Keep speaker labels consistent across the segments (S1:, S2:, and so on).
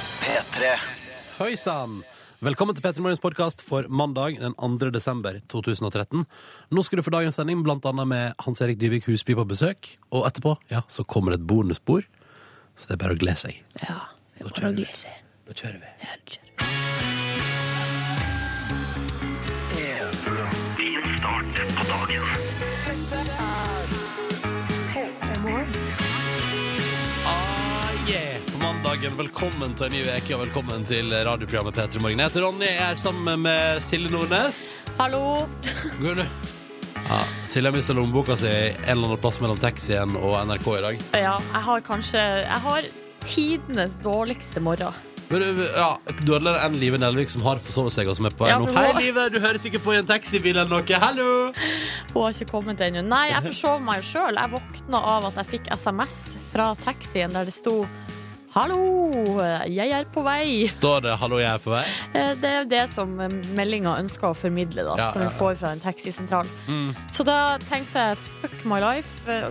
S1: P3.
S2: Hei sann! Velkommen til Petter Morgens podkast for mandag den 2. desember 2013. Nå skal du få dagens sending blant annet med Hans Erik Dybvik Husby på besøk. Og etterpå ja, så kommer det et bonusspor, så det er bare å glede seg.
S3: Ja, det
S2: Da kjører
S3: er bare å
S2: vi.
S3: glede seg.
S2: Da kjører vi.
S3: Ja, det kjører.
S2: Ah, yeah. På mandagen, velkommen til en ny uke, og velkommen til radioprogrammet P3 Morgen. Jeg heter Ronny, jeg er sammen med Silje Nordnes.
S3: Hallo!
S2: Går du? Ja, Silje har mista lommeboka si en eller annen plass mellom taxien og NRK i dag.
S3: Ja, jeg har kanskje Jeg har tidenes dårligste morgen.
S2: Men, ø, ja, Dødeligere enn Live Nelvik, som har forsovet seg. og som er på vei
S3: Ja,
S2: nå.
S3: for hun-
S2: Hei, Live! Du hører sikkert på i en taxibil eller noe. Hallo!
S3: Hun har ikke kommet ennå. Nei, jeg forsov meg jo sjøl. Jeg våkna av at jeg fikk SMS fra taxien der det sto Hallo, jeg er på vei.
S2: Står det 'hallo, jeg er på vei'?
S3: Eh, Det er jo det som meldinga ønsker å formidle, da,
S2: Ja,
S3: som
S2: ja,
S3: vi
S2: ja. Mm.
S3: får fra en taxisentral. Så da tenkte jeg fuck my life, eh,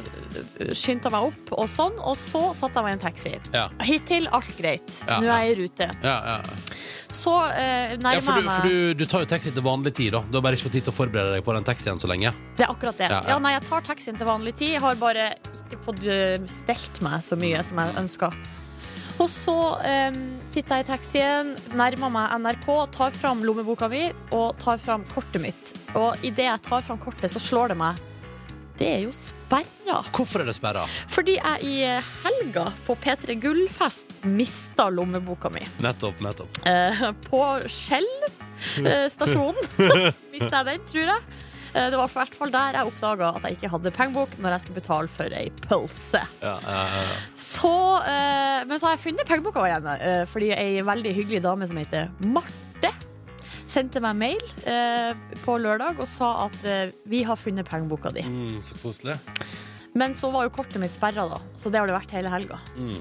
S3: skyndte meg opp og sånn, og så satte jeg meg i en taxi.
S2: Ja.
S3: Hittil alt greit.
S2: Ja,
S3: Nå er jeg i rute.
S2: Ja, ja.
S3: Så eh, nærmer
S2: ja for, du,
S3: jeg meg
S2: for du, du tar jo taxi til vanlig tid, da. Du har bare ikke fått tid til å forberede deg på den taxien så lenge.
S3: Det er akkurat det.
S2: Ja,
S3: Ja,
S2: ja.
S3: nei, jeg tar taxien til vanlig tid. Har bare ikke fått eh, stelt meg så mye som jeg ønska. Og så eh, sitter jeg i taxien, nærmer meg NRK, tar fram lommeboka mi og tar fram kortet mitt. Og idet jeg tar fram kortet, så slår det meg. Det er jo sperra.
S2: Hvorfor er det sperra?
S3: Fordi jeg i helga på P3 Gullfest mista lommeboka mi.
S2: Nettopp, nettopp.
S3: Eh, på Skjell eh, stasjon. Mista jeg den, tror jeg. Eh, det var i hvert fall der jeg oppdaga at jeg ikke hadde pengebok når jeg skulle betale for ei pølse.
S2: Ja, ja, ja, ja.
S3: Så, eh, men så har jeg funnet pengeboka igjen, eh, fordi ei veldig hyggelig dame som heter Marte, sendte meg mail eh, på lørdag og sa at eh, vi har funnet pengeboka di.
S2: Mm, så koselig.
S3: Men så var jo kortet mitt sperra, da. Så det har det vært hele helga.
S2: Mm.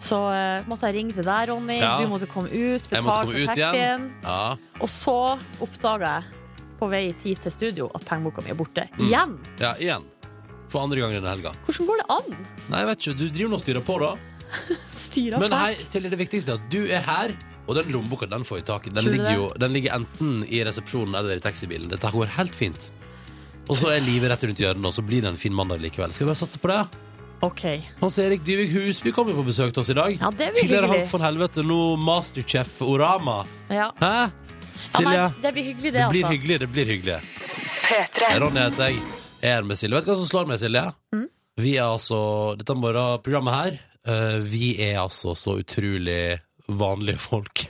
S3: Så eh, måtte jeg ringe til deg, Ronny.
S2: Ja.
S3: Du måtte komme ut,
S2: Jeg måtte
S3: betale
S2: komme
S3: for
S2: ut igjen.
S3: taxien.
S2: Ja.
S3: Og så oppdaga jeg på vei hit til studio at pengeboka mi er borte.
S2: Mm.
S3: Igjen!
S2: ja, igjen. For andre gang denne helga.
S3: Hvordan går det an?
S2: Nei, jeg vet ikke. Du driver nå og styrer på, da.
S3: Styrer
S2: Men hei,
S3: fælt.
S2: Silje, det viktigste er at du er her, og den lommeboka den får vi tak i. Den
S3: Tror du
S2: ligger
S3: det?
S2: jo den ligger enten i resepsjonen eller i taxibilen. Dette går helt fint. Og så er livet rett rundt hjørnet, og så blir det en fin mandag likevel. Skal vi bare satse på det?
S3: OK.
S2: Hans Erik Dyvik Husby kommer på besøk til oss i dag.
S3: Ja, det blir
S2: Tidligere
S3: hyggelig.
S2: Hank von Helvete, nå Masterchef Orama.
S3: Ja.
S2: Hæ?
S3: Ja,
S2: Silje?
S3: nei, det blir hyggelig, det,
S2: det blir
S3: altså.
S2: hyggelig, det blir hyggelig. Ronny heter jeg. Jeg er med Silje. Vet du hva som slår meg, Silje? Vi er altså Dette morgenprogrammet her, eh, vi er altså så utrolig vanlige folk.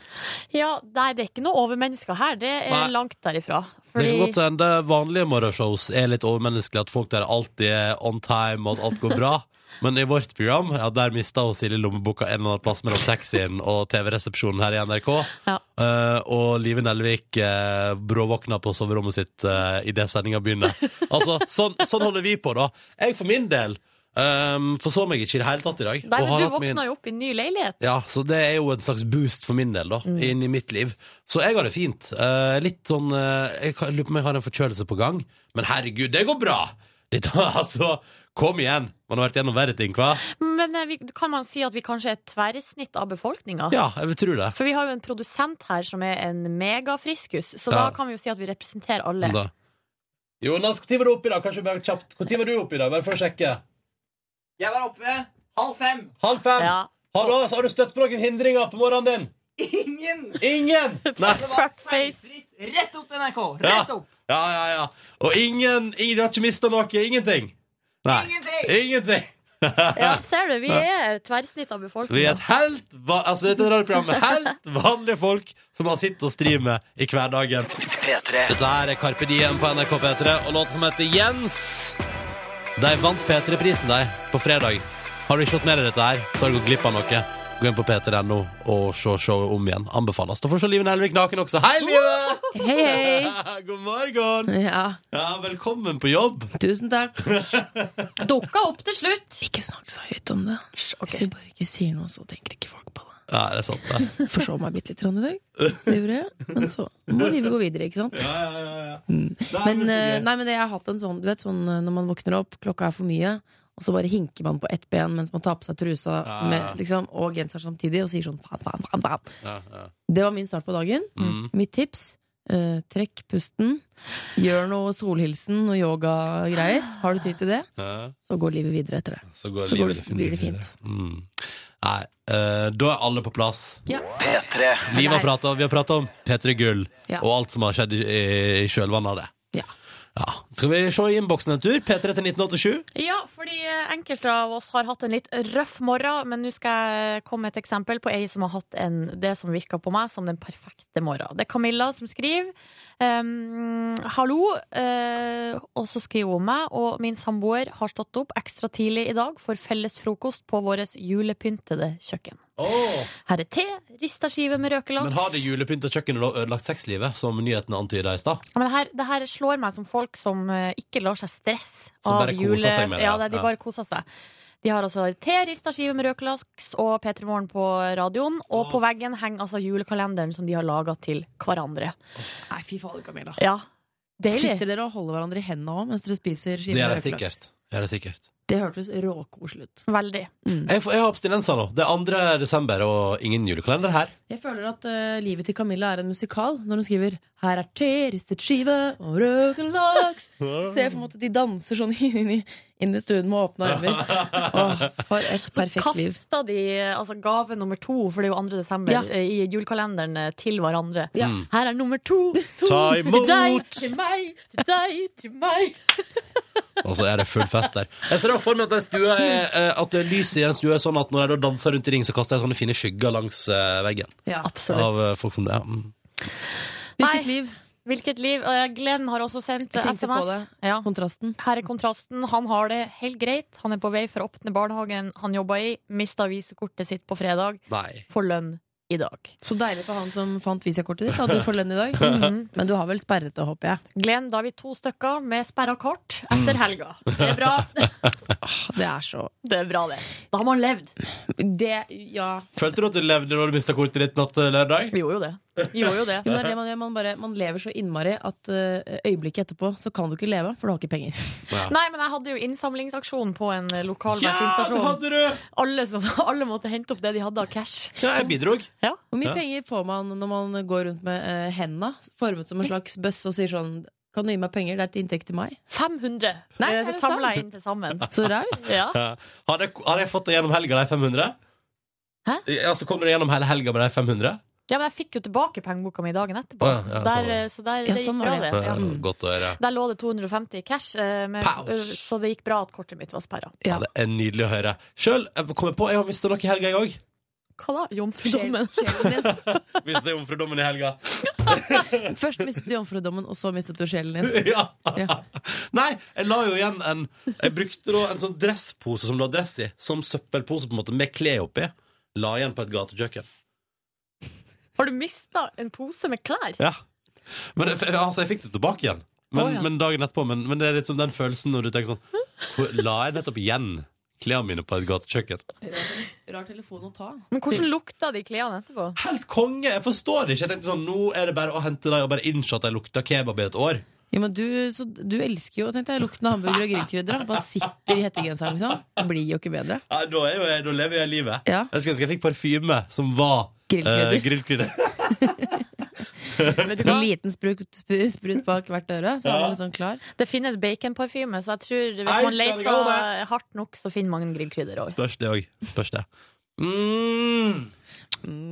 S3: Ja, nei, det er ikke noe overmennesker her. Det er
S2: Nei.
S3: langt derifra.
S2: Det
S3: Fordi
S2: kan godt hende vanlige morgenshows er litt overmenneskelige, at folk der alltid er on time, og at alt går bra. Men i vårt program, ja, der mista hun Silje lommeboka en eller annen plass mellom taxien og TV-resepsjonen her i NRK.
S3: Ja.
S2: Eh, og Live Nelvik uh, bråvåkna på soverommet sitt uh, idet sendinga begynner. Altså, sånn, sånn holder vi på, da. Jeg for min del um, forsov meg ikke i det hele tatt i dag.
S3: Nei,
S2: og har
S3: men du
S2: hatt min-
S3: våkna jo opp i en ny leilighet.
S2: ja, så det er jo en slags boost for min del da Inn i mitt liv Så jeg har det fint Eh, Litt sånn eh, Jeg kan- lurer på om jeg har en forkjølelse på gang Men herregud, det går bra Litt, altså, Kom igjen Man har vært gjennom verre ting, hva?
S3: Men eh, vi, kan man si at vi kanskje er et tverrsnitt av befolkninga?
S2: Ja, jeg vil tro det
S3: For vi har jo en produsent her som er en megafriskus, så da
S2: Ja.
S3: kan vi jo si at vi representerer alle.
S2: Men da. Jonas, hvor tid var du oppe i dag? Kanskje bare kjapt Hvor tid var du oppe i dag? Bare for å sjekke
S4: Jeg var oppe halv fem.
S2: Halv fem
S3: Ja.
S2: har, du, har du støtt på noen hindringer på morgenen din?
S4: Ingen!
S2: Ingen! Nei
S4: Det var
S3: Fuckface.
S4: feilfritt. Rett opp til NRK.
S2: Ja,
S4: Rett opp.
S2: ja, ja, ja. Og ingen, ingen Du har ikke mistet noe? Ingenting? Nei
S4: Ingenting.
S2: Ingenting
S3: Ja, ser du, vi er et tverrsnitt av
S2: Vi er et
S3: befolkninga.
S2: helt, va altså, dette er et radioprogram med helt vanlige folk som har sittet og streamet med i hverdagen.
S1: P3.
S2: Dette her er Carpe Diem på NRK P3 og låten som heter Jens. De vant P3-prisen de på fredag. Har du ikke fått med deg dette her, så har du gått glipp av noe. Gå inn på p3.no og se showet om igjen. Anbefales. Da får du se Liven Elvik naken også. Hei, Live!
S5: Hei, hei.
S2: God morgen!
S5: Ja,
S2: Ja, velkommen på jobb.
S5: tusen takk.
S3: Dukka opp til slutt!
S5: Ikke snakk så høyt om det. Hvis vi bare ikke sier noe, så tenker ikke folk på det.
S2: Ja, det er sant, det.
S5: Forsov meg bitte litt i dag. Det gjorde jeg. Men så må livet gå videre, ikke sant?
S2: Ja, ja, ja, ja.
S5: Mm.
S2: Nei,
S5: Men,
S2: men så
S5: eh,
S2: gøy.
S5: nei, men jeg har hatt en sånn, du vet sånn eh, når man våkner opp, klokka er for mye, Og så bare hinker man på ett ben mens man tar på seg trusa
S2: Ja.
S5: med, liksom, og genser samtidig og sier sånn faen, faen, faen. faen.
S2: Ja, ja.
S5: Det var min start på dagen.
S2: Mm.
S5: Mitt tips eh, trekk pusten. Gjør noe solhilsen og yogagreier. Har du tid til det,
S2: Ja.
S5: så går livet videre etter det.
S2: Så går
S5: Så går
S2: livet
S5: det- blir det fint.
S2: Mm. Nei, eh, da er alle på plass.
S5: Ja.
S2: Liv har
S5: Der.
S2: pratet, vi har prata om P3 Gull
S5: Ja.
S2: og alt som har skjedd i, i kjølvannet av det.
S5: Ja.
S2: Ja. Skal vi se i innboksen en tur? P3 til 1987.
S3: Ja, fordi eh, enkelte av oss har hatt en litt røff morgen, men nå skal jeg komme med et eksempel på ei som har hatt en, det som virker på meg som den perfekte morgen. Det er Camilla som skriver. ehm, Hallo. eh, og så skriver hun meg, og min samboer har stått opp ekstra tidlig i dag for felles frokost på vårt julepyntede kjøkken.
S2: Åh,
S3: Her er te, rista skive med røkelaks.
S2: men har det julepynta kjøkkenet da ødelagt sexlivet, som nyhetene antyda i stad?
S3: Ja, men her, det her slår meg som folk som eh, ikke lar seg stresse
S2: Som
S3: av
S2: bare koser
S3: jule...
S2: seg med det,
S3: ja,
S2: ja.
S3: de
S2: Ja.
S3: bare koser seg. De har altså te, rista skive med røkelaks og P3 Morgen på radioen. Og på veggen henger altså julekalenderen som de har laga til hverandre.
S5: Nei, fy fader, Camilla.
S3: Ja, Deilig.
S5: Sitter dere og holder hverandre i hendene òg mens dere spiser
S2: Det
S5: skive
S2: er
S5: med
S2: det
S5: røkelaks?
S2: sikkert. Det er det sikkert.
S5: Det hørtes råkoselig ut.
S3: Veldig.
S2: Jeg, får- jeg har abstinenser nå. Det er 2. desember og ingen julekalender her.
S5: Jeg føler at eh, livet til Camilla er en musikal når hun skriver 'Her er te, ristet skive og røkelaks'. Se for meg at de danser sånn inn i, inn i stuen med åpne armer. Åh, for et perfekt liv.
S3: Kasta de eh, altså, gave nummer to, for det er jo 2. desember,
S5: Ja.
S3: eh, i julekalenderen eh, til hverandre.
S5: Ja.
S2: Mm.
S3: Her er nummer to, to
S2: Ta
S3: til deg,
S2: imot!
S3: til meg, til deg, til meg.
S2: Og så er det full fest der. Jeg ser da for meg at, den stua er, eh, at det lyset i den stua er sånn at når jeg da danser rundt i ring, så kaster jeg sånne fine skygger langs eh, veggen.
S5: Ja.
S3: Absolutt.
S2: Av eh, folk som det er. Mm.
S5: Hvilket
S3: Nei.
S5: liv?
S3: Hvilket liv? Eh, Glenn har også sendt
S5: Jeg
S3: eh,
S5: tenkte på
S3: SMS.
S5: det.
S3: Ja.
S5: Kontrasten.
S3: Her er kontrasten. Han har det helt greit. Han er på vei for å åpne barnehagen han jobba i. Mista visekortet sitt på fredag.
S2: Nei.
S3: Får lønn i dag.
S5: Så deilig for han som fant visakortet ditt. Hadde du får lønn i dag? Men du har vel sperret det, håper jeg.
S3: Glenn, da er vi to stykker med sperra kort etter
S2: Mm.
S3: helga. Det er bra,
S5: Åh, Det er så
S3: det. er bra det. Da har man levd.
S5: Det, ja.
S2: Følte du at du levde da du mista kortet ditt natt til lørdag?
S3: Vi gjorde jo det. Vi gjorde jo det.
S5: Jo, men det er det man gjør. Man, bare, man lever så innmari at eh, øyeblikket etterpå så kan du ikke leve, for du har ikke penger.
S3: Nei, men jeg hadde jo innsamlingsaksjon på en eh, lokal
S2: Ja, det
S3: bensinstasjon.
S2: hadde du!
S3: Alle, som, alle måtte hente opp det de hadde av cash.
S2: Ja, jeg bidrog.
S5: Hvor mye
S2: Ja.
S5: penger får man når man går rundt med eh, henda formet som en slags bøsse og sier sånn Kan du gi meg penger? Det er et inntekt til meg.
S3: 500
S5: Nei, er det sant?
S3: samla inn til sammen.
S5: Så raus.
S3: Ja.
S2: Ja. Har jeg, har jeg fått det gjennom helga, de 500?
S3: Hæ?
S2: Ja, så kom du gjennom hele helga med de 500?
S3: Ja, men jeg fikk jo tilbake pengeboka mi dagen etterpå.
S2: Å, ja, ja, sånn var
S3: der, eh, så der,
S5: Ja,
S3: det
S5: sånn
S3: gikk
S5: var
S3: bra,
S5: det.
S3: det. Ja.
S2: Ja, Godt å høre.
S3: Der lå det 250 i cash, eh, med,
S2: Pow!
S3: eh, så det gikk bra at kortet mitt var sperra.
S2: Ja, det er nydelig å høre. Sjøl kom jeg på, jeg har mista noe i helga, jeg òg.
S3: Hva da? Jomfrudommen?
S5: Sjelen din.
S2: Mista jomfrudommen i helga.
S5: Først mistet du jomfrudommen, og så mistet du sjelen din.
S2: ja.
S5: Ja.
S2: Nei, jeg la jo igjen en Jeg brukte da en sånn dresspose som det var dress i, som søppelpose på en måte, med klær oppi. La igjen på et gatekjøkken.
S3: Har du mista en pose med klær?
S2: Ja. Men jeg- altså, jeg fikk det tilbake igjen. Men,
S3: Å, ja.
S2: men dagen etterpå. Men, men det er liksom den følelsen når du tenker sånn hvor- La jeg nettopp igjen klærne mine på et gatekjøkken?
S5: Rar telefon å ta.
S3: Men hvordan lukta de klærne etterpå?
S2: Helt konge! Jeg forstår det ikke. Jeg tenkte sånn, Nå er det bare å hente dem og bare innse at de lukter kebab i et år.
S5: Ja, men du, så, du elsker jo tenkte jeg, lukten av hamburger og grillkrydder. da. Bare sitter i hettegenseren, liksom. Det blir jo ikke bedre.
S2: Ja, da, er jo jeg, da lever jeg livet.
S5: Ja.
S2: Jeg skulle ønske jeg fikk parfyme som var
S5: Grillkrydder.
S2: eh, grillkrydder.
S3: Vet du
S5: En
S3: hva?
S5: liten sprut, sp- sprut bak hvert øre, så er man liksom klar.
S3: Det finnes baconparfyme, så jeg tror hvis
S2: Nei,
S3: man
S2: det er det gale,
S3: leter hardt nok, så finner man grillkrydder òg.
S2: Spørs det òg. Spørs det. Mm.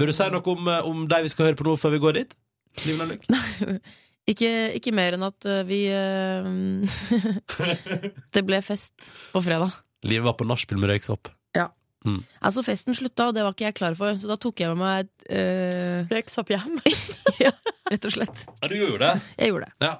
S2: Bør du si noe om, eh, om de vi skal høre på nå, før vi går dit? Liv Nelvik?
S5: Ikke, ikke mer enn at øh, vi øh, Det ble fest på fredag.
S2: Livet var på nachspiel med røyksopp.
S5: Altså, festen slutta, og det var ikke jeg klar for, så da tok jeg med meg et øh,
S3: Røyksopp hjem.
S5: Rett og slett.
S2: Ja, du gjorde det.
S5: Jeg gjorde det.
S2: Ja.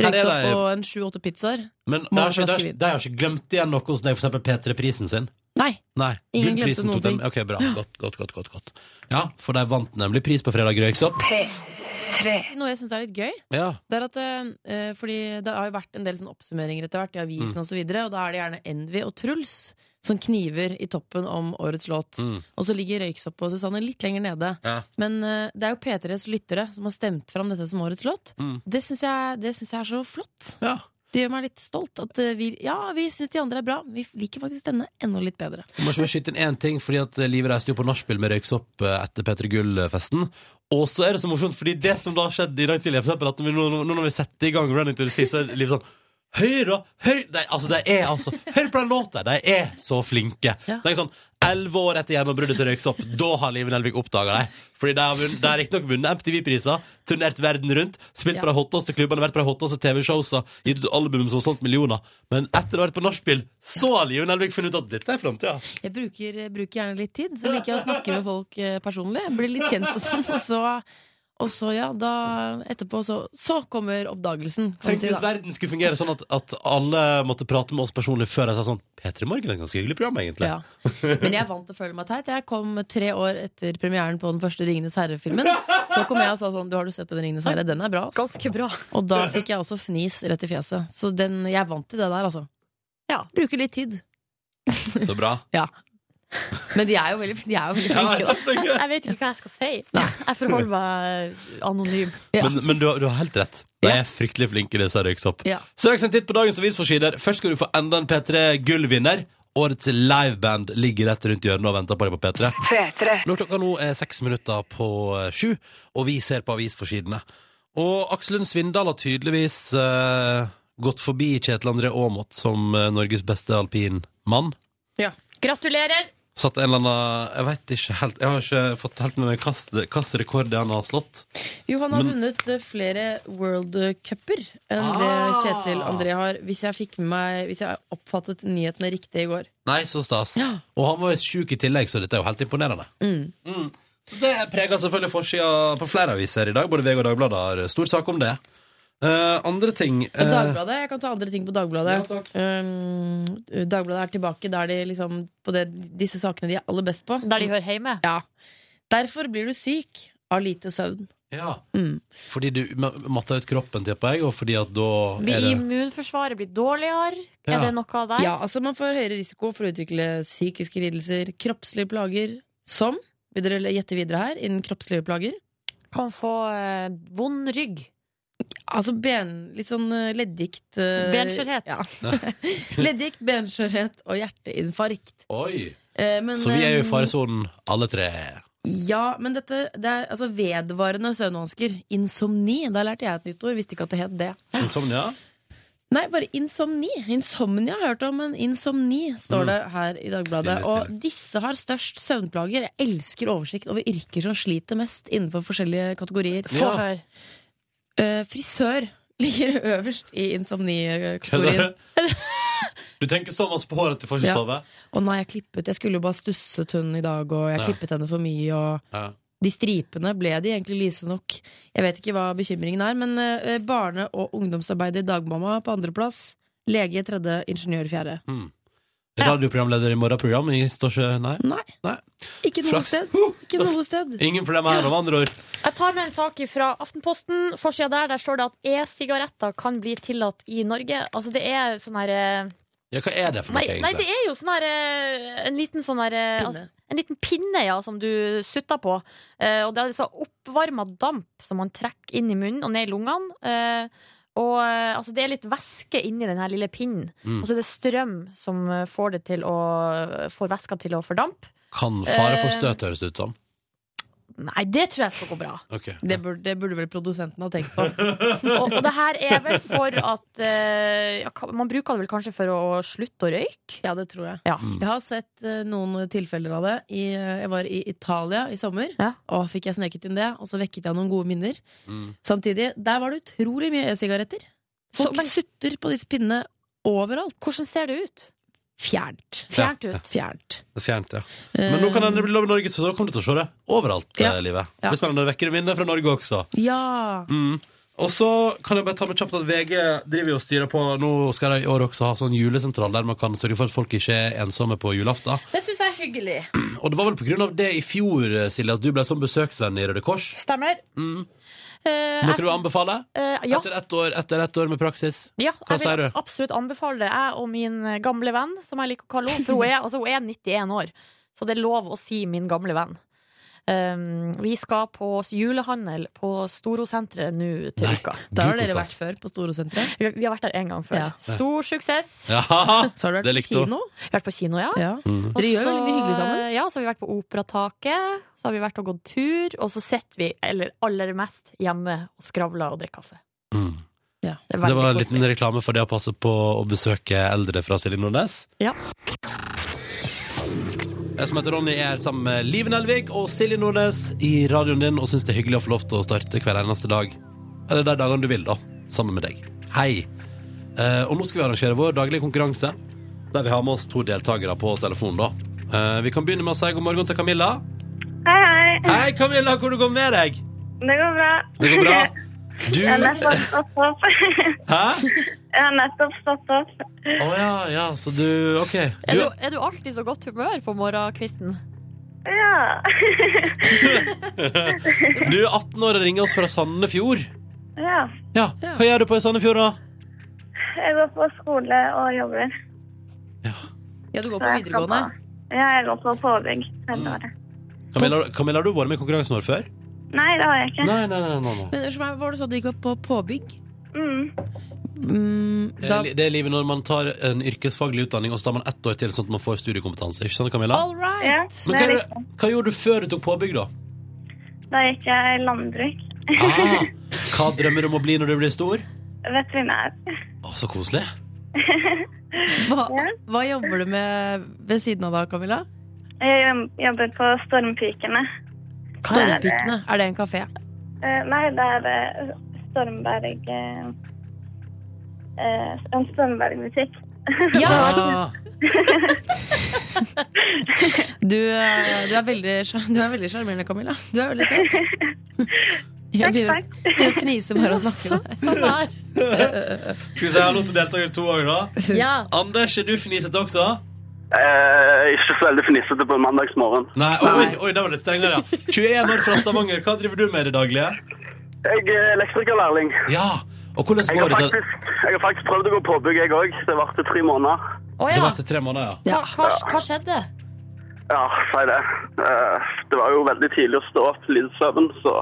S2: Her er
S5: Røyksopp
S2: det-
S5: og en sju-åtte pizzaer.
S2: Men de
S5: Må
S2: har, ikke, de,
S5: flaske
S2: har, ikke-
S5: vin.
S2: de har ikke glemt igjen noe hos deg, for eksempel P3-prisen sin?
S5: Nei!
S2: Nei.
S5: Ingen glemte
S2: Gullprisen
S5: noen
S2: tok dem.
S5: ting.
S2: Ok, bra. Godt, godt, godt, godt, godt. Ja, for de vant nemlig pris på fredag, røyksopp.
S5: Noe jeg syns er litt gøy,
S2: Ja.
S5: Det er at eh, fordi det har jo vært en del sånn oppsummeringer etter hvert i
S2: Mm.
S5: avisen og så videre, og da er det gjerne Envy og Truls som kniver i toppen om årets låt.
S2: Mm.
S5: Og så ligger Røyksopp og Susanne litt lenger nede.
S2: Ja.
S5: Men eh, det er jo P3s lyttere som har stemt fram dette som årets låt.
S2: Mm.
S5: Det syns jeg, det syns jeg er så flott.
S2: ja.
S5: Det gjør meg litt stolt. At eh, vi, ja, vi syns de andre er bra, men vi liker faktisk denne enda litt bedre.
S2: Du må ikke bare skyte inn én ting, fordi at eh, Liv reiste jo på nachspiel med Røyksopp eh, etter Petter Gull-festen. Og så er det så morsomt, fordi det som da skjedde i dag tidlig, for eksempel at når vi, nå, nå- nå når vi setter i gang Running to the Sea, så er Liv sånn Hør, da! Hør de, altså, de er altså Hør på den låta! De er så flinke.
S5: Ja.
S2: Det er sånn Elleve år etter gjennombruddet til Røyksopp, da har Liv Nelvik oppdaga dem. Fordi de har vunnet- de har riktignok vunnet MTV-priser, turnert verden rundt, spilt
S5: Ja.
S2: på de hotteste klubbene, vært på de hotteste TV-showsa, gitt ut album som har solgt millioner. Men etter å ha vært på nachspiel, så har Liv Nelvik funnet ut at dette er framtida.
S5: Jeg bruker, eh, bruker gjerne litt tid, så liker jeg å snakke med folk eh, personlig. Jeg blir litt kjent og sånn. Og så, og så ja, da etterpå så, så kommer oppdagelsen, kan
S2: Tenk
S5: vi si.
S2: hvis
S5: Da.
S2: verden skulle fungere sånn at, at alle måtte prate med oss personlig før de sa sånn P3 Morgen er et ganske hyggelig program, egentlig.
S5: Ja. Men jeg vant å føle meg teit. Jeg kom tre år etter premieren på den første Ringenes herre-filmen. Så kom jeg og sa sånn Du har du sett den Ringenes herre? Den er bra. Ass.
S3: Ganske bra.
S5: Og da fikk jeg også fnis rett i fjeset. Så den, jeg vant til det der, altså.
S3: Ja.
S5: Bruker litt tid.
S2: Så bra.
S5: Ja. Men de er jo veldig, de er jo veldig
S2: Ja,
S5: flinke, da.
S2: kjempegøy.
S3: Jeg vet ikke hva jeg skal si. Jeg forholder meg eh, anonym.
S5: Ja.
S2: Men, men du, har- du har helt rett. De er fryktelig flinke, disse Røyksopp.
S5: Ja.
S2: Straks en titt på dagens avisforsider. Først skal du få enda en P3 Gull-vinner. Årets liveband ligger rett rundt hjørnet og venter på deg på P3. Når klokka nå er seks minutter på eh, sju, og vi ser på avisforsidene. Og Aksel Lund Svindal har tydeligvis eh, gått forbi Kjetil André Aamodt som eh, Norges beste alpinmann.
S3: Gratulerer!
S2: Satt en eller annen Jeg vet ikke helt Jeg har ikke fått helt med meg hvilken rekord det han har slått.
S5: Jo, han har vunnet eh, flere World Cup-er enn
S2: Ah.
S5: det Kjetil André har, hvis jeg, fikk med meg, hvis jeg oppfattet nyhetene riktig i går.
S2: Nei, så stas.
S5: Ja.
S2: Og han var jo sjuk i tillegg, så dette er jo helt imponerende. Mm. Så Det preger selvfølgelig forsida på flere aviser i dag. Både VG og Dagbladet har stor sak om det. Eh, andre ting eh,
S5: Og Dagbladet, Jeg kan ta andre ting på Dagbladet.
S2: Ja, takk.
S5: um, Dagbladet er tilbake der de liksom på det, disse sakene de er aller best på.
S3: Der de hører hjemme.
S5: ja. Derfor blir du syk av lite søvn.
S2: Ja.
S5: Mm.
S2: Fordi du ma- matta ut kroppen, tipper jeg, og fordi at da er
S3: Blir
S2: det
S3: immunforsvaret blir dårligere?
S2: Ja.
S3: Er det noe der?
S5: Ja, altså Man får høyere risiko for å utvikle psykiske lidelser, kroppslige plager som Vil dere gjette videre her? Innen kroppslige plager?
S3: Kan få eh, vond rygg.
S5: Altså ben, litt sånn eh, leddgikt. eh,
S3: Benskjørhet.
S5: Ja. leddgikt, benskjørhet og hjerteinfarkt.
S2: Oi!
S5: Eh, men,
S2: Så vi er jo i
S5: eh,
S2: faresonen, alle tre.
S5: Ja, men dette det er altså vedvarende søvnvansker. Insomni. Da lærte jeg et nytt ord. Visste ikke at det het det.
S2: Insomnia?
S5: Nei, bare insomni. Insomnia har jeg hørt om, men insomni står
S2: Mm.
S5: det her i Dagbladet.
S2: Stille, stille.
S5: Og disse har størst søvnplager. Jeg elsker oversikt over yrker som sliter mest innenfor forskjellige kategorier.
S3: Få
S2: Ja.
S3: høre.
S5: Eh, frisør ligger øverst i insomni-kategorien.
S2: Du tenker så masse på håret at du får ikke
S5: Ja.
S2: sove?
S5: Å nei, jeg klippet. Jeg skulle jo bare stusset hun i dag, og jeg
S2: Ja.
S5: klippet henne for mye. og...
S2: Ja.
S5: De stripene, ble de egentlig lyse nok? Jeg vet ikke hva bekymringen er, men eh, barne- og ungdomsarbeider dagmamma på andreplass, lege tredje, ingeniør fjerde.
S2: Radioprogramleder i morgenprogram? i- Står ikke Nei?
S5: Nei,
S2: Nei.
S5: ikke noe
S2: Flaks.
S5: sted.
S2: Huh,
S5: Ikke
S2: da s-
S5: noe sted.
S2: Ingen problemer her, om andre ord.
S3: Jeg tar med en sak fra Aftenposten. Forsida der der står det at e-sigaretter kan bli tillatt i Norge. Altså det er sånn her eh,
S2: Ja, hva er det for noe,
S3: Nei, nei det
S2: egentlig?
S3: er jo sånn her eh, En liten sånn her eh,
S5: Pinne.
S3: altså, En liten pinne, ja, som du sutter på. Eh, og det er altså oppvarma damp som man trekker inn i munnen og ned i lungene. Eh, og eh, altså, det er litt væske inni den her lille pinnen.
S2: Mm.
S3: Og så er det strøm som eh, får, det til å, får væska til å fordampe.
S2: Kan fare for
S3: Eh,
S2: støt, høres det ut som.
S3: Nei, det tror jeg skal gå bra.
S2: Ok.
S5: Det burde, det burde vel produsenten ha tenkt på.
S3: Og, og det her er vel for at eh, ja, ka- Man bruker det vel kanskje for å slutte å røyke?
S5: Ja, det tror jeg.
S3: Ja.
S2: Mm.
S5: Jeg har sett eh, noen tilfeller av det. I, eh, jeg var i Italia i sommer,
S3: Ja.
S5: og fikk jeg sneket inn det. Og så vekket jeg noen gode minner.
S2: Mm.
S5: Samtidig, der var det utrolig mye e-sigaretter.
S3: Så-
S5: Folk
S3: men-
S5: sutter på disse pinnene overalt.
S3: Hvordan ser det ut?
S5: Fjernt.
S3: Fjernt ut.
S5: Fjernt.
S2: Det er fjernt, ja. Men nå kan
S5: Eh,
S2: det bli lov i Norge, så da kommer du til å se det overalt.
S5: Ja.
S2: eh, livet Det
S5: Ja.
S2: blir spennende å vekke det minnet fra Norge også.
S5: Eh, Ja!
S2: Mm. Og så kan jeg bare ta med kjapt at VG driver jo og styrer på Nå skal de i år også ha sånn julesentral der man kan sørge for at folk ikke er ensomme på julaften.
S3: Det syns jeg er hyggelig.
S2: Og det var vel på grunn av det i fjor, eh, Silje, at du ble sånn besøksvenn i Røde Kors.
S3: Stemmer.
S2: Mm.
S3: Eh,
S2: Noe
S3: jeg-
S2: du anbefaler?
S3: eh, ja,
S2: Etter ett år, etter ett år med praksis?
S3: ja,
S2: Altså, Hva
S3: jeg
S2: sier
S3: vil
S2: du?
S3: absolutt anbefale det. Jeg og min gamle venn, som jeg liker å kalle henne, for hun er, altså, hun er 91 år, så det er lov å si min gamle venn. Um, vi skal på s- julehandel på Storosenteret nå til
S2: Nei.
S3: uka.
S5: Der har
S2: Du
S5: dere
S2: koser
S5: vært før, på Storosenteret.
S3: Vi, vi har vært der en gang før.
S5: Ja.
S3: Stor suksess.
S2: Ja,
S5: Så har
S2: Det
S5: dere vært
S2: likte
S5: på
S2: hun.
S5: kino.
S3: Vi har vært på kino, ja.
S5: Ja.
S2: Mhm.
S5: Dere gjør
S3: Og så-
S5: veldig mye hyggelig sammen.
S3: Ja, så har vi vært på Operataket, så har vi vært og gått tur, og så sitter vi, eller aller mest, hjemme og skravler og drikker kaffe.
S2: Mm.
S3: Det, er
S2: Det
S3: veldig
S2: var en
S3: koselig.
S2: liten reklame for det å passe på å besøke eldre fra Silje Nordnes.
S3: Ja.
S2: Jeg som heter Ronny er sammen med Liv Nelvik og Silje Nordnes i radioen din og syns det er hyggelig å få lov til å starte hver eneste dag. Eller de dagene du vil, da. Sammen med deg. Hei. Eh, og nå skal vi arrangere vår daglige konkurranse, der vi har med oss to deltakere på telefon. da. Eh, vi kan begynne med å si god morgen til Camilla.
S1: Hei, hei.
S2: Hei, Camilla, hvor det går med deg?
S1: Det går bra.
S2: Det går bra? Du
S1: Jeg har nettopp stått opp.
S2: Hæ?
S1: Jeg har nettopp stått opp.
S2: Å ja, ja, så du OK.
S3: Er du, er du alltid i så godt humør på morgenkvisten?
S1: Ja.
S2: Du er 18 år og ringer oss fra Sandefjord.
S1: ja.
S2: Ja,
S5: Ja.
S2: Hva gjør du på i Sandefjord, da?
S1: Jeg går på skole og jobber.
S5: Ja, du går
S1: Så
S5: på
S1: jeg skal
S5: videregående.
S1: på- Ja, jeg går på påbygg hele
S2: Mm.
S1: året.
S2: Camilla, Camilla, har du vært med i konkurransen vår før?
S1: Nei, det har jeg ikke.
S2: Nei, nei, nei. nei, nei.
S5: Men unnskyld meg, hva var det så du gikk opp på påbygg?
S1: Mm.
S5: Mm,
S2: Det
S5: da,
S2: er li- Det er livet når man tar en yrkesfaglig utdanning og så tar man ett år til, sånn at man får studiekompetanse. Ikke sant, Camilla?
S5: all right!
S1: Ja,
S2: Men hva,
S1: det er
S2: gjorde-
S1: riktig.
S2: hva gjorde du før du tok påbygg, da?
S1: Da gikk jeg landbruk.
S2: Ah, hva drømmer du om å bli når du blir stor?
S1: Veterinær.
S2: Å, så koselig.
S5: Hva, hva jobber du med ved siden av da, Camilla?
S1: Jeg jobber på Stormpikene.
S5: Stormpikene. Er det en kafé?
S1: Eh, Nei, det er eh, Stormberg... eh, eh, En Stormberg-butikk.
S5: Ja!
S2: Ah,
S5: Du, eh, du er veldig sjar- du er veldig sjarmerende, Camilla. Du er veldig søt. Jeg begynner,
S1: Takk,
S5: begynner å fnise bare av å snakke med deg.
S3: Sånn her.
S2: skal vi si hallo til deltaker to òg, da?
S3: Ja.
S2: Anders, er du fnisete også?
S6: Eh, ikke så veldig fnissete på en mandagsmorgen.
S2: Nei, oi, oi, det var litt strengere, ja. 21 år fra Stavanger, hva driver du med i det daglige?
S6: Jeg er elektrikerlærling.
S2: Ja, og hvordan
S6: Jeg har,
S2: går det til?
S6: faktisk, jeg har faktisk prøvd å gå påbygg, jeg òg. Det varte tre måneder.
S3: Å
S2: Det
S3: ja.
S2: var etter tre måneder, ja.
S3: Hva, hva, hva skjedde?
S6: Ja, si det. Eh, det var jo veldig tidlig å stå opp, lite søvn, så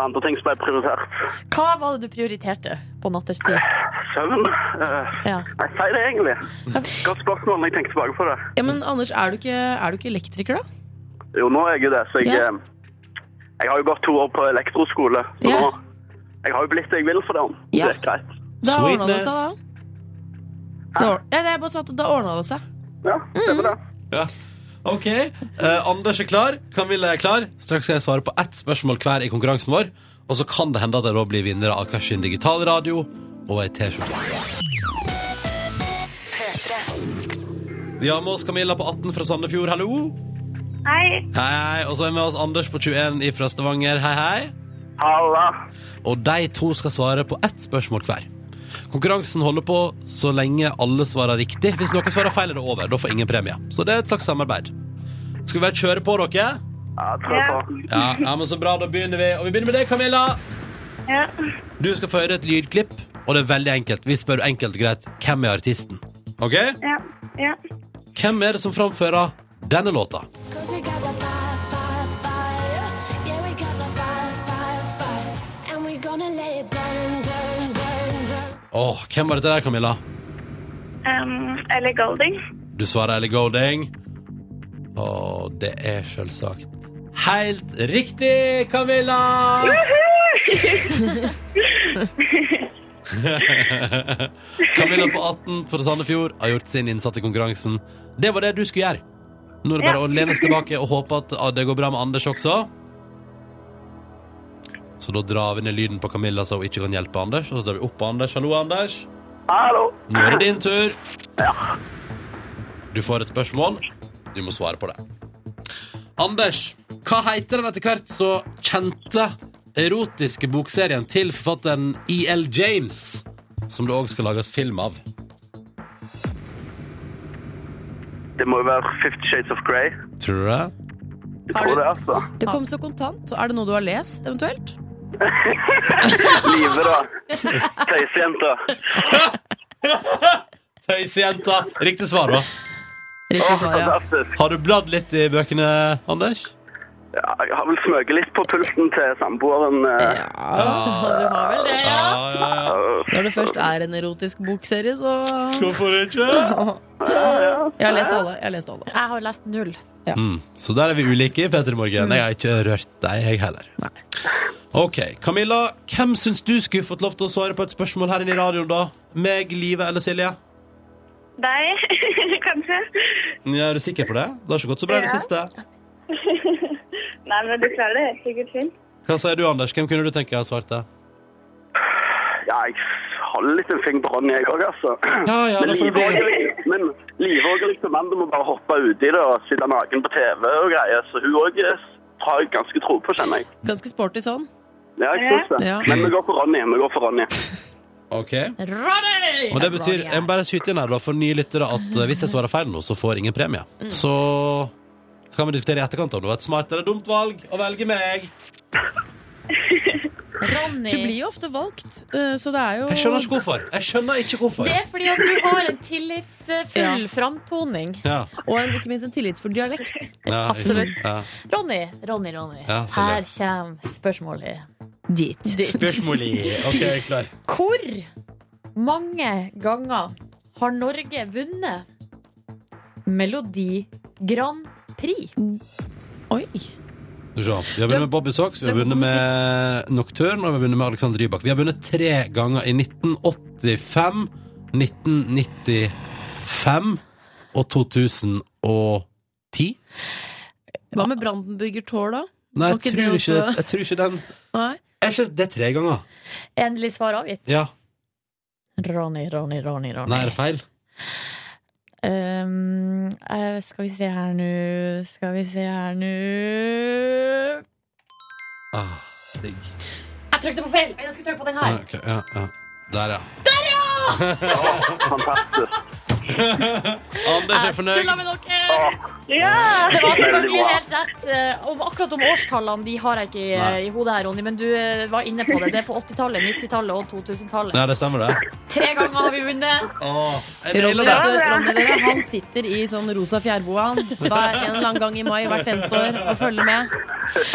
S6: andre ting som ble prioritert.
S3: Hva var det du prioriterte på natterstid?
S6: Søvn? Eh,
S3: Ja.
S6: nei, si det egentlig. Godt spørsmål når jeg tenker tilbake på det.
S5: Ja, men Anders, er du ikke, er du ikke elektriker, da?
S6: Jo, nå er jeg jo det, så jeg
S5: Ja.
S6: eh, Jeg har jo gått to år på elektroskole, så
S5: Ja.
S6: nå Jeg har jo blitt det jeg vil for det.
S5: Ja.
S6: Det er greit.
S5: Da ordna det
S2: Sweetness.
S5: seg, da. Da, or- Nei, det er bare sånn at da ordna det seg.
S6: Ja, det var det.
S2: ja. Ok, eh, Anders er klar, Camilla er klar. Straks skal jeg svare på ett spørsmål hver i konkurransen vår. Og så kan det hende at jeg da blir vinner av hver sin digital radio og ei T-skjorte. Vi har med oss Camilla på 18 fra Sandefjord, hallo.
S1: Hei.
S2: Hei, hei. Og så er vi med oss Anders på 21 fra Stavanger, hei, hei.
S6: Halla.
S2: og de to skal svare på ett spørsmål hver. Konkurransen holder på så lenge alle svarer riktig. Hvis noen svarer feil, er det over. Da får ingen premie. Så det er et slags samarbeid. Skal vi bare kjøre på, dere?
S6: Ja, tror
S1: Ja.
S6: på.
S2: Ja, ja men så bra. Da begynner vi. Og vi begynner med deg, Camilla.
S1: Ja.
S2: Du skal få høre et lydklipp, og det er veldig enkelt. Vi spør enkelt og greit hvem er artisten. OK?
S1: Ja. Ja.
S2: Hvem er det som framfører denne låta?
S7: Cause we got the fire, fire, fire. Yeah, we got the fire, fire, fire. And we gonna let it burn, burn, burn, burn.
S2: Åh, hvem var dette der, Camilla?
S1: Um, Ellie Golding.
S2: Du svarer Ellie Golding. Og det er selvsagt helt riktig, Camilla! Camilla på 18 fra Sandefjord har gjort sin innsats i konkurransen. Det var det du skulle gjøre. Nå er det bare å lene seg tilbake og håpe at ah, det går bra med Anders også. Så da drar vi ned lyden på Camilla så hun ikke kan hjelpe Anders. Og så drar vi opp på Anders. Hallo, Anders.
S6: Hallo.
S2: Nå er det din tur. Du får et spørsmål. Du må svare på det. Anders, hva heter den etter hvert så kjente erotiske bokserien til forfatteren E.L. James, som det òg skal lages film av?
S6: Det må jo være Fifty Shades of Grey.
S2: Tror du det?
S6: Jeg
S5: Har
S6: tror
S5: du-
S6: det, altså.
S5: Det kom så kontant. Er det noe du har lest, eventuelt?
S6: Live, da. Tøysejenta.
S2: Tøysejenta. Riktig svar, da.
S5: Riktig svar, ja.
S6: Fantastisk.
S2: Har du bladd litt i bøkene, Anders?
S6: Ja, jeg har vel smøget litt på pulten til samboeren. eh,
S5: Ja, du har vel det, ja.
S2: Ja, ja, ja.
S5: Når det først er en erotisk bokserie, så
S2: Hvorfor ikke?
S5: Jeg har lest alle. Jeg har lest alle.
S3: Jeg har lest null.
S2: Mm. Så der er vi ulike i P3 Morgen. Jeg har ikke rørt deg, jeg heller. Ok, Camilla, hvem syns du skulle fått lov til å svare på et spørsmål her inne i radioen, da? Meg, Live eller Silje?
S1: Deg, kanskje?
S2: Ja, er du sikker på det? Det har ikke gått så bra i det
S1: Ja.
S2: siste.
S1: Nei, men du klarer det helt sikkert fint.
S2: Hva sier du, Anders? Hvem kunne du tenke deg å svare til?
S6: Ja, jeg holder litt en finger på hånden, jeg òg, altså.
S2: Ja, ja,
S6: Men
S2: da får det
S6: Live
S2: bli.
S6: og- Men Live og Grete Mando må bare hoppe uti det og sitte naken på TV og greier, så hun òg har jeg ganske tro på, kjenner jeg.
S5: Ganske sporty sånn.
S6: Ja, jeg syns det.
S5: Ja.
S6: Men vi går for Ronny. Vi går for Ronny.
S2: Ok.
S3: Ronny!
S2: Og det betyr, jeg må bare skyte inn her da, for nye lyttere, at eh, hvis jeg svarer feil nå, så får ingen premie. Så, så kan vi diskutere i etterkant om det var et smart eller dumt valg å velge meg.
S3: Ronny.
S5: Du blir jo ofte valgt, eh, så det er jo
S2: Jeg skjønner ikke hvorfor. Jeg skjønner ikke hvorfor.
S3: Det er fordi at du har en tillitsfull
S5: Ja.
S3: framtoning.
S2: Ja.
S5: Og en, ikke minst en tillitsfull dialekt.
S2: Ja,
S3: Absolutt.
S2: Ja.
S3: Ronny, Ronny, Ronny.
S2: Ja, Silje.
S3: Her kommer spørsmålet.
S5: Dit.
S2: Spørsmålet Ok, jeg er klar.
S3: Hvor mange ganger har Norge vunnet Melodi Grand Prix?
S5: Oi.
S2: Skal vi se. Vi har vunnet med Bobby Socks, vi har
S5: Det er
S2: vunnet
S5: god
S2: med Nocturne og vi har vunnet med Alexander Rybak. Vi har vunnet tre ganger i 1985, 1995 og 2010.
S5: Hva med Brandenburger Tor, da?
S2: Nei,
S5: Var
S2: jeg
S5: ikke
S2: tror
S5: det
S2: ikke,
S5: også-
S2: jeg tror ikke den
S5: Nei.
S2: jeg tror det er tre ganger.
S3: Endelig svar avgitt.
S2: Ja.
S3: Ronny, Ronny, Ronny. Ronny.
S2: Nei, er det feil?
S3: Ehm, eh, skal vi se her nå Skal vi se her nå Jeg
S2: Ah, digg.
S3: trykte på feil! Jeg skulle trykke på den
S2: Ja,
S3: her.
S2: ok, ja, ja. Der, ja.
S6: Fantastisk.
S2: Anders er
S3: Jeg
S2: fornøyd.
S3: tulla med dere!
S1: Ja!
S3: Det var
S6: Veldig
S3: selvfølgelig
S6: bra.
S3: helt rett. eh, Om, akkurat om årstallene de har jeg ikke eh, i,
S2: Nei.
S3: i hodet her, Ronny, men du eh, var inne på det. Det er på 80-tallet, 90-tallet og 2000-tallet.
S2: Ja, det stemmer, det.
S3: Tre ganger har vi vunnet.
S2: Åh, jeg
S5: Ronny,
S2: nailer det.
S5: altså, Ronny dere, han sitter i sånn rosa fjærboa han. Hver en eller annen gang i mai hvert eneste år og følger med.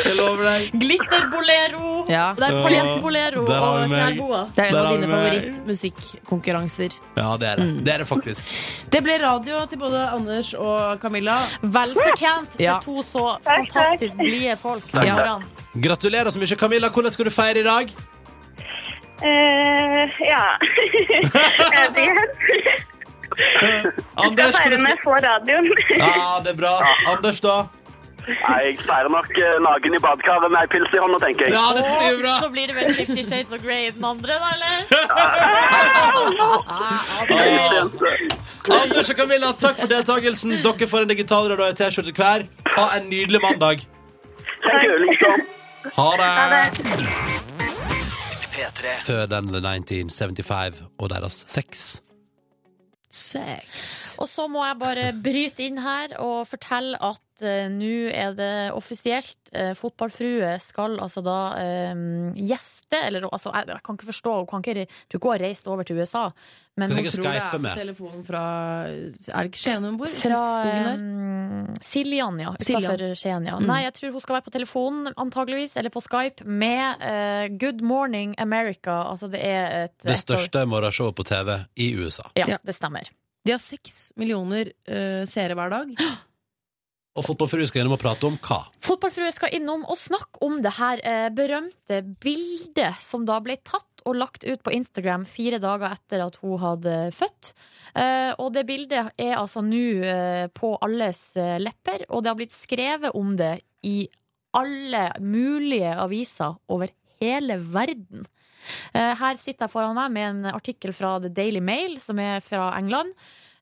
S2: Jeg lover deg.
S3: Glitterbolero.
S5: Ja.
S3: Det er paljettbolero
S2: Der har vi
S3: og
S2: meg.
S3: fjærboa.
S5: Det er en
S2: Der
S5: av
S2: har
S5: dine
S2: vi meg.
S5: favorittmusikkonkurranser.
S2: Ja, det er det. Det er det faktisk.
S5: Det ble radio til både Anders og Camilla.
S3: Vel fortjent til
S5: Ja.
S3: to så
S1: takk.
S3: fantastisk blide folk.
S5: Ja.
S3: Morgen.
S2: Gratulerer så mye, Camilla. Hvordan skal du feire i dag?
S1: Eh, ja. Jeg vet ikke. Jeg
S2: Anders,
S1: feirer
S2: hvordan skal
S1: med få radioen.
S2: Ja, det er bra. Anders, da?
S6: Nei, jeg feirer nok eh, naken i badekaret med ei pils i hånda, tenker jeg.
S2: Ja, det blir bra.
S3: Og så blir det vel Fifty Shades of Grey i den andre, da, eller?
S2: Ja. Anders og Camilla, takk for deltakelsen. Dere får en digital rød og en T-skjorte hver. Ha en nydelig mandag.
S6: Tenk jo, liksom.
S2: Ha det.
S1: det.
S2: Før den The 1975 og deres sex.
S3: Og så må jeg bare bryte inn her og fortelle at eh, nå er det offisielt. Eh, fotballfrue skal altså da eh, gjeste Eller altså, jeg, jeg kan ikke forstå, hun kan ikke re- tror ikke hun har reist over til USA, men
S2: Skal
S3: hun
S2: sikkert
S5: Tror det
S2: skype
S5: er på
S2: med.
S5: telefonen fra Er det ikke Skien hun bor?
S3: fra
S5: Skogen der?
S3: eh, Siljan, ja.
S5: Siljan.
S3: Utenfor Skien, ja. Nei, jeg tror hun skal være på telefonen, antageligvis, eller på Skype, med eh, Good Morning America. Altså, det er et
S2: Det
S3: et av-
S2: største morgenshowet på TV i USA.
S3: Ja, det stemmer.
S5: De har seks millioner eh, seere hver dag.
S2: Og fotballfrue skal gjennom og prate om hva?
S3: Fotballfrue skal innom og snakke om det her eh, berømte bildet som da ble tatt og lagt ut på Instagram fire dager etter at hun hadde født. Eh, og det bildet er altså nå eh, på alles eh, lepper, og det har blitt skrevet om det i alle mulige aviser over hele verden. Eh, Her sitter jeg foran meg med en artikkel fra The Daily Mail, som er fra England.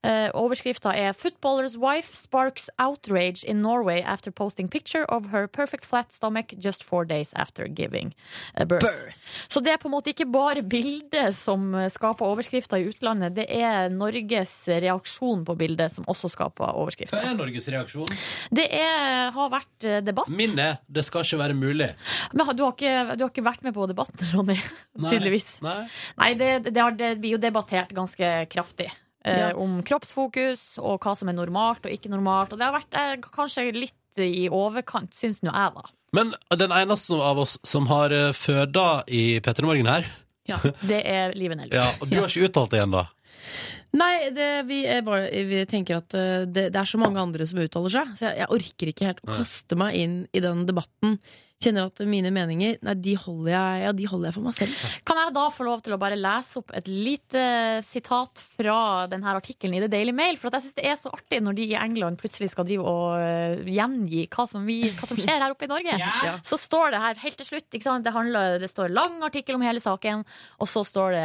S3: Eh, Overskrifta er 'Footballer's wife sparks outrage in Norway after posting picture of her perfect flat stomach just four days after giving a birth'. Så det er på en måte ikke bare bildet som eh, skaper overskrifter i utlandet, det er Norges reaksjon på bildet som også skaper
S2: Hva
S3: overskrifter.
S2: er Norges reaksjon?
S3: Det er, har vært eh, debatt.
S2: Min er 'det skal ikke være mulig'.
S3: Men har- du har, ikke, du har ikke vært med på debatten, Ronny.
S2: Nei.
S3: Tydeligvis.
S2: Nei.
S3: Nei, det, det, har, det blir jo debattert ganske kraftig. eh,
S5: Ja.
S3: Om kroppsfokus og hva som er normalt og ikke normalt. Og det har vært eh, kanskje litt litt i overkant, syns nå jeg, da.
S2: Men den eneste av oss som har eh, føda i P3 Morgen her
S5: Ja.
S3: Det er Liven Elvik.
S2: ja, Og du har ikke uttalt det igjen, da?
S5: Nei, det, vi, er bare, vi tenker at eh, det, det er så mange andre som uttaler seg, så jeg, jeg orker ikke helt å
S2: Nei.
S5: kaste meg inn i den debatten. Kjenner at mine meninger Nei, de holder jeg, ja, de holder jeg for meg selv.
S3: Kan jeg da få lov til å bare lese opp et lite eh, sitat fra denne artikkelen i The Daily Mail? For at jeg syns det er så artig når de i England plutselig skal drive og eh, gjengi hva som, vi, hva som skjer her oppe i Norge.
S4: Ja.
S3: Så står det her helt til slutt, ikke sant? Det, handler, det står lang artikkel om hele saken, og så står det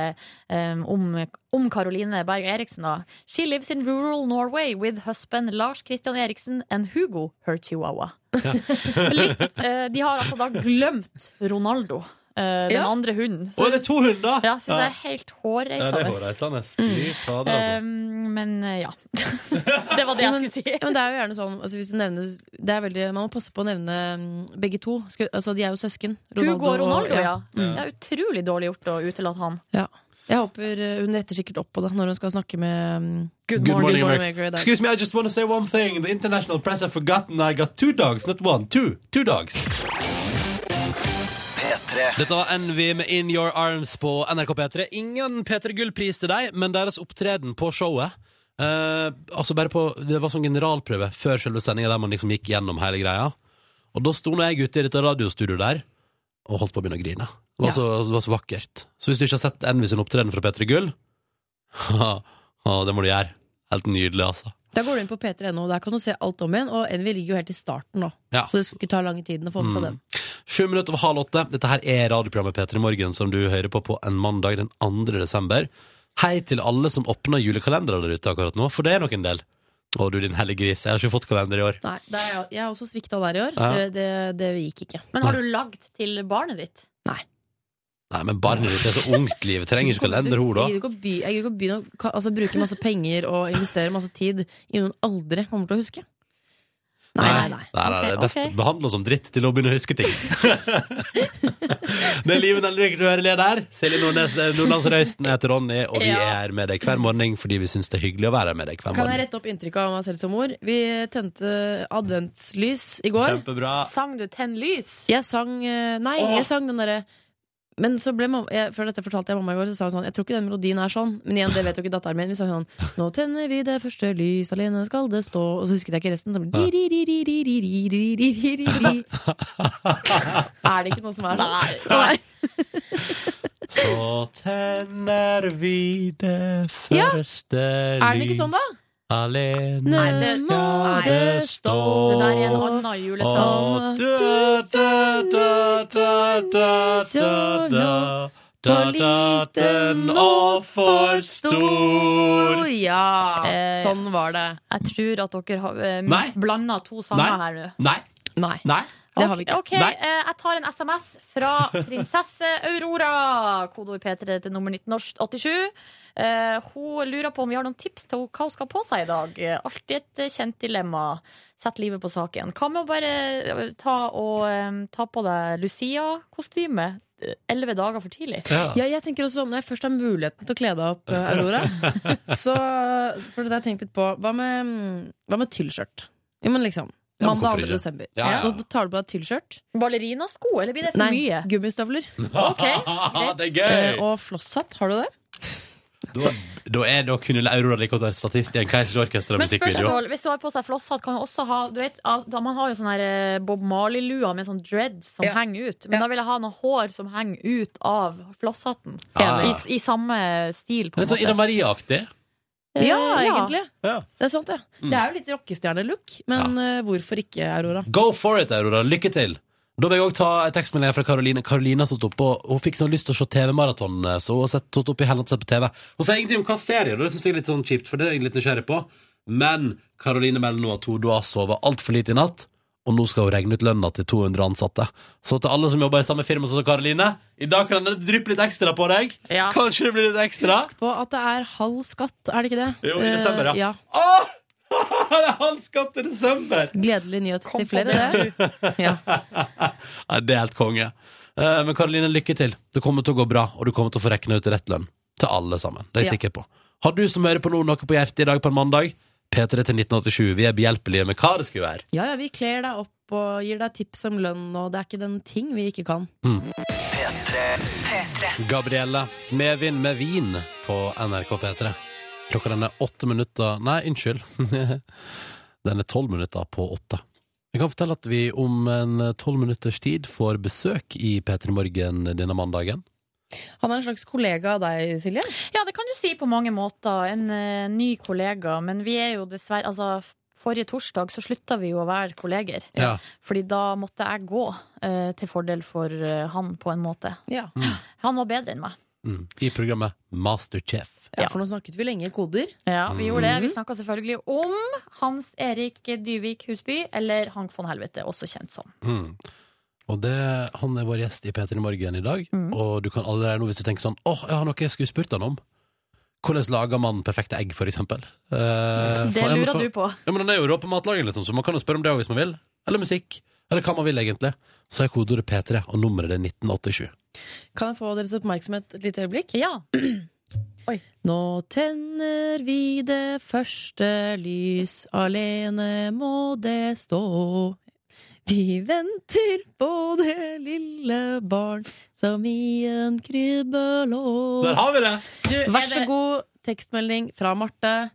S3: eh, om, om Caroline Berg Eriksen, da. She lives in rural Norway with husband Lars Christian Eriksen and Hugo, her chihuahua. Litt, eh, de har altså da glemt Ronaldo, eh, den
S5: Ja.
S3: andre hunden. Så
S2: Å, er det to hunder?!
S3: ja, syns jeg er helt
S2: Ja, det er
S3: hårreisende.
S2: hårreisende. altså. Fy fader, altså.
S3: Um, men eh, ja. det var det jeg skulle si.
S5: Ja, men det er jo gjerne sånn altså hvis du nevner, det er veldig, Man må passe på å nevne mm, begge to. Sku, altså, de er jo søsken.
S3: Hugo og Ronaldo, ja.
S2: Mm.
S3: Det er utrolig dårlig gjort å utelate han.
S5: ja. Jeg håper eh, hun retter sikkert opp på det når hun skal snakke med mm,
S2: Good morning, America.
S5: i dag.
S2: Excuse me, I just want to say one thing. The international press have forgotten I got two dogs, not one. Two. Two dogs. Dette var Envy med In Your Arms på NRK P3. Ingen P3 Gull-pris til deg, men deres opptreden på showet eh, Altså bare på, Det var sånn generalprøve før selve sendinga der man liksom gikk gjennom hele greia. Og da sto nå jeg ute i dette radiostudioet der og holdt på å begynne å grine. Det var,
S5: Ja.
S2: så, det var så vakkert. Så hvis du ikke har sett Envy sin opptreden fra P3 Gull, ah, det må du gjøre. Helt nydelig, altså.
S5: Da går du inn på p3.no, der kan du se alt om igjen. Og Envy ligger jo helt i starten nå,
S2: Ja.
S5: så det skulle ikke ta lange tiden å få med seg
S2: Mm.
S5: den.
S2: Sju minutter over halv åtte. Dette her er radioprogrammet P3 Morgen, som du hører på på en mandag den 2. desember. Hei til alle som åpner julekalendere der ute akkurat nå, for det er nok en del. Å, du din hellige gris, jeg har ikke fått kalender i år.
S5: Nei, det er, jeg- jeg har også svikta der i år.
S2: Ja.
S5: Det, det, det gikk ikke.
S3: Men har du lagd til barnet ditt?
S2: Nei, men barnet ditt er så ungt, livet trenger ikke kalender, hun da.
S5: Jeg gidder ikke å by- jeg gidder ikke å begynne å ka- altså, bruke masse penger og investere masse tid i noen aldri kommer til å huske. Nei, nei, nei.
S2: Nei, nei, det er
S5: Ok,
S2: best
S5: ok.
S2: Behandle oss som dritt til å begynne å huske ting. det er Liven Elvik du hører le der. Silje Nordnes, eh, Nordlands Røysten heter Ronny, og vi
S3: Ja.
S2: er med deg hver morgen fordi vi syns det er hyggelig å være med deg hver
S5: Kan jeg
S2: morgen.
S5: rette opp inntrykket av meg selv som mor? Vi tente adventslys i går.
S2: Kjempebra.
S3: Sang du 'Tenn lys'?
S5: Jeg sang eh, Nei, jeg sang den derre men så ble mamma, jeg, Før dette fortalte jeg mamma i går, så sa hun sånn Jeg tror ikke den melodien er sånn. Men igjen, det vet jo ikke datteren min. Vi sang sånn Nå tenner vi det første lys, alene skal det stå Og så husket jeg ikke resten. Så ble det di-di-di-di-di-di-di-di-di-di-di. Er det ikke noe som er sånn? Nei.
S2: Så tenner vi det
S5: Ja.
S2: første lys
S5: Er den ikke sånn, da?
S2: Alene
S5: Nei,
S3: det-
S2: skal
S3: nei.
S2: det stå
S3: Det der er en annen julesang.
S2: Og da, da, da, da, da, da, da. Da, da, den og for stor
S5: Ja.
S3: Eh,
S5: Sånn var det.
S3: Jeg tror at dere har
S2: Nei.
S3: eh, blanda to sanger her nå.
S2: Nei,
S5: Nei.
S2: nei
S5: Det har vi ikke.
S3: Ok,
S2: Nei.
S3: eh, Jeg tar en SMS fra prinsesse Aurora. Kodeord P3 til nummer 1987. Eh, hun lurer på om vi har noen tips til hva hun skal ha på seg i dag. Eh, Alltid et eh, kjent dilemma. Sett livet på saken. Hva med å bare eh, ta, og, eh, ta på deg Lucia-kostyme eh, elleve dager for tidlig?
S5: Ja, jeg tenker også sånn, Når jeg først har muligheten til å kle deg opp, eh, Aurora så, For det har jeg tenkt litt på Hva med, hva med tyllskjørt? Jo, men liksom
S2: Ja, men hvorfor
S5: Mandag 2.
S2: ikke?
S5: desember.
S2: Ja, ja.
S5: Nå tar du på deg tyllskjørt.
S3: Ballerinasko, eller blir det for
S5: Nei,
S3: mye?
S5: gummistøvler.
S3: Ok,
S2: Det er
S5: eh,
S2: gøy
S5: Og flosshatt. Har du det?
S2: Da, da er da kunne Aurora like godt være statist i en Keisers Orkester
S3: Men
S2: musikkvideo
S3: spørsmål, hvis du har på seg flosshatt, kan du også ha du vet, av- da- Man har jo sånn her eh, Bob Marley-lua med sånn dreads som
S5: Ja.
S3: henger ut. Men da
S5: Ja.
S3: vil jeg ha noe hår som henger ut av flosshatten.
S2: Ja.
S3: I, s- I samme stil, på en
S2: Litt sånn Ida
S3: måte.
S2: Marie-aktig
S3: Eh,
S5: Ja, egentlig.
S2: Ja.
S5: Det er sant, ja.
S2: Mm.
S5: Det er jo litt rockestjerne-look, men eh, hvorfor ikke, Aurora?
S2: Go for it, Aurora. Lykke til. Da vil jeg også ta en tekstmelding fra Karoline. Karolina som stod på, Hun fikk sånn lyst til å se TV-maraton, eh, så hun har sett- stått opp i hele natt og sett på TV. Hun sier ingenting om hva serie, og det synes jeg er litt sånn kjipt, for det er jeg litt nysgjerrig på. Men Karoline melder nå at hun da har sovet altfor lite i natt, og nå skal hun regne ut lønna til 200 ansatte. Så til alle som jobber i samme firma som Karoline, i dag kan det dryppe litt ekstra på deg.
S3: Ja.
S2: Kanskje det blir litt ekstra.
S5: På at det er halv skatt, er det ikke det?
S2: Jo, i
S5: Eh,
S2: desember, ja.
S5: ja.
S2: Åh! Det er halv skatt til desember!
S5: Gledelig nyhet til flere, det. Ja.
S2: Nei, det er helt konge. Eh, Men Karoline, lykke til. Det kommer til å gå bra, og du kommer til å få rekna ut rett lønn. Til alle sammen. Det er jeg
S5: Ja.
S2: sikker på. Har du som hører på nå noe på hjertet i dag på en mandag? P3 til 1987. Vi er behjelpelige med hva det skulle være.
S5: Ja, ja, vi kler deg opp og gir deg tips om lønn, og det er ikke den ting vi ikke kan.
S2: Gabrielle Medvind med vin på NRK P3. Klokka den er åtte minutter Nei, unnskyld. den er tolv minutter på åtte. Jeg kan fortelle at vi om en tolv minutters tid får besøk i P3 Morgen denne mandagen.
S5: Han er en slags kollega av deg, Silje.
S3: Ja, det kan du si på mange måter. En eh, ny kollega. Men vi er jo dessverre Altså, f- forrige torsdag så slutta vi jo å være kolleger.
S2: Ja.
S3: Fordi da måtte jeg gå eh, til fordel for eh, han, på en måte.
S5: Ja.
S3: Han var bedre enn meg.
S2: Mm. I programmet Masterchef.
S5: ja, For nå snakket vi lenge i koder.
S3: Ja, Vi gjorde det.
S5: Mhm.
S3: Vi snakka selvfølgelig om Hans Erik Dyvik Husby, eller Hank von Helvete, også kjent som.
S2: Mm. Og det, han er vår gjest i P3 Morgen i dag,
S3: Mm.
S2: og du kan allerede nå, hvis du tenker sånn Åh, jeg har noe jeg skulle spurt han om. Hvordan lager man perfekte egg, for eksempel? Eh,
S3: Det
S2: for-
S3: lurer
S2: for-
S3: du på.
S2: Ja, men han er jo rå på matlaging, liksom, så man kan jo spørre om det også hvis man vil. Eller musikk. Eller hva man vil, egentlig. Så er kodeordet P3, og nummeret er 1987.
S5: Kan jeg få deres oppmerksomhet et lite øyeblikk?
S3: Ja.
S5: Nå tenner vi det første lys, alene må det stå. Vi venter på det lille barn som i en krybbe lå.
S2: har vi det!
S3: Du, er
S5: Vær så
S3: det-
S5: god, tekstmelding fra Marte.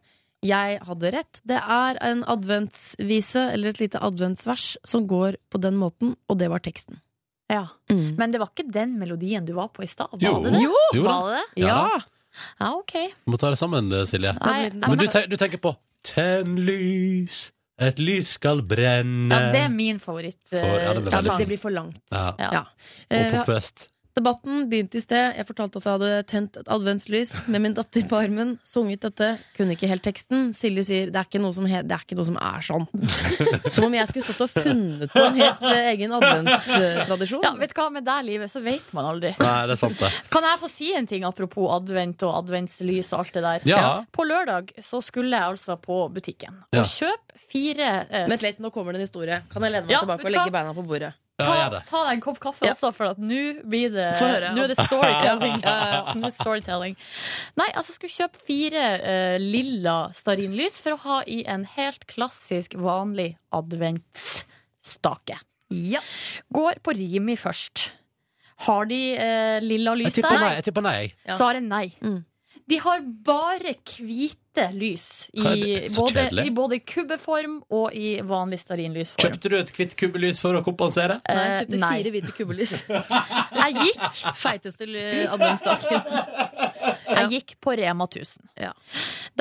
S5: Jeg hadde rett. Det er en adventsvise, eller et lite adventsvers, som går på den måten, og det var teksten.
S3: Ja.
S5: Mm.
S3: Men det var ikke den melodien du var på i stad? Var
S2: Jo.
S3: det det?
S5: Jo,
S2: Jo da.
S3: Var det det?
S5: Ja!
S3: Ja, OK.
S2: Vi må ta det sammen, eh, Silje.
S3: Nei,
S5: blir den-
S3: jeg-
S2: Men du, te- du tenker på Tenn lys, et lys skal brenne
S3: Ja, det er min favoritt. eh,
S2: For- ja, det ble
S5: ja
S2: veldig
S5: men det
S3: sang.
S5: blir for langt.
S2: Ja.
S3: Ja.
S5: Ja.
S2: Og
S5: Eh,
S2: pompøst.
S5: debatten begynte i sted. Jeg fortalte at jeg hadde tent et adventslys med min datter på armen. Sunget dette. Kunne ikke helt teksten. Silje sier det er ikke noe som, he det er, ikke noe som er sånn. Som om jeg skulle stått og funnet på en helt eh, egen adventstradisjon.
S3: ja, vet du hva, med deg, livet, så vet man aldri.
S2: Nei, det er sant, det.
S3: Kan jeg få si en ting apropos advent og adventslys og alt det der?
S2: Ja.
S3: På lørdag så skulle jeg altså på butikken
S2: Ja.
S3: og kjøpe fire eh,
S5: Vent litt, nå kommer det en historie. Kan jeg lene meg
S3: Ja,
S5: tilbake
S3: vet
S5: og
S3: du hva?
S5: legge beina på bordet?
S2: Ja,
S3: ta,
S2: gjør det.
S3: ta deg en kopp kaffe
S5: Ja.
S3: også, for at nå blir det
S5: Få høre.
S3: Nå er det storytelling.
S5: Ja, ja,
S3: Nå er det storytelling. Nei, altså skulle kjøpe fire eh, lilla stearinlys for å ha i en helt klassisk, vanlig adventsstake.
S5: Ja.
S3: Går på Rimi først. Har de eh, lilla lys
S2: Jeg tipper nei.
S3: der?
S2: Jeg tipper nei.
S5: Ja.
S3: Så er det nei.
S5: Mm.
S3: De har bare hvite lys i
S2: Hva er det? Så
S3: både,
S2: kjedelig.
S3: i både kubbeform og i vanlig stearinlysform.
S2: Kjøpte du et hvitt kubbelys for å kompensere?
S5: Nei, jeg
S3: Eh,
S5: kjøpte
S3: nei.
S5: fire hvite kubbelys.
S3: Jeg gikk,
S5: Feiteste l- adventsdagen.
S3: jeg gikk på Rema 1000.
S5: Ja.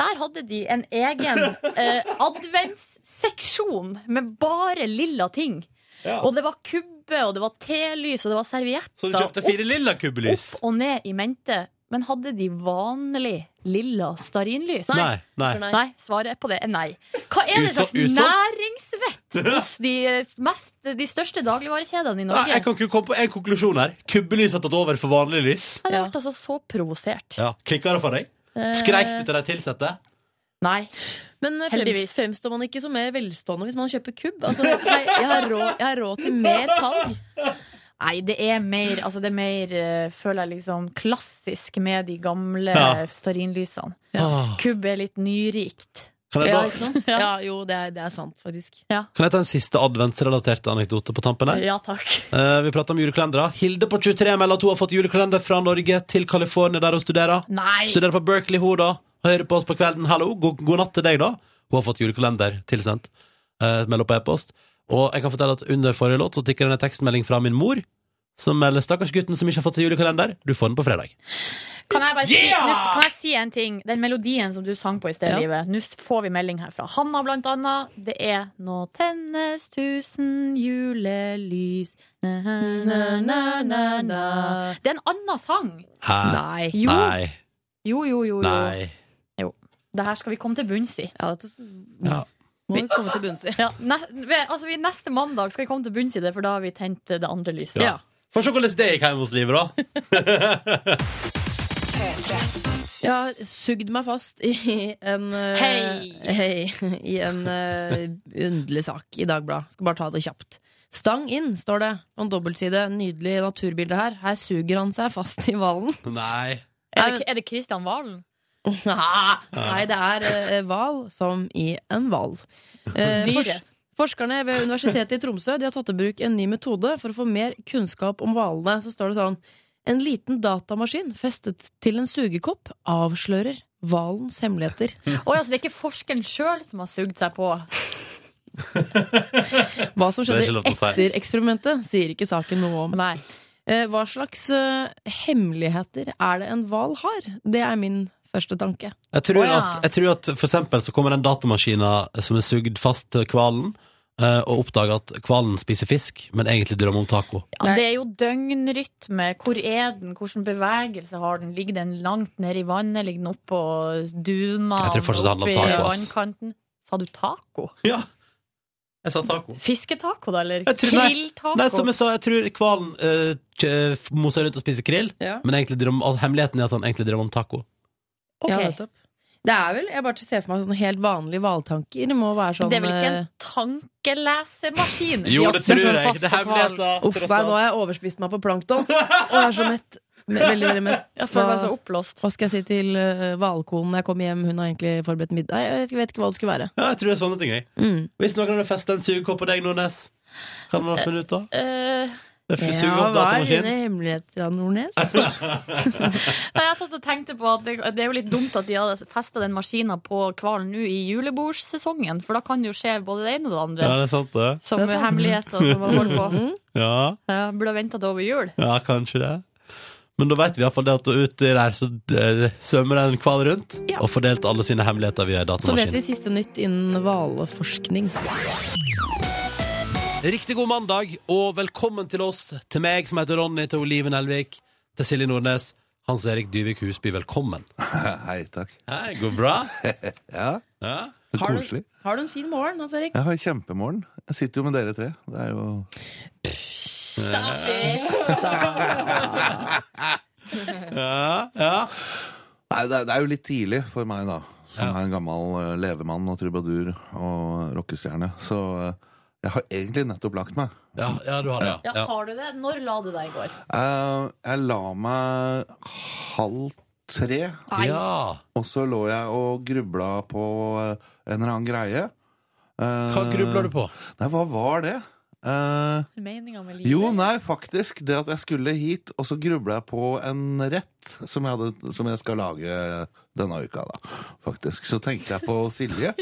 S3: Der hadde de en egen eh, adventsseksjon med bare lilla ting. Og det var kubbe, og det var telys, og det var servietter.
S2: Så du kjøpte fire lilla kubbelys?
S3: Opp og ned i mente. Men hadde de vanlig lilla stearinlys?
S2: Nei. nei.
S5: Nei.
S3: Nei, svaret på det er nei. Hva er det
S2: Utså-
S3: slags
S2: utsolgt?
S3: næringsvett hos de, eh, mest, de største dagligvarekjedene
S2: Nei,
S3: i Norge?
S2: jeg kan ikke komme på en konklusjon her. Kubbelys har tatt over for vanlig lys.
S3: Jeg ble altså så provosert.
S2: Ja, Klikka det for deg? Skreik du til de ansatte?
S3: Nei.
S5: Men eh,
S3: Heldigvis.
S5: frems, fremstår man ikke som mer velstående hvis man kjøper kubb? Altså, hei, jeg, har råd, jeg har råd til mer talg.
S3: Nei, det er mer, altså det er mer eh, føler jeg liksom, klassisk med de gamle
S2: Ja.
S3: stearinlysene.
S2: Åh.
S3: Kubb er litt nyrikt.
S2: Ah. Kan jeg,
S5: Ja,
S2: da,
S5: ikke sant? ja, jo, det er, det er sant, faktisk.
S2: kan jeg ta en siste adventsrelatert anekdote på tampen? her?
S3: Ja takk.
S2: Eh, vi prater om julekalendere. Hilde på 23 melder at hun har fått julekalender fra Norge til California, der hun studerer.
S3: Nei!
S2: Studerer på Berkeley, hun, da. Hører på oss på kvelden. Hallo, god, god natt til deg, da. Hun har fått julekalender tilsendt. Uh, melder på e-post. Og jeg kan fortelle at under forrige låt så tikker det en tekstmelding fra min mor, som melder 'Stakkars gutten som ikke har fått seg julekalender'. Du får den på fredag.
S3: Kan jeg bare si, nå s- kan jeg si en ting? Den melodien som du sang på i sted,
S5: Ja.
S3: Livet. Nå s- får vi melding her fra Hanna, blant annet. Det er Nå tennes tusen julelys na, na, na, na, na. Det er en annen sang.
S2: Hæ?
S5: Nei.
S3: Jo,
S2: Nei.
S3: jo, jo. jo, jo.
S2: Nei.
S3: Det her skal vi komme til bunns i.
S5: Ja, dette s-
S2: Ja.
S5: må vi komme til bunns i.
S3: Ja, nest, ved- altså, vi, neste mandag skal vi komme til bunns i det, for da har vi tent eh, det andre lyset.
S5: Ja.
S2: Få se hvordan det gikk hjemme hos Liv, da.
S5: Jeg har sugd meg fast i en eh,
S3: Hei.
S5: hei, I en eh, underlig sak i Dagbladet. Skal bare ta det kjapt. Stang inn, står det på en dobbeltside. Nydelig naturbilde her. Her suger han seg fast i hvalen.
S2: Nei.
S3: Er, det, er det Kristian Valen?
S5: Nei, det er eh, hval som i en hval. Eh,
S3: Dyret.
S5: fors- Forskerne ved Universitetet i Tromsø de har tatt i bruk en ny metode for å få mer kunnskap om hvalene. Så står det sånn En liten datamaskin festet til en sugekopp avslører hvalens hemmeligheter.
S3: Oi, altså, det er ikke forskeren sjøl som har sugd seg på.
S5: Hva som
S2: Det er ikke
S5: skjedde
S2: lov til å si.
S5: etter eksperimentet, sier ikke saken noe om.
S3: Nei.
S5: Eh, Hva slags eh, hemmeligheter er det en hval har? Det er min første tanke.
S2: Jeg tror,
S3: Å, ja.
S2: at, jeg tror at for eksempel så kommer den datamaskinen som er sugd fast til hvalen, eh, og oppdager at hvalen spiser fisk, men egentlig drømmer om taco.
S3: Ja, det er jo døgnrytme. Hvor er den? Hvilken bevegelse har den? Ligger den langt nede i vannet? Ligger den oppå duna?
S2: Jeg tror fortsatt det handler om taco, ass.
S3: vannkanten? Sa du taco?
S2: Ja, jeg sa taco.
S3: Fisketaco, da, eller?
S2: Jeg tror- nei.
S3: Krilltaco?
S2: Nei, som jeg sa, jeg tror hvalen eh, kje- f- moser rundt og spiser krill,
S5: Ja.
S2: men egentlig drømmer, altså, hemmeligheten er at han egentlig drømmer om taco.
S3: Ok.
S5: Ja, nettopp. Det er vel, Jeg bare ser for meg sånne helt vanlige hvaltanker. Det må være sånn
S3: det er vel ikke
S5: eh,
S3: en tankelesemaskin?
S2: Jo,
S3: Ja,
S2: det
S3: som
S2: tror
S3: er
S2: jeg.
S3: fast
S2: Det er
S3: på talen.
S2: hemmeligheten.
S5: Uff, nei, nå har jeg overspist meg på plankton. Og jeg er så mett. Veldig, veldig mett.
S3: Jeg føler meg så
S5: Hva,
S3: oppblåst.
S5: hva skal jeg si til eh, hvalkonen når jeg kommer hjem? Hun har egentlig forberedt middag. Jeg vet- vet ikke hva det skulle være.
S2: Ja, jeg tror det er sånne ting, jeg.
S5: Mm.
S2: Hvis noen hadde festet en sugekopp på deg, Nordnes, hva hadde man funnet ut da?
S3: Eh,
S2: Det er
S5: Ja,
S2: sugekopp,
S5: hva er
S2: datamaskin.
S5: dine hemmeligheter, Nordnes?
S3: nei, jeg satt og tenkte på at det, det er jo litt dumt at de hadde festa den maskina på hvalen nå i julebordsesongen, for da kan det jo skje både det ene og det andre.
S2: Ja, det er sant det.
S3: Som
S5: Det er sant. Mhm.
S3: hemmeligheter som man holder på.
S2: Ja,
S3: Ja, burde ha venta til over jul.
S2: ja kanskje det. Men da vet vi i hvert fall det at ute der så eh, svømmer det en hval rundt
S5: Ja.
S2: og fordelt alle sine hemmeligheter via
S5: Så vet vi
S2: datamaskin.
S5: siste nytt innen hvalforskning.
S2: Riktig god mandag, og velkommen til oss, til meg som heter Ronny, til Olive Nelvik, til Silje Nordnes, Hans Erik Dyvik Husby, velkommen.
S8: Hei, takk.
S2: Hei, går bra?
S8: Ja,
S2: Ja.
S8: så
S5: Har du-
S8: koselig.
S5: Har du en fin morgen, Hans Erik?
S8: Jeg har en kjempemorgen. Jeg sitter jo med dere tre. Det er jo
S2: Ja, ja.
S8: Nei, det er, det er jo litt tidlig for meg, da. Som
S2: Ja.
S8: er en gammel eh, levemann og trubadur og rockestjerne. Så eh, jeg har egentlig nettopp lagt meg.
S2: Ja, ja, du har det, ja. ja.
S3: Har du det? Når la du deg i går?
S8: Eh, jeg la meg halv tre,
S2: Ja,
S8: og så lå jeg og grubla på eh, en eller annen greie.
S2: hva grubler du på?
S8: Nei, hva var det? Eh,
S3: Meninga med livet?
S8: Jo, nei, faktisk. Det at jeg skulle hit, og så grubla jeg på en rett som jeg, hadde, som jeg skal lage denne uka, da. Faktisk. Så tenkte jeg på Silje.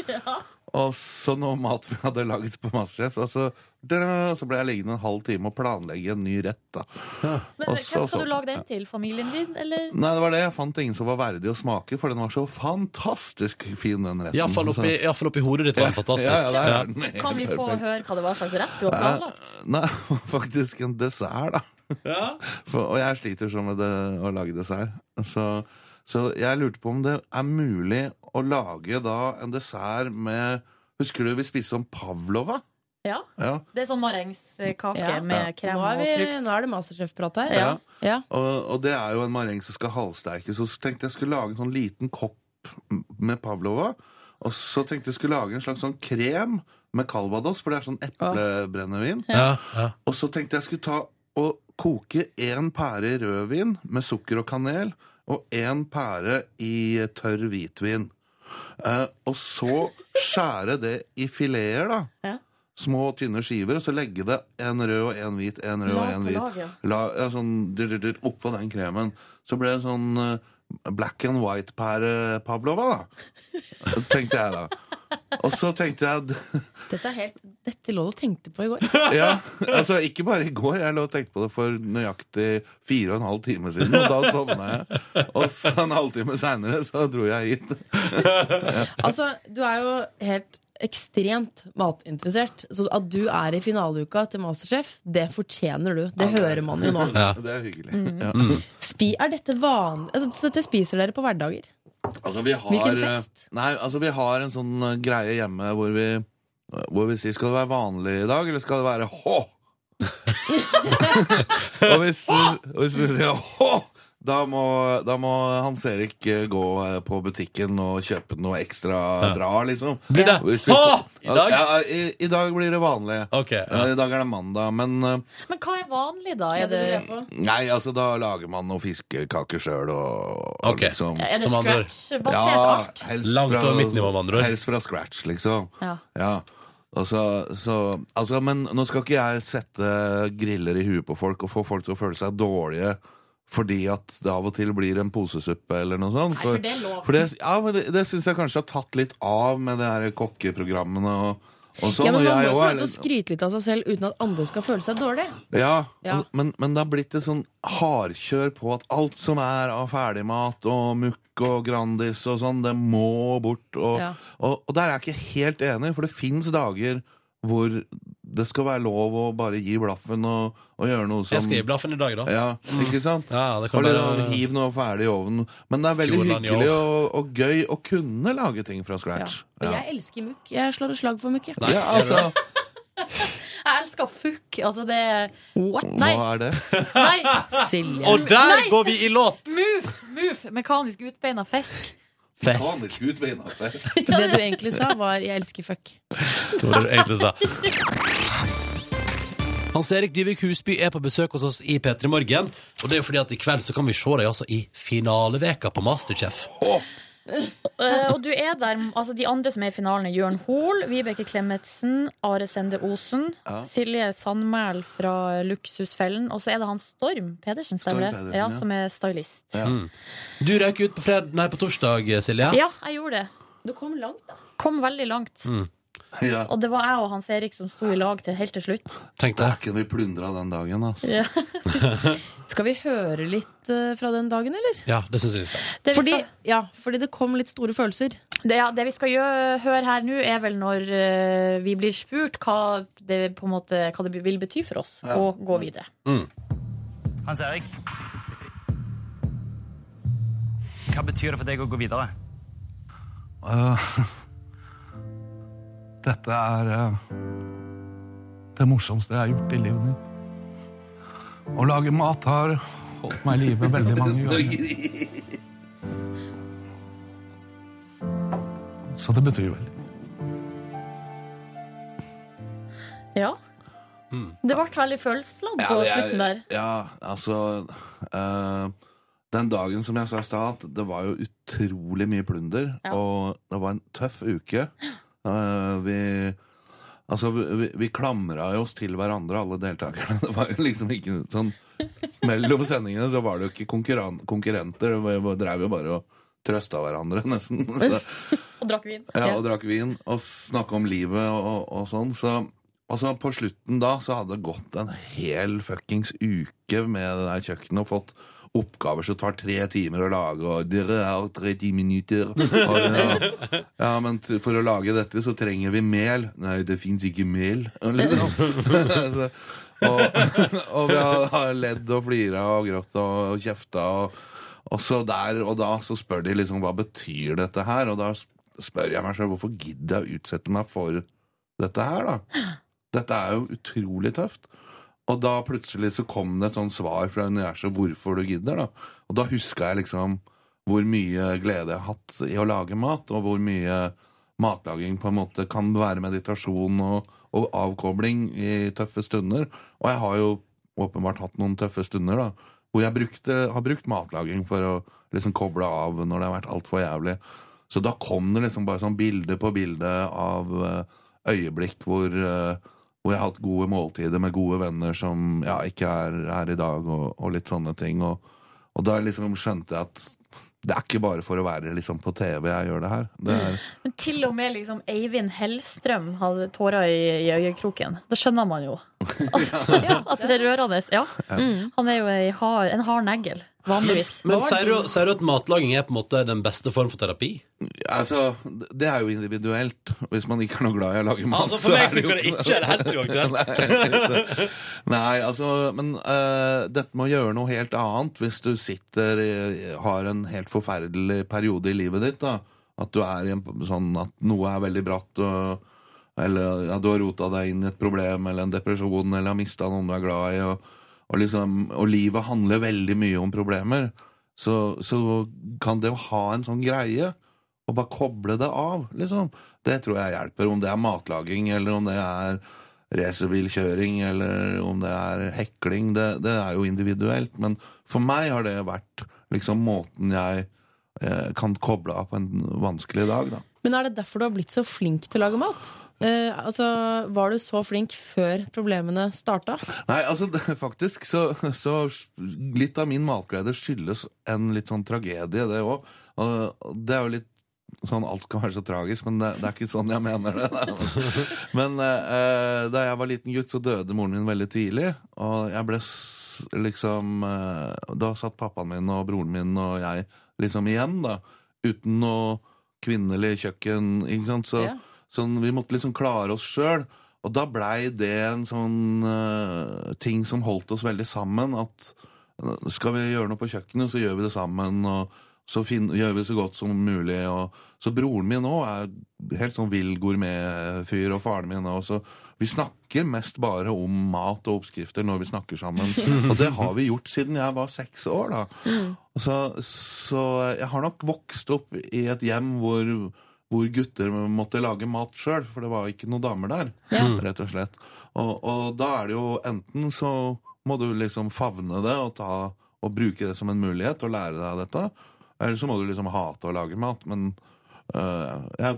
S8: Og så noe mat vi hadde lagd på Masterchef. Og så, da, så ble jeg liggende en halv time og planlegge en ny rett, da.
S3: Men
S8: Og
S3: hvem
S8: så-
S3: skal du lage den til? Familien din, eller?
S8: Nei, det var det. Jeg fant ingen som var verdig å smake, for den var så fantastisk fin, den retten.
S2: Iallfall
S8: Så-
S2: oppi, i hvert fall oppi hodet ditt var det fantastisk.
S8: Ja, ja, der er
S2: Ja.
S8: den. Helt
S3: Kan vi få
S8: perfekt.
S3: høre hva det var slags rett du har planlagt?
S8: Nei, faktisk en dessert, da.
S2: Ja.
S8: For, og jeg sliter sånn med det, å lage dessert. Så, så jeg lurte på om det er mulig å lage da en dessert med Husker du vi spiste om pavlova?
S3: Ja,
S8: Ja.
S3: Det er sånn marengskake
S5: Ja.
S3: med krem
S5: Nå er,
S3: og
S5: vi,
S3: frukt.
S5: nå er det masterchef-prat her.
S8: Ja.
S5: Ja.
S8: Og, og det er jo en mareng som skal halvsterkes. Og så tenkte jeg skulle lage en sånn liten kopp med pavlova. Og så tenkte jeg skulle lage en slags sånn krem med calvados, for det er sånn eplebrennevin.
S2: Ja, ja.
S8: Og så tenkte jeg skulle ta og koke en pære i rødvin med sukker og kanel, og en pære i tørr hvitvin. Eh, og så skjære det i fileter, da.
S3: Ja.
S8: Små, tynne skiver, og så legge det en rød og en hvit, en rød og
S3: Lag
S8: en
S3: på lag,
S8: hvit.
S3: ja.
S8: La, ja, sånn dyr, dyr, dyr, oppå den kremen. Så ble det sånn eh, black and white-pære Pavlova, da. Tenkte jeg da. Og så tenkte jeg
S5: Dette, er helt, dette lå du og tenkte på i går.
S8: ja, altså Ikke bare i går. Jeg lå og tenkte på det for nøyaktig fire og en halv time siden. Og da sovna jeg. Og så en halvtime seinere så dro jeg hit.
S5: Altså, du er jo helt ekstremt matinteressert. Så at du er i finaleuka til Masterchef, det fortjener du. Det hører man jo nå.
S2: Ja.
S8: Det er hyggelig. Ja.
S5: Spi, er dette vanlig? Altså, så dette spiser dere på hverdager?
S8: Altså, vi har,
S5: Hvilken fest?
S8: Nei, altså vi har en sånn eh, greie hjemme hvor vi, hvor vi sier skal det være vanlig i dag, eller skal det være hå? og, hvis, du- og hvis du sier hå, Da må, da må Hans Erik eh, gå eh, på butikken og kjøpe noe ekstra bra, liksom.
S2: Blir det?
S8: Og hvis vi-
S2: Ha! I dag?
S8: Ja, i, I dag blir det vanlig.
S2: Ok, ja.
S8: Eh, I dag er det mandag, men eh,
S3: Men hva er vanlig, da? Er det,
S8: Nei, altså, da lager man noen fiskekaker sjøl og, og
S2: Ok.
S8: liksom
S3: er det
S2: Som andre.
S3: scratch-basert alt?
S8: helst
S2: Langt
S8: fra-
S2: over mitt nivå, med andre ord.
S8: Helst fra scratch, liksom.
S3: Ja.
S8: Ja. Og så, så, altså, men nå skal ikke jeg sette griller i huet på folk og få folk til å føle seg dårlige fordi at det av og til blir en posesuppe eller noe sånt.
S3: Nei, for det er lov.
S8: for det- ja, men det, det syns jeg kanskje har tatt litt av med det her kokkeprogrammene og, og sånn.
S5: Ja, men
S8: og
S5: Man må
S8: jeg
S5: jo få
S8: også er
S5: lov til å
S8: litt-
S5: skryte litt av seg selv uten at andre skal føle seg dårlig.
S8: ja,
S5: Ja.
S8: og- Men, men det har blitt et sånn hardkjør på at alt som er av ferdigmat og mukk og Grandis og sånn, det må bort. Og,
S5: Ja.
S8: og, og der er jeg ikke helt enig, for det fins dager hvor det skal være lov å bare gi blaffen og, og gjøre noe som
S2: Jeg skal gi blaffen i dag, da.
S8: Ja, ikke sant?
S2: Ja, det kan
S8: Eller
S2: være-
S8: hiv noe ferdig i ovnen. Men det er veldig
S2: Fjordland i
S8: hyggelig og, og gøy å kunne lage ting fra scratch.
S5: Og jeg elsker mukk. Jeg slår et slag for mukk. jeg.
S2: Nei,
S8: Ja, altså,
S3: Jeg elsker fuck. Altså, det er
S5: What?
S3: Nei.
S8: hva er det?
S3: Nei!
S5: Silje.
S2: Og der
S3: Nei!
S2: går vi i låt!
S3: Move! move Mekanisk utbeina fisk.
S2: Fest.
S5: Det du egentlig sa, var 'jeg elsker fuck'.
S2: Det var det du egentlig sa. Hans Erik Dyvik Husby er på besøk hos oss i P3 Morgen. Og det er jo fordi at i kveld så kan vi se deg altså i finaleveka på Masterchef.
S3: Eh, og du er der, altså De andre som er i finalen, er Jørn Hoel, Vibeke Klemetsen, Are Sende Osen,
S8: Ja.
S3: Silje Sandmæl fra Luksusfellen, og så er det han Storm Pedersen, stemmer det?
S8: Storm Pedersen,
S3: Ja,
S8: ja.
S3: som er stylist. Ja.
S2: Du røyk ut på, fred nei, på torsdag, Silje.
S3: jeg gjorde det.
S5: Du kom langt, da.
S3: Kom veldig langt.
S8: Mm. Ja.
S3: Og det var jeg og Hans Erik som sto i lag til helt til slutt.
S2: Tenk det.
S8: Dæken, vi plundra den dagen, altså.
S5: Skal vi høre litt eh, fra den dagen, eller?
S2: Ja, det syns jeg vi skal.
S3: Det vi
S5: Fordi,
S3: skal-
S5: ja, fordi det kom litt store følelser.
S3: Det, ja, det vi skal gjø- høre her nå, er vel når eh, vi blir spurt hva det, på en måte, hva det vil bety for oss å gå videre.
S9: Hans Erik. Hva betyr det for deg å gå videre?
S10: Eh, Dette er eh, det morsomste jeg har gjort i livet mitt. Å lage mat har holdt meg i live veldig mange ganger. Så det betyr vel
S3: Ja. Det ble veldig følelsesladd på
S8: det er-
S3: slutten der.
S8: Ja, altså eh, Den dagen som jeg sa i stad, at det var jo utrolig mye plunder.
S3: Ja.
S8: Og det var en tøff uke. Eh, vi Altså, vi, vi, vi klamra jo oss til hverandre, alle deltakerne. Det var jo liksom ikke sånn Mellom sendingene så var det jo ikke konkurran konkurrenter. Vi var- drev jo bare og trøsta hverandre, nesten. Så,
S3: Og drakk vin.
S8: ja, og drakk vin og snakka om livet og, og sånn. Så, og så på slutten da så hadde det gått en hel fuckings uke med det der kjøkkenet og fått oppgaver som tar tre timer å lage, og dere har 30 minutter. Og, ja, ja, men t- for å lage dette så trenger vi mel. Nei, det fins ikke mel. Liksom. Så- og, og vi har har ledd og flira og grått og kjefta. Og, og så der og da så spør de liksom hva betyr dette her, og da sp- spør jeg meg selv hvorfor gidder jeg å utsette meg for dette her, da? Dette er jo utrolig tøft. Og da plutselig så kom det et sånt svar fra universet hvorfor du gidder, da. Og da huska jeg liksom hvor mye glede jeg har hatt i å lage mat, og hvor mye matlaging på en måte kan være meditasjon og, og avkobling i tøffe stunder. Og jeg har jo åpenbart hatt noen tøffe stunder, da. Hvor jeg brukte, har brukt matlaging for å liksom koble av når det har vært altfor jævlig. Så da kom det liksom bare sånn bilde på bilde av eh, øyeblikk hvor, eh, hvor jeg har hatt gode måltider med gode venner som ja, ikke er her i dag, og, og litt sånne ting. Og, og da liksom skjønte jeg at det er ikke bare for å være liksom på TV jeg gjør det her. Det er,
S3: Men til og med liksom Eivind Hellstrøm hadde tårer i, i øyekroken. Det skjønner man jo. At, ja, at det er rørende. Ja. Han er jo ei hard, en hard negl, vanligvis.
S2: Men sier du, sier du at matlaging er på en måte den beste form for terapi?
S8: Altså, det er jo individuelt. Hvis man ikke er noe glad i å lage mat,
S2: Altså, for meg
S8: så er det
S2: funker det
S8: jo-
S2: ikke. Det er helt uaktuelt.
S8: Nei, Nei, altså Men eh, dette med å gjøre noe helt annet hvis du sitter i- har en helt forferdelig periode i livet ditt, da. At du er i en p- sånn at noe er veldig bratt, og, eller ja, du har rota deg inn i et problem eller en depresjon eller har mista noen du er glad i, og, og liksom Og livet handler veldig mye om problemer. så, så kan det å ha en sånn greie og bare koble det av, liksom, det tror jeg hjelper. Om det er matlaging, eller om det er racerbilkjøring, eller om det er hekling, det, det er jo individuelt. Men for meg har det vært liksom måten jeg eh, kan koble av på en vanskelig dag, da.
S5: Men er det derfor du har blitt så flink til å lage mat? Eh, altså, Var du så flink før problemene starta?
S8: Nei, altså det, faktisk så, så litt av min matglede skyldes en litt sånn tragedie, det òg. Det er jo litt sånn alt skal være så tragisk, men det, det er ikke sånn jeg mener det. Men eh, da jeg var liten gutt, så døde moren min veldig tidlig. Og jeg ble s- liksom eh, Da satt pappaen min og broren min og jeg liksom igjen, da. Uten noe kvinnelig kjøkken, ikke sant. Så,
S5: Ja.
S8: sånn, vi måtte liksom klare oss sjøl. Og da blei det en sånn eh, ting som holdt oss veldig sammen. At eh, skal vi gjøre noe på kjøkkenet, så gjør vi det sammen. Og så fin gjør vi det så godt som mulig. Og så broren min òg er helt sånn vill gourmetfyr, og faren min òg. Så vi snakker mest bare om mat og oppskrifter når vi snakker sammen. Og det har vi gjort siden jeg var seks år, da. Og Så, så jeg har nok vokst opp i et hjem hvor, hvor gutter måtte lage mat sjøl, for det var ikke noen damer der, rett og slett. Og, og da er det jo enten så må du liksom favne det og, ta, og bruke det som en mulighet og lære deg dette, eller så må du liksom hate å lage mat, men øh, jeg,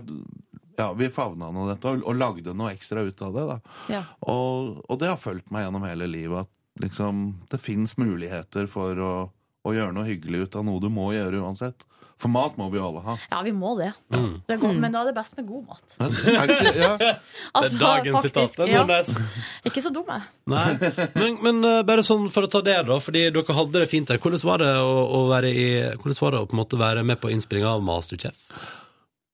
S8: ja, vi favna nå dette og, og lagde noe ekstra ut av det, da.
S5: Ja.
S8: Og, og det har fulgt meg gjennom hele livet. At liksom, det fins muligheter for å, å gjøre noe hyggelig ut av noe du må gjøre uansett. For mat må vi jo alle ha.
S3: Ja, vi må det.
S2: Mm.
S3: det er godt, men da er det best med god mat.
S8: Er det ikke- ja.
S3: Altså,
S2: dagens sitat,
S3: faktisk,
S2: den
S3: ja.
S2: var nice.
S3: Ikke så dum, jeg.
S2: Nei, men, men eh, bare sånn for å ta det da Fordi dere hadde det fint der Hvordan var det å, å, være, i, hvordan var det å på en måte være med på innspillingen av Masterchef?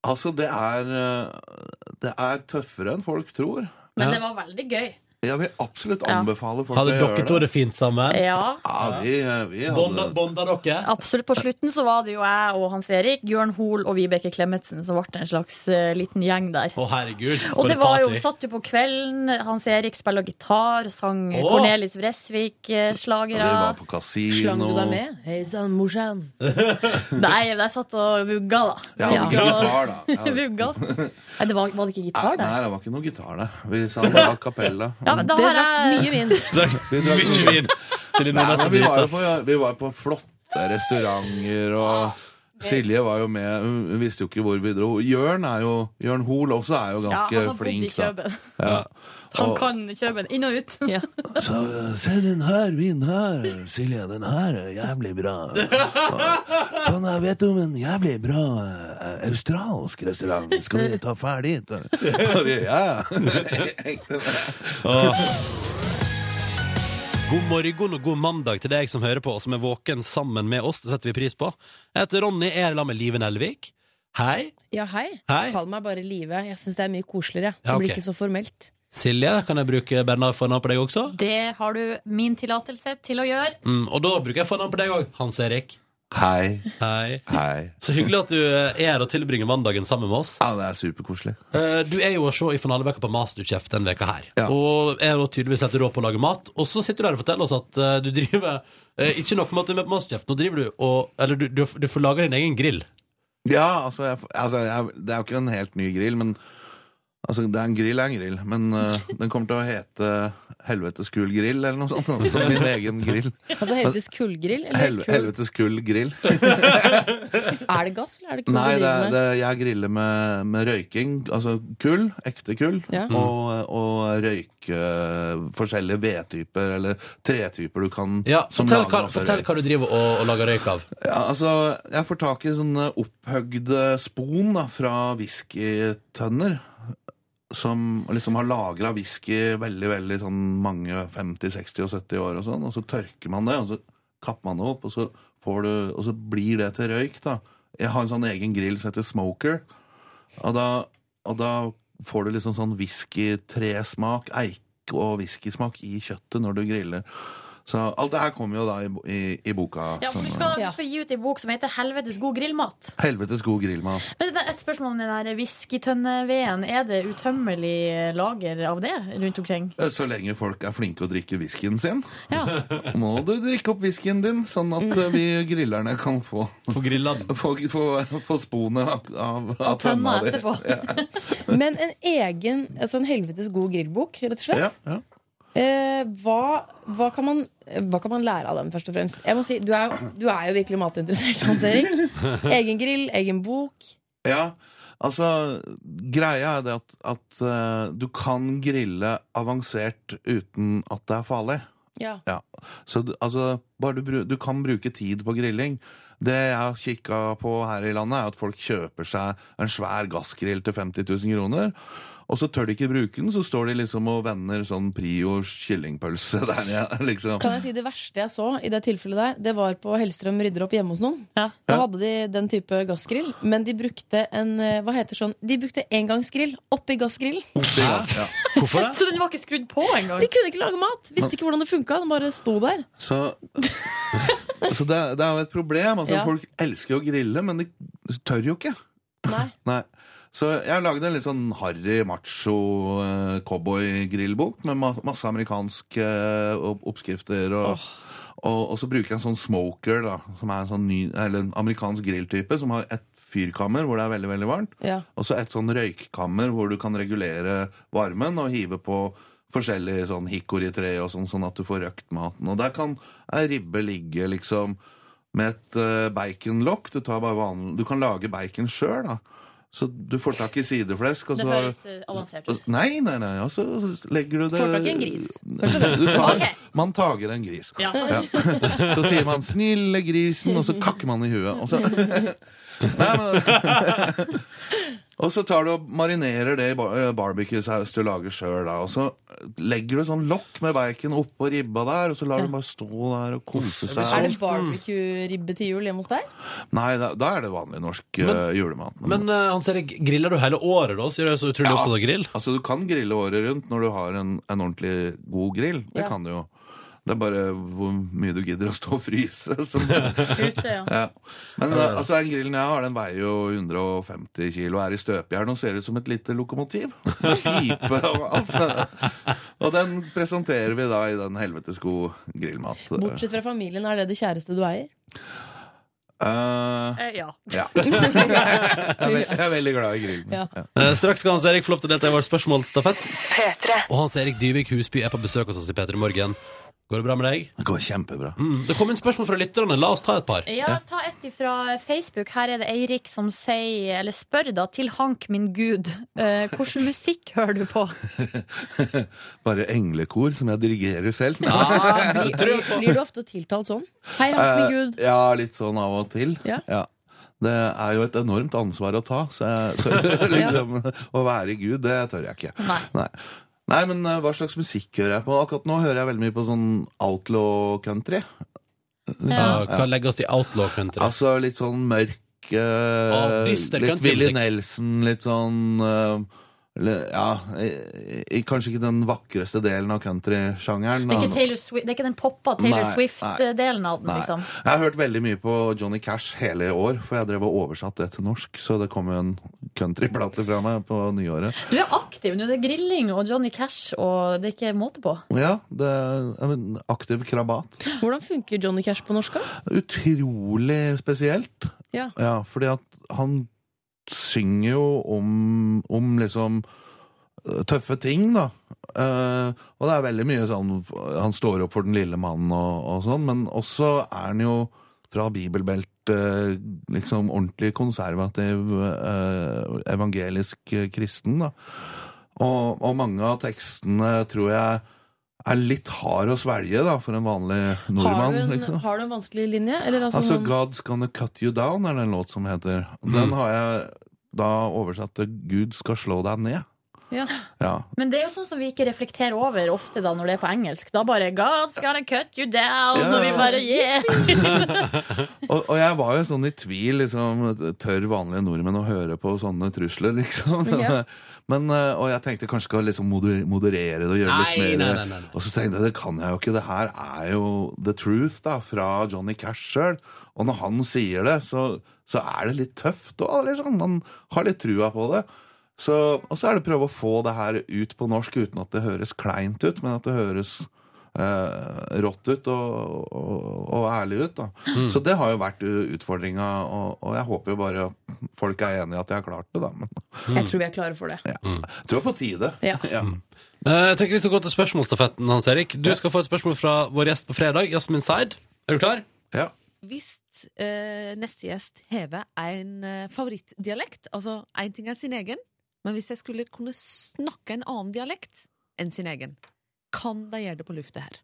S8: Altså, det er, øh, det er tøffere enn folk tror.
S3: Men det var veldig gøy.
S8: Jeg vil absolutt
S3: Ja.
S8: anbefale folk
S2: Hadde
S8: å
S2: dere
S8: gjøre
S2: to
S8: det.
S2: det fint sammen?
S3: Ja.
S8: Ja, vi, eh, vi
S2: Bonda,
S8: hadde
S2: bonda dere?
S3: Absolutt. På slutten så var det jo jeg og Hans Erik, Jørn Hoel og Vibeke Klemetsen som ble en slags eh, liten gjeng der.
S2: Å herregud, for
S3: Og det
S2: et
S3: var jo,
S2: party.
S3: satt jo på kvelden, Hans Erik spiller gitar, sang
S2: Å.
S3: Cornelis eh, Vresvik-slagere.
S8: Vi var på
S5: Slang du
S8: kasino.
S5: deg med? Hei sann, morsan.
S3: Nei, jeg satt og vugga, da.
S8: Jeg hadde ikke
S3: Ja.
S8: gitar, da. Jeg hadde-
S3: Vugga. altså. Nei, det var, var det ikke gitar der?
S8: Nei, det var ikke noe gitar der. Vi sang bare a cappella.
S3: Ja, men da
S5: Det
S3: har
S5: drakk
S3: jeg
S5: mye vin.
S2: Drakk mye vin Silje
S8: Nei,
S2: Nordnes
S8: men
S2: var
S8: vi, var jo
S2: drita.
S8: på, Ah. vi var på flotte restauranter, og Silje var jo med. Hun hun visste jo ikke hvor vi dro. Jørn, er jo, Jørn Hoel også er jo
S3: Ja,
S8: ganske
S3: han har bodd i
S8: flink. da.
S3: Kjøben.
S8: Ja.
S3: Han
S8: Og-
S3: kan Kjøben inn og ut.
S8: Så eh, se den her vinen her, Silje. Den her er jævlig bra. Og Sånn, jeg vet om en jævlig bra eh, australsk restaurant. Skal vi ta ferdig? da?» Og vi, Ja,
S2: God morgen og god mandag til deg som hører på Og som er våken sammen med oss Det setter vi pris på Jeg heter Ronny, jeg er sammen med Liven Elvik Hei,
S5: Ja, hei.
S2: Hei.
S5: Kall meg bare Live. Jeg syns det er mye koseligere. Det
S2: Ja, ok.
S5: blir ikke så formelt.
S2: Silje, kan jeg bruke Bernard fornavn på deg også?
S3: Det har du min tillatelse til å gjøre.
S2: Mm, og da bruker jeg fornavn på deg også Hans Erik
S8: Hei.
S2: Hei
S8: Hei.
S2: Så hyggelig at du eh, er her og tilbringer mandagen sammen med oss.
S8: Ja, det er superkoselig.
S2: Eh, Du er jo å se i finaleveka på Masterchef den veka her.
S8: Ja.
S2: Og er jo tydeligvis helt rå på å lage mat. Og så sitter du her og forteller oss at eh, du driver eh, Ikke nok med at du er med på Masterchef, nå driver du og Eller du, du, du får lage din egen grill.
S8: Ja, altså, jeg, altså jeg, Det er jo ikke en helt ny grill, men Altså, det er en grill er en grill, men eh, den kommer til å hete Helvetes Kul Grill, eller noe sånt. Så min egen grill.
S5: Altså helvetes kullgrill? Eller
S8: Helve,
S5: kull?
S8: helvetes Kul Grill.
S5: Er det gass, eller er det kull?
S8: Nei,
S5: du
S8: det,
S5: driver med?
S8: det, jeg griller med, med røyking. Altså kull, ekte kull,
S5: Ja.
S8: og, og røyke eh, forskjellige vedtyper eller tretyper du kan
S2: Ja,
S8: som
S2: fortell,
S8: lager
S2: hva,
S8: masse
S2: fortell
S8: røyk.
S2: hva du driver og, og lager røyk av.
S8: Ja, altså, jeg får tak i sånne opphøgde spon da, fra whiskytønner. Som liksom har lagra whisky veldig veldig sånn mange 50-, 60- og 70 år, og sånn, og så tørker man det, og så kapper man det opp, og så, får du, og så blir det til røyk. da. Jeg har en sånn egen grill som heter Smoker, og da, og da får du liksom sånn whiskytresmak, eik- og whiskysmak i kjøttet når du griller. Så alt det her kommer jo da i, bo- i, i boka. Sånn,
S3: Ja, for du
S8: som-
S3: skal, du skal gi ut ei bok som heter 'Helvetes god grillmat'.
S8: Helvetes god grillmat.
S3: Men det er Et spørsmål om den der whiskytønneveden. Er det utømmelig lager av det rundt omkring?
S8: Eh, Så lenge folk er flinke å drikke whiskyen sin,
S3: Ja.
S8: må du drikke opp whiskyen din, sånn at eh, vi grillerne kan få
S2: Få grilla
S8: Få, få, få sponet av, av, av
S5: Og tønna
S8: tønna di.
S5: etterpå. Men en egen, altså en helvetes god grillbok, rett og slett.
S8: Ja, ja.
S5: Eh, hva, hva, kan man, hva kan man lære av den, først og fremst? Jeg må si, Du er, jo- du er jo virkelig matinteressert, Hans Erik. Egen grill, egen bok.
S8: Ja, altså Greia er det at, at eh, du kan grille avansert uten at det er farlig.
S5: Ja.
S8: Så du, altså, bare du, bru- du kan bruke tid på grilling. Det jeg har kikka på her i landet, er at folk kjøper seg en svær gassgrill til 50 000 kroner. Og så tør de ikke bruke den, så står de liksom og vender sånn Prio kyllingpølse der nede. Liksom.
S5: Kan jeg si Det verste jeg så i det tilfellet der, det var på Hellstrøm rydder opp hjemme hos noen. Da hadde de den type gassgrill, men de brukte en eh, hva heter sånn, de brukte engangsgrill oppi gassgrillen.
S8: Oppi gass, ja.
S3: Så den var ikke skrudd på engang?
S5: De kunne ikke lage mat! Visste ikke hvordan det funka. Den bare sto der.
S8: Så, så det, er- det er jo et problem. Altså,
S5: Ja.
S8: Folk elsker jo å grille, men de tør jo ikke.
S5: Nei.
S8: Nei. Så jeg har laget en litt sånn harry, macho eh, cowboy-grillbok med ma masse amerikanske eh, opp- oppskrifter. Og, og, og så bruker jeg en sånn smoker, da, som er en, sånn ny, eller en amerikansk grilltype, som har et fyrkammer hvor det er veldig, veldig varmt.
S5: Ja.
S8: Og så et sånn røykkammer hvor du kan regulere varmen og hive på forskjellig sånn hikoritre og sånn, sånn at du får røkt maten. Og der kan ei ribbe ligge liksom med et eh, baconlokk. Du, tar bare vanlig- du kan lage bacon sjøl, da. Så du får tak i sideflesk, og
S3: Det
S8: så
S3: høres eh, avansert ut.
S8: Nei, nei, nei, og så legger du det
S3: Får tak i en gris.
S8: Du tar,
S3: Ok.
S8: Man tager en gris.
S3: Ja.
S8: Så sier man 'snille grisen', og så kakker man i huet. Og så, nei, men, og så tar du og marinerer det i bar- eh, barbecue-saus du lager sjøl. Og så legger du sånn lokk med bacon oppå ribba der, og så lar du den bare stå der og kose seg.
S5: Er det barbecue-ribbe til jul hjemme hos deg?
S8: Nei, da, da er det vanlig norsk eh, julemat.
S2: Men eh, Hans Erik, griller du hele året da? Sier du er så utrolig opptatt av grill?
S8: Altså, du kan grille året rundt når du har en, en ordentlig god grill. Det
S5: Ja.
S8: kan du jo. Det er bare hvor mye du gidder å stå og fryse. Som,
S3: Ute, ja.
S8: ja. Men eh, altså, den grillen jeg har, den veier jo 150 kilo, er i støpejern og ser ut som et lite lokomotiv. Med Pipe og alt. så- Og den presenterer vi da i den helvetes gode grillmat.
S5: Bortsett fra familien, er det det kjæreste du eier?
S8: Eh,
S3: Eh, ja.
S8: ja. jeg, er veldig, jeg er veldig glad i grill.
S5: Ja.
S2: Eh, straks skal Hans Erik få lov til å delta i vår spørsmålsstafett. Og Hans Erik Dyvik Husby er på besøk hos oss i P3 Morgen. Går det bra med deg?
S8: Det går kjempebra.
S2: Mm, det kom inn spørsmål fra lytterne. La oss ta et par.
S3: eh, Ja, ta et fra Facebook. Her er det Eirik som sier, eller spør da, til Hank, min gud, eh, hvordan musikk hører du på?
S8: Bare englekor som jeg dirigerer selv.
S2: Ah, det tror
S5: Blir,
S2: jeg på.
S5: blir du ofte tiltalt sånn? Hei, Hank min Gud.
S8: Eh, ja, litt sånn av og til.
S5: Ja.
S8: Det er jo et enormt ansvar å ta, så, jeg, så liksom, å være Gud, det tør jeg ikke.
S3: Nei.
S8: Nei. Nei, men eh, hva slags musikk hører jeg på? Akkurat nå hører jeg veldig mye på sånn outlaw country.
S2: Ja, hva legges til outlaw country?
S8: Altså litt sånn mørk eh,
S2: Å, dyster
S8: Litt
S2: country
S8: Willy
S2: musikk.
S8: Nelson, litt sånn eh, eller, ja, i, i, kanskje ikke den vakreste delen av countrysjangeren.
S3: Det er
S8: da.
S3: ikke, Taylor Swi- det er ikke den poppa Taylor
S8: Nei,
S3: Swift-delen av den,
S8: Nei.
S3: liksom.
S8: Jeg har hørt veldig mye på Johnny Cash hele i år, for jeg drev og oversatte det til norsk. Så det kom jo en countryplate fra meg på nyåret.
S3: Du er aktiv nå. Det er grilling og Johnny Cash, og det er ikke måte på.
S8: Ja, det er en aktiv krabat.
S5: Hvordan funker Johnny Cash på norsk? da?
S8: Utrolig spesielt.
S5: Ja.
S8: Ja, fordi at han synger jo om, om liksom eh, tøffe ting, da. Eh, og det er veldig mye sånn Han står opp for den lille mannen og, og sånn, men også er han jo fra bibelbelt eh, liksom ordentlig konservativ eh, evangelisk eh, kristen, da. Og, og mange av tekstene tror jeg er litt hard å svelge, da, for en vanlig
S5: Har,
S8: nordmann.
S5: du en,
S8: liksom.
S5: har du en vanskelig linje? Eller altså,
S8: Altså,
S5: sånn-
S8: God's Gonna Cut You Down er det en låt som heter. Den har jeg da oversatt til Gud skal slå deg ned.
S5: ja.
S8: Ja.
S3: Men det er jo sånn som vi ikke reflekterer over ofte da når det er på engelsk. Da bare God's gonna cut you down.
S8: Ja.
S3: Og vi bare yeah.
S8: Og, og jeg var jo sånn i tvil, liksom. Tør vanlige nordmenn å høre på sånne trusler, liksom?
S5: Ja.
S8: Men, eh, og jeg tenkte kanskje skal liksom moder- moderere det og gjøre
S2: Nei,
S8: litt mer.
S2: nei, nei, nei, nei.
S8: Og så tenkte jeg det kan jeg jo ikke. Det her er jo the truth da, fra Johnny Cash sjøl. Og når han sier det, så, så er det litt tøft òg, liksom. Man har litt trua på det. Så, og så er det prøve å få det her ut på norsk uten at det høres kleint ut, men at det høres eh, rått ut og, og, og ærlig ut. Da.
S2: Mm.
S8: Så det har jo vært utfordringa, og, og jeg håper jo bare folk er enig i at jeg har klart det, da. Men
S5: Jeg tror vi er klare for det.
S2: Hmm.
S8: jeg tror det er på tide.
S5: Ja.
S2: Eh, Jeg tenker Vi skal gå til spørsmålstafetten. Hans Erik Du skal få et spørsmål fra vår gjest på fredag. Jasmin Seid. Er du klar?
S8: Ja.
S11: Hvis eh, neste gjest hever en eh, favorittdialekt Altså, én ting er sin egen, men hvis jeg skulle kunne snakke en annen dialekt enn sin egen, kan de gjøre det på lufta her?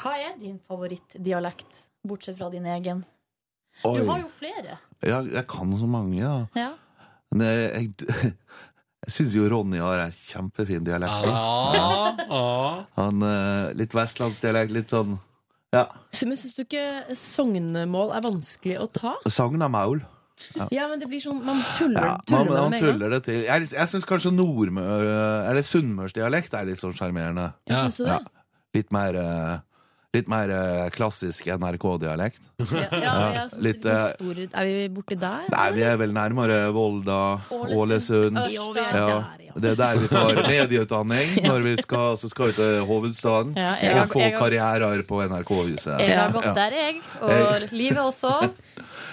S3: Hva er din favorittdialekt, bortsett fra din egen?
S8: Oi.
S3: Du har jo flere.
S8: Ja, jeg kan så mange, da.
S3: Ja.
S8: Men eh, jeg, jeg, jeg syns jo Ronny har en kjempefin dialekt. da.
S2: Ja.
S8: Han, eh, litt vestlandsdialekt, litt sånn Ja.
S5: Så, men syns du ikke sognemål er vanskelig å ta?
S8: Sagna maul. Ja.
S5: Ja, men det blir sånn Man tuller,
S8: Ja,
S5: tuller
S8: man,
S5: med det
S8: han
S5: med en gang.
S8: tuller det til. Jeg, jeg syns kanskje nordmøre- eller sunnmørsdialekt er litt sånn sjarmerende.
S5: Ja, syns du det?
S8: Litt mer eh, Litt mer eh, klassisk NRK-dialekt.
S5: Ja, men jeg synes
S8: litt,
S5: det
S8: eh,
S5: er stor, er vi borti der?
S8: Nei, vi er vel nærmere Volda,
S5: Ålesund.
S8: Ålesund.
S5: Ørsta. Jo, vi er der,
S8: Det er der vi tar medieutdanning når vi skal, så skal vi til hovedstaden
S3: Ja, jeg har-
S8: og få
S3: jeg har-
S8: karrierer på NRK-huset.
S3: Jeg har gått
S8: Ja.
S3: der, jeg. Og livet også.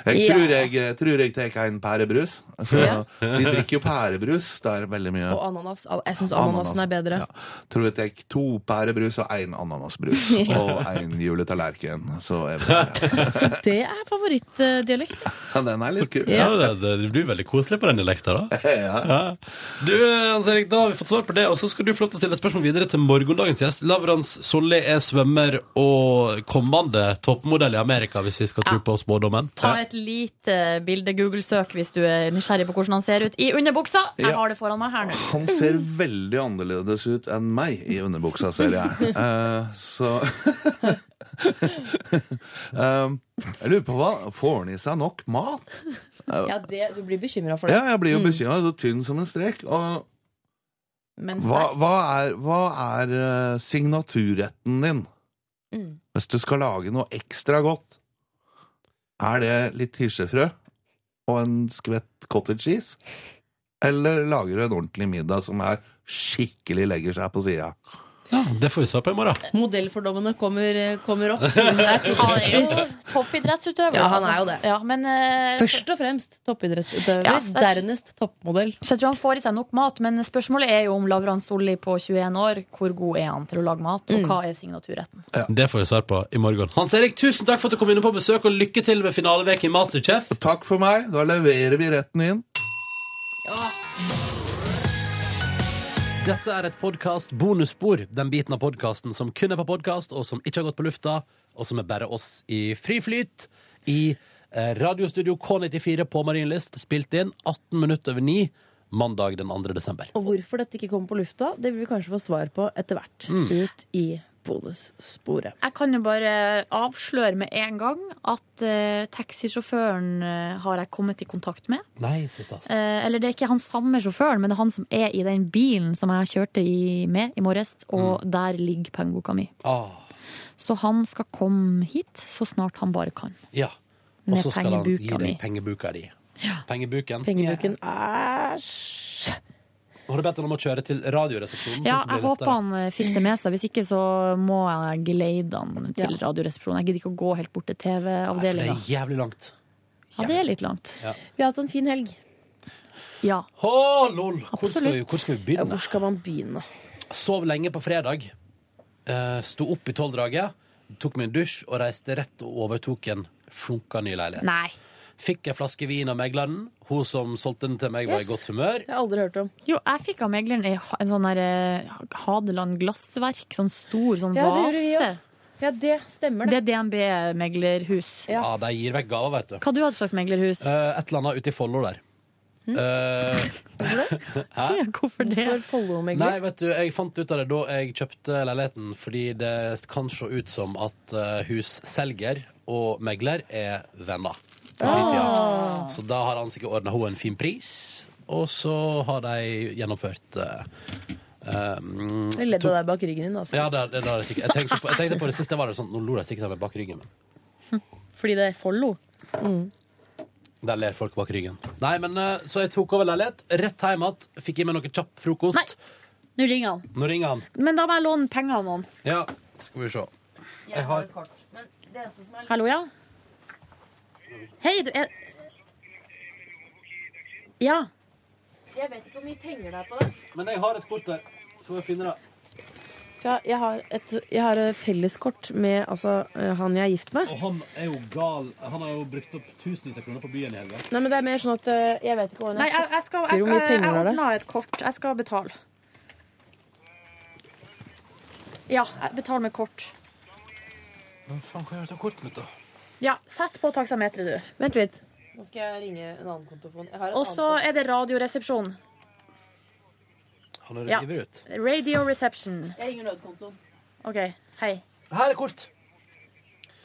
S8: Jeg
S3: Ja.
S8: tror jeg, jeg, tror jeg tar en pærebrus. Så,
S5: Ja.
S8: De drikker jo pærebrus der veldig mye.
S5: Og ananas. Al- Jeg syns ananasen
S8: Ananas.
S5: er bedre.
S8: Tror jeg tar to pærebrus og én ananasbrus.
S5: Ja.
S8: Og én juletallerken. Så er vi-
S5: Så det er favorittdialekt.
S8: ja, den er litt kul.
S2: Ja, det, det blir veldig koselig på den dialekta, da. Ja. Du, eh, Hans Erik, da har vi fått svar på det, og så skal du få lov til å stille et spørsmål videre til morgendagens gjest. Lavrans Solli er svømmer og kommende toppmodell i Amerika, hvis vi skal tro på spådommen.
S3: Ta et lite bilde, Google-søk, hvis du er nysgjerrig på hvordan han ser ut i underbuksa. Jeg
S8: Ja.
S3: har det foran meg her nå.
S8: Han ser veldig annerledes ut enn meg i underbuksa, ser jeg. Eh, så um, Jeg lurer på hva Får han i seg nok mat? Eh,
S5: Ja, det, du blir bekymra for det.
S8: ja, jeg blir jo
S5: Mm.
S8: bekymra. Så tynn som en strek. Og
S5: Men
S8: hva, hva er, hva er eh, signaturretten din?
S5: Mm.
S8: Hvis du skal lage noe ekstra godt, er det litt hirsefrø og en skvett cottage cheese? Eller lager du en ordentlig middag som er skikkelig legger seg på sida?
S2: Ja, det får vi svar på i morgen.
S5: Modellfordommene kommer, eh, kommer opp.
S3: Han er jo toppidrettsutøver.
S5: Ja, han er jo det.
S3: Ja, men eh,
S5: Først og fremst toppidrettsutøver,
S3: Ja, så-
S5: dernest toppmodell.
S3: så jeg tror han får i seg nok mat, men spørsmålet er jo om Lavran Solli på 21 år, hvor god er han til å lage mat,
S5: Mm.
S3: og hva er signaturretten?
S2: Det får vi svar på i morgen. Hans Erik, tusen takk for at du kom innom på besøk, og lykke til med finalevek i Masterchef.
S8: Takk for meg. Da leverer vi retten inn.
S2: Dette er et podkast bonusspor. Den biten av podkasten som kun er på podkast, og som ikke har gått på lufta, og som er bare oss i fri flyt i eh, radiostudio K94 på Marienlyst, spilt inn 18 minutter over 9 mandag den 2. desember.
S5: Og hvorfor dette ikke kommer på lufta, det vil vi kanskje få svar på etter hvert.
S8: Mm.
S5: Ut i bonussporet.
S3: Jeg kan jo bare avsløre med en gang at eh, taxisjåføren eh, har jeg kommet i kontakt med.
S2: Nei, så stas.
S3: Eh, eller det er ikke han samme sjåføren, men det er han som er i den bilen som jeg kjørte i, med i morges, og der ligger pengeboka mi.
S2: Ah,
S3: Så han skal komme hit så snart han bare kan.
S2: ja. Og
S3: Med
S2: så skal han gi
S3: pengebuka
S2: deg
S3: mi.
S2: pengebuka di. Pengebuken.
S5: Pengebuken Æsj!
S2: Har du bedt ham om å kjøre til Radioresepsjonen? sånn
S3: Ja,
S2: at det
S3: jeg
S2: blir
S3: håper
S2: lettere?
S3: han eh, fikk det med seg. Hvis ikke så må jeg geleide han til Radioresepsjonen. Jeg gidder ikke å gå helt bort til
S2: For det
S3: TV-avdelinga.
S2: er jævlig langt.
S3: Ja, det er litt langt.
S2: Ja.
S5: Vi har hatt en fin helg.
S3: Ja.
S2: Å, lol! Hvor skal, vi,
S5: Absolutt.
S2: hvor skal vi
S5: Ja,
S2: begynne?
S5: hvor skal man begynne?
S2: Sov lenge på fredag. Eh, sto opp i tolvdraget, tok meg en dusj og reiste rett og overtok en flunka ny leilighet.
S3: Nei.
S2: Fikk ei flaske vin av megleren. Hun som solgte den til meg, var i
S5: Yes.
S2: godt humør.
S5: Det har jeg aldri hørt om.
S3: Jo, jeg fikk av megleren ei ha- en sånn der eh, Hadeland glassverk. Sånn stor sånn
S5: Ja, det gjorde vi
S3: vase.
S5: Ja, det stemmer,
S3: Det
S5: det.
S3: er DNB meglerhus.
S2: Ja,
S5: Ja.
S2: De gir vekk gaver, vet du.
S3: Hva du hadde slags meglerhus?
S2: Eh, et eller annet ute i Follo der. Eh,
S3: Ja, Hvorfor det?
S5: For Follo-megler.
S2: nei, vet du, jeg fant ut av det da jeg kjøpte leiligheten, fordi det kan se ut som at eh, husselger og megler er venner. På fritida. Så da har han sikkert ordna henne en fin pris. og så har de gjennomført eh, um,
S5: Jeg ledde
S2: to-
S5: deg bak ryggen din, altså.
S2: Ja, det, det, det har jeg sikkert. Jeg tenkte, på, jeg tenkte på det siste, var det sånn, nå lo de sikkert av meg bak ryggen, men
S5: Fordi det er follo.
S2: der ler folk bak ryggen. Nei, men eh, så jeg tok over leilighet, rett hjem igjen, fikk i meg noe kjapp frokost.
S3: Nå ringer han.
S2: Nå ringer han.
S3: Men da må jeg låne penger av noen.
S2: Ja, skal vi se. Jeg har
S3: Hallo, ja? Hei, du er Ja.
S5: Jeg vet ikke hvor mye penger det er på det.
S2: Men jeg har et kort der. Så må jeg finne det.
S5: Ja, jeg har et, jeg har et felleskort med altså, eh, han jeg er gift med.
S2: Og han er jo gal. Han har jo brukt opp tusenvis av kroner på byen i helga.
S5: Nei, men det er mer sånn at eh, jeg vet ikke hvordan
S3: Nei,
S5: jeg
S3: jeg, jeg skal
S5: sjekker
S3: jeg,
S5: hvor mye
S3: jeg, jeg
S5: penger det er.
S3: ordna et kort. Jeg skal betale. Ja, jeg betaler med kort.
S2: Hva faen kan jeg gjøre av kortet mitt, da?
S3: Ja, Sett på taksameteret, du.
S5: Vent litt. Nå skal jeg ringe en annen kontofon. Jeg har
S3: Og så er det Radioresepsjonen.
S2: Han er
S3: Ja.
S2: ivrig ut.
S3: Radio Reception.
S5: Jeg ringer nødkontoen.
S3: OK, hei.
S2: Her er kort.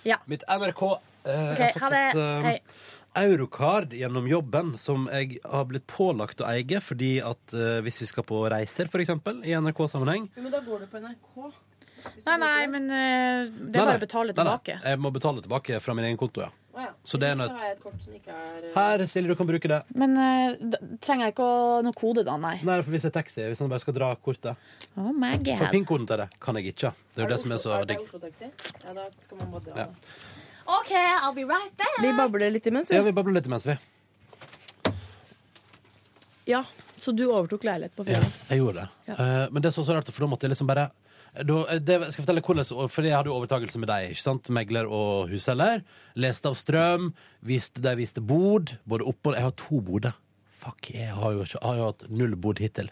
S3: Ja.
S2: Mitt NRK eh,
S3: Ok,
S2: Jeg har
S3: ha
S2: fått et
S3: det.
S2: eh,
S3: Hei.
S2: eurocard gjennom jobben som jeg har blitt pålagt å eie fordi at eh, hvis vi skal på reiser, for eksempel, i NRK-sammenheng
S5: Jo, men da går du på NRK.
S3: Nei, nei, men eh, det
S2: Nei,
S3: er
S2: nei.
S3: bare å betale
S2: Nei, nei.
S3: tilbake.
S2: Jeg må betale tilbake fra min egen konto, ja.
S5: Å ja.
S2: Så det er
S5: Hvis ikke
S2: nødt-
S5: så har jeg et kort som ikke er eh,
S2: Her, Silje, du kan bruke det.
S3: Men eh, da, trenger jeg ikke å- noe kode, da? Nei.
S2: Nei, for hvis jeg er taxi, hvis han bare skal dra kortet
S3: Oh my
S2: For
S3: god.
S2: pin-koden til det kan jeg ikke. Det er jo det som er så digg.
S5: Oslo-taxi? Ja, da skal man bare dra.
S2: Ja.
S3: OK, I'll be right back.
S5: Vi babler litt imens,
S2: Ja, vi babler litt imens, vi.
S5: Ja, så du overtok leilighet på
S2: Ja,
S5: fredag?
S2: jeg gjorde det. Eh, men det som var så rart, for da måtte jeg liksom bare da, eh, det, skal jeg fortelle hvordan, for jeg hadde jo overtakelse med deg, ikke sant? Megler og husselger. Leste av strøm. Viste, de viste bod. Både opp og Jeg har to boder. Fuck, jeg har jo, ikke, jeg har jo hatt null bod hittil.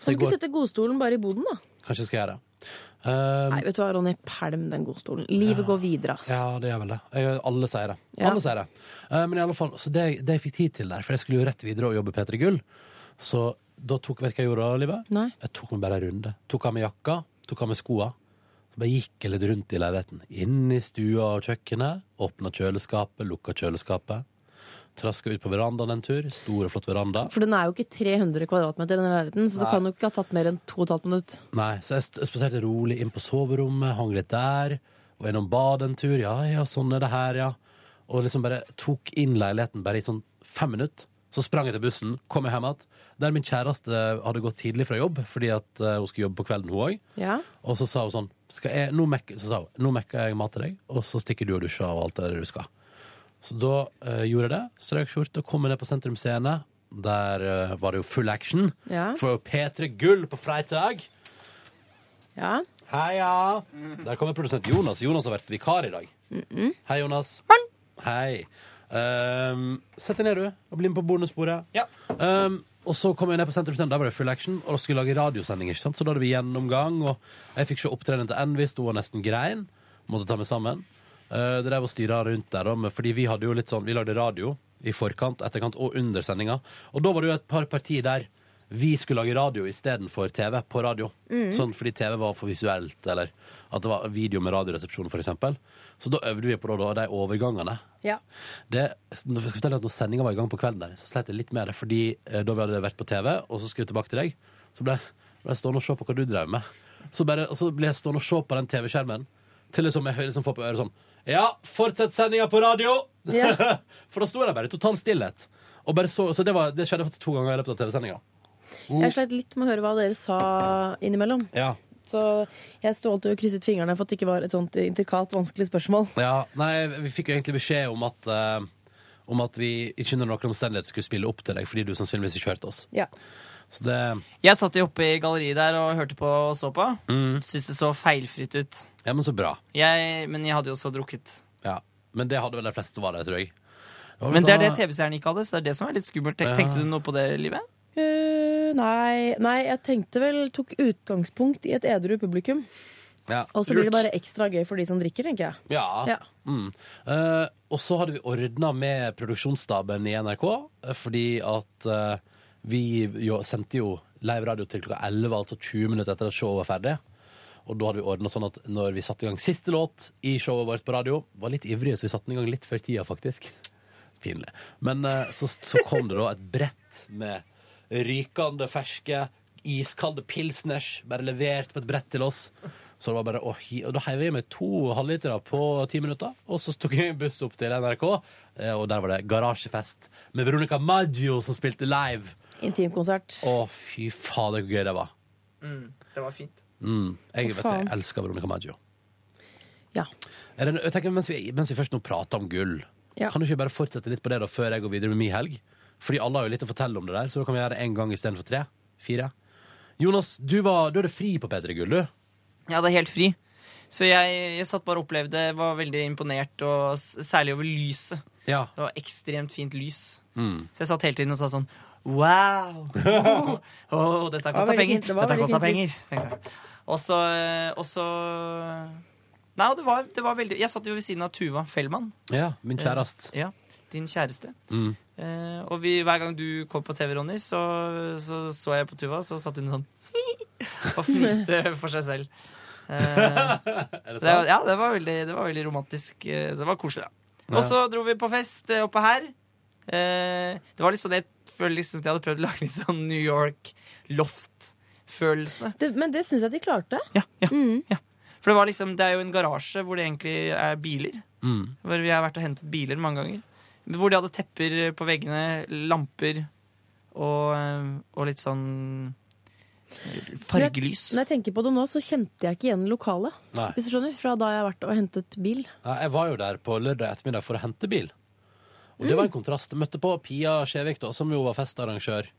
S2: Så jeg
S5: Kan du ikke
S2: går,
S5: sette godstolen bare i boden, da?
S2: kanskje jeg skal gjøre det. Eh,
S5: Nei, vet du hva, Ronny, pælm den godstolen. Livet går videre, ass.
S2: ja, det gjør vel det. Jeg, alle sier det.
S5: Ja.
S2: Alle sier det. Eh, men i alle fall, så det, det jeg fikk tid til der, for jeg skulle jo rett videre og jobbe P3 Gull, så da tok Vet du hva jeg gjorde, Live?
S5: Nei.
S2: Jeg tok meg bare en runde. Tok av meg jakka, tok av meg skoa. Så bare gikk jeg litt rundt i leiligheten. Inn i stua og kjøkkenet. Åpna kjøleskapet, lukka kjøleskapet. Traska ut på verandaen en tur. Stor og flott veranda.
S5: For den er jo ikke 300 kvadratmeter, den leiligheten,
S2: Nei.
S5: så det kan jo ikke ha tatt mer enn 2 12 minutter.
S2: Nei, så jeg st- spaserte rolig inn på soverommet, hang litt der. Var innom badet en tur. Ja, ja, sånn er det her, ja. Og liksom bare tok inn leiligheten bare i sånn fem minutter. Så sprang jeg til bussen, kom jeg hjem igjen. Der min kjæreste hadde gått tidlig fra jobb fordi at eh, hun skulle jobbe på kvelden, hun òg.
S5: Ja.
S2: Og så sa hun sånn skal jeg, nå, mekker, så sa hun, 'Nå mekker jeg mat til deg, og så stikker du og dusjer og alt det der du skal'. Så da eh, gjorde jeg det. Strøk skjorte, kom jeg ned på Sentrum Scene. Der eh, var det jo full action.
S5: Ja.
S2: For P3 Gull på fredag.
S5: Ja.
S2: Heia! Der kommer produsent Jonas. Jonas har vært vikar i dag. Hei, Jonas. Hei. Ehm, sett deg ned, du, og bli med på bonusbordet. Ehm, og så kom jeg ned på Sentrum Scene, der var det full action, og da skulle jeg lage radiosending. ikke sant? Så da hadde vi gjennomgang, og jeg fikk se opptredenen til Envy, sto og nesten grein. Måtte ta meg sammen. Eh, det der var styra rundt der, da, men fordi vi hadde jo litt sånn, vi lagde radio i forkant, etterkant og under sendinga. Og da var det jo et par partier der vi skulle lage radio istedenfor TV på radio.
S12: Mm.
S2: Sånn fordi TV var for visuelt, eller at det var video med radioresepsjon, f.eks. Så da øvde vi på det, da, og de overgangene.
S5: Ja.
S2: Det, nå skal jeg fortelle at når sendinga var i gang på kvelden, der, så sleit jeg litt med det. Fordi eh, da vi hadde vært på TV, og så skulle jeg tilbake til deg, så ble, ble jeg stående og se på hva du drev med. Så, bare, og så ble jeg stående og se på den TV-skjermen til liksom jeg hører- liksom får på øret sånn Ja, fortsett sendinga på radio!
S5: Ja.
S2: For da sto jeg der bare i total stillhet. Og bare så, så det, var, det skjedde faktisk to ganger i løpet av TV-sendinga.
S5: Jeg sleit litt med å høre hva dere sa innimellom.
S2: Ja.
S5: Så jeg stålte og krysset fingrene for at det ikke var et sånt intrikat, vanskelig spørsmål.
S2: Ja, nei, vi fikk jo egentlig beskjed om at eh, Om at vi ikke under noen omstendighet skulle spille opp til deg fordi du sannsynligvis ikke hørte oss.
S5: Ja.
S2: Så det
S4: Jeg satt jo oppe i galleriet der og hørte på og så på.
S2: mm.
S4: Syns det så feilfritt ut.
S2: Ja, men så bra.
S4: Jeg, men jeg hadde jo også drukket.
S2: Ja. Men det hadde vel de fleste som var der, tror jeg. var
S4: Men det er
S2: da-
S4: det TV-seeren ikke hadde, så det er det som er litt skummelt. Tenk-
S2: Ja.
S4: Tenkte du noe på det, Livet?
S5: Eh, nei, nei, jeg tenkte vel Tok utgangspunkt i et edru publikum.
S2: Ja.
S5: Og så blir det
S2: Lurt.
S5: bare ekstra gøy for de som drikker, tenker jeg.
S2: Ja.
S5: Ja.
S2: Mm. Eh, og så hadde vi ordna med produksjonsstaben i NRK, eh, fordi at eh, vi jo, sendte jo live radio til klokka 11, altså 20 minutter etter at showet var ferdig. Og da hadde vi ordna sånn at når vi satte i gang siste låt i showet vårt på radio, var litt ivrige, så vi satte den i gang litt før tida, faktisk. Pinlig. Men eh, så, så kom det da et brett med rykende ferske, iskalde pilsners, bare levert på et brett til oss. Så det var bare å hi Og da heiv jeg i meg to halvlitere på ti minutter, og så tok jeg en buss opp til NRK, eh, og der var det garasjefest med Veronica Maggio som spilte live.
S5: Intimkonsert.
S2: Å, fy fader, hvor gøy det var.
S4: Mm, det var fint.
S2: Mm. Jeg, vet, det,
S5: Å,
S2: jeg
S5: faen.
S2: elsker Veronica Maggio.
S5: Ja.
S2: Er det, jeg tenker, mens, vi, mens vi først nå prater om gull,
S5: Ja.
S2: kan du ikke bare fortsette litt på det da før jeg går videre med min helg? Fordi alle har jo litt å fortelle om det der, så da kan vi gjøre det én gang istedenfor tre. Fire. Jonas, du, var, du hadde fri på P3 Gull, du.
S4: Jeg hadde helt fri. Så jeg, jeg satt bare og opplevde, var veldig imponert, og s- særlig over lyset.
S2: Ja.
S4: Det var ekstremt fint lys.
S2: Mm.
S4: Så jeg satt hele tiden og sa sånn Wow! Åh, åh, dette
S12: Det var
S4: kosta
S12: veldig
S4: penger!
S12: fint, det var
S4: Dette
S12: veldig
S4: kosta
S12: fint
S4: penger! tenkte jeg. Og så eh, og så- Nei, og det var, det var veldig Jeg satt jo ved siden av Tuva Fellmann.
S2: Ja, min kjærest.
S4: Eh, Ja, din kjæreste.
S2: Mm.
S4: Eh, og vi, hver gang du kom på TV, Ronny, så så, så jeg på Tuva, så satt hun sånn og fniste for seg selv. Eh,
S2: det sant?
S4: var- ja, det var, veldig, det var veldig romantisk. eh, Det var koselig, da.
S2: Ja.
S4: Og så dro vi på fest eh, oppe her. Eh, det var litt sånn, Jeg føler liksom at jeg hadde prøvd å lage litt sånn New York-loft-følelse.
S5: Det, men det syns jeg de klarte. Mm.
S4: For det var liksom, det er jo en garasje hvor det egentlig er biler.
S2: Mm.
S4: Hvor vi har vært og hentet biler mange ganger. Men Hvor de hadde tepper på veggene, lamper og, eh, og litt sånn eh, fargelys.
S5: Når jeg tenker på det nå, så kjente jeg ikke igjen lokalet.
S2: Nei.
S5: Hvis du skjønner, Fra da jeg har vært og hentet bil.
S2: Ja, jeg var jo der på lørdag ettermiddag for å hente bil. Og det var en kontrast. Jeg møtte på Pia Skjevik, da, som jo var festarrangør.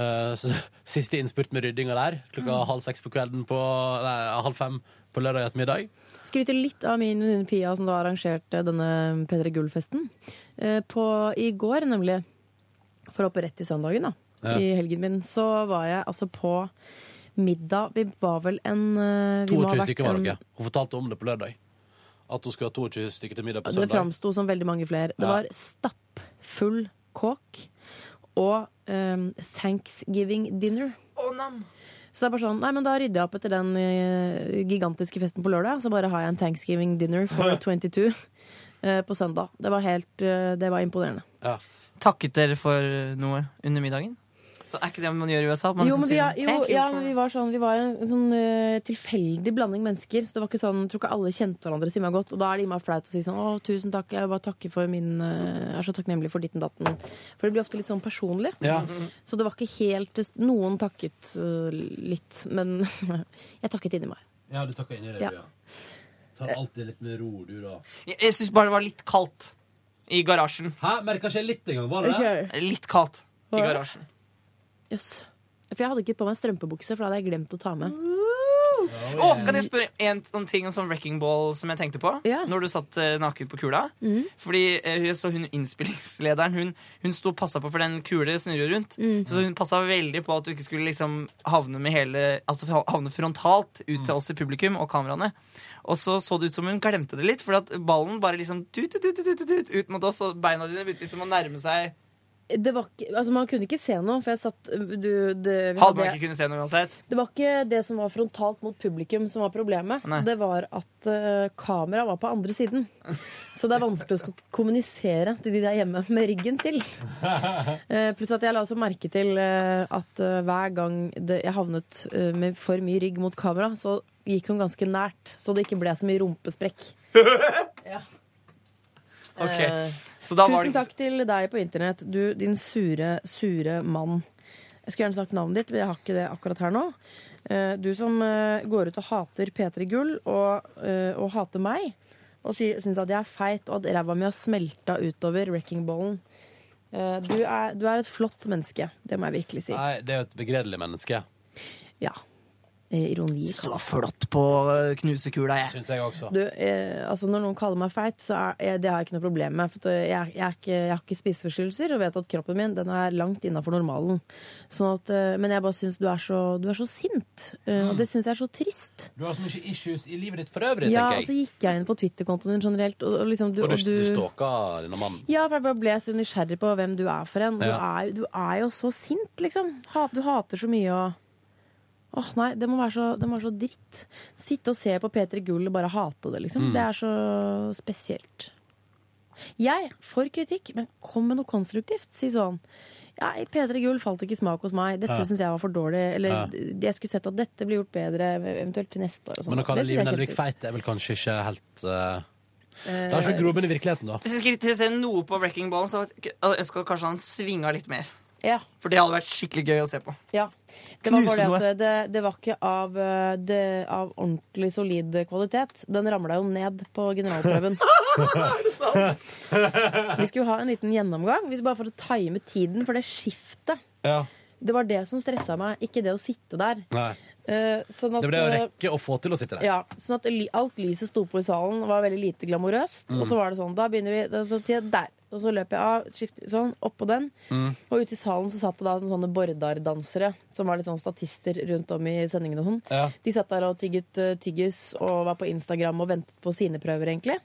S2: Eh, så, siste innspurt med ryddinga der, klokka halv seks på kvelden på Nei, halv fem på lørdag ettermiddag.
S5: Skryter litt av min venninne Pia, som da arrangerte denne P3 Gull-festen. Eh, på- I går, nemlig, for å hoppe rett i søndagen, da,
S2: Ja.
S5: i helgen min, så var jeg altså på middag Vi var vel en eh, vi må ha
S2: 22
S5: vært
S2: stykker var
S5: en-
S2: dere. Hun fortalte om det på lørdag. At hun skulle ha 22 stykker til middag på
S5: Det
S2: søndag.
S5: framsto som veldig mange flere. Det
S2: Ja.
S5: var stappfull kåk og eh, Thanksgiving dinner. Så det er bare sånn, nei, men da rydder jeg opp etter den eh, gigantiske festen på lørdag, så bare har jeg en Thanksgiving dinner for 22 eh, på søndag. Det var helt, eh, det var imponerende.
S4: Takket dere for noe under middagen? Så er ikke det man gjør i USA? at Man
S5: jo, men vi,
S4: sier
S5: har-
S4: sånn,
S5: jo,
S4: «Thank you
S5: ja,
S4: for-»
S5: men vi var sånn, vi var en sånn eh, tilfeldig blanding mennesker, så det var ikke sånn, jeg tror ikke alle kjente hverandre så godt, og da er det innmari flaut å si sånn, å, tusen takk, jeg vil bare takke for min, eh, jeg er så takknemlig for ditten datten. For det blir ofte litt sånn personlig.
S2: Ja.
S5: Så det var ikke helt, noen takket eh, litt, men jeg takket inni meg.
S2: Ja, du takka inn i det,
S5: Ja.
S2: du, ja. Tar alltid litt med ro, du, da.
S4: Jeg, jeg syns bare det var litt kaldt i garasjen.
S2: Hæ? Merka ikke jeg litt engang? Var det
S5: Ok.
S2: det?
S4: Litt kaldt
S5: Hva
S4: i
S5: er det?
S4: garasjen.
S5: Jøss. For jeg hadde ikke på meg strømpebukse, for da hadde jeg glemt å ta med.
S4: Å, kan jeg spørre en, om ting om sånn wrecking ball som jeg tenkte på? Når du satt eh, naken på kula?
S5: Mm.
S4: Fordi eh, hun- så hun innspillingslederen Hun, hun sto og passa på, for den kule snurrer jo rundt.
S5: Mm.
S4: Så hun passa veldig på at du ikke skulle liksom havne med hele Altså havne frontalt ut til oss i publikum og kameraene. Og så så det ut som hun glemte det litt, for at ballen bare liksom tut, tut, tut, tut, tut, tut, ut mot oss, og beina dine begynte liksom å nærme seg
S5: Det var ikke, altså man kunne ikke se noe, for jeg satt eh, du, det, vi
S4: Hadde man
S5: hadde-
S4: ikke kunnet se noe uansett.
S5: det var ikke det som var frontalt mot publikum som var problemet.
S4: Nei.
S5: Det var at uh, kameraet var på andre siden. Så det er vanskelig å skulle kommunisere til de der hjemme med ryggen til. Eh, Pluss at jeg la også merke til eh, at eh, hver gang det, jeg havnet eh, med for mye rygg mot kamera, så gikk hun ganske nært, så det ikke ble så mye rumpesprekk.
S4: Ok,
S5: Eh,
S4: så da var det
S5: Tusen
S4: ikke
S5: takk til deg på internett, du din sure, sure mann. Jeg skulle gjerne sagt navnet ditt, men jeg har ikke det akkurat her nå. Eh, Du som eh, går ut og hater P3 Gull og, eh, og hater meg, og sy- syns at jeg er feit og at ræva mi har smelta utover wreckingballen. Eh, Du, er- du er et flott menneske, det må jeg virkelig si.
S2: Nei, det er jo et begredelig menneske.
S5: Ja. Eh, Ironi.
S4: Syns du var flott på eh, knusekula, jeg.
S2: Syns jeg også.
S5: Du, eh, altså når noen kaller meg feit, så er jeg, det har jeg ikke noe problem med. For at, eh, jeg, jeg, er ikke, jeg har ikke spiseforstyrrelser og vet at kroppen min den er langt innafor normalen. Sånn at, eh, men jeg bare syns du, er så- du er så sint. eh, Og det syns jeg er så trist.
S2: Du har så mye issues i livet ditt for øvrig,
S5: Ja, og
S2: Mm. tenker
S5: så
S2: jeg.
S5: gikk jeg inn på Twitter-kontoen din generelt. Og, og, liksom, du,
S2: og du, du,
S5: og du
S2: stalka denne mannen.
S5: ja, for jeg bare ble så nysgjerrig på hvem du er for en. Du,
S2: Ja.
S5: er, du er jo så sint, liksom. Ha- Du hater så mye og Åh, nei, det må, være så, det må være så dritt. Sitte og se på P3 Gull og bare hate det, liksom.
S2: Mm.
S5: Det er så spesielt. Jeg får kritikk, men kom med noe konstruktivt, sier Svan. Ja, i P3 Gull falt ikke i smak hos meg. Dette
S2: Ja.
S5: syns jeg var for dårlig. Eller
S2: Ja.
S5: jeg skulle sett at dette ble gjort bedre, eventuelt til neste år. Og sånn.
S2: Men å kalle
S5: Det synes
S2: Live
S5: jeg er
S2: Nelvik
S5: kjempekult.
S2: feit er vel kanskje ikke helt eh, Det har
S5: Eh,
S2: ikke grobunn i virkeligheten, da.
S4: Hvis du skulle kritisere noe på Wrecking Ball, så hadde jeg ønska kanskje han svinga litt mer.
S5: Ja.
S4: For det hadde vært skikkelig gøy å se på.
S5: Ja. Det var
S4: Knuse
S5: bare det
S4: noe.
S5: at det, det var ikke av, eh, det, av ordentlig solid kvalitet. Den ramla jo ned på generalprøven. Vi skulle ha en liten gjennomgang, hvis bare for å time tiden for det skiftet.
S2: Ja.
S5: Det var det som stressa meg, ikke det å sitte der.
S2: Nei.
S5: Eh, Sånn at,
S2: Det ble å rekke å få til å sitte der.
S5: ja, sånn at ly- alt lyset sto på i salen, var veldig lite glamorøst.
S2: Mm.
S5: Og så var det sånn, da begynner vi, da- så til der. Og så løp jeg av, skiftet sånn, oppå den.
S7: Mm.
S5: Og ute i salen så satt det da sånne bordardansere, som var litt sånn statister rundt om i sendingen og sånn.
S7: Ja.
S5: De satt der og tygget eh, tyggis og var på Instagram og ventet på sine prøver, egentlig.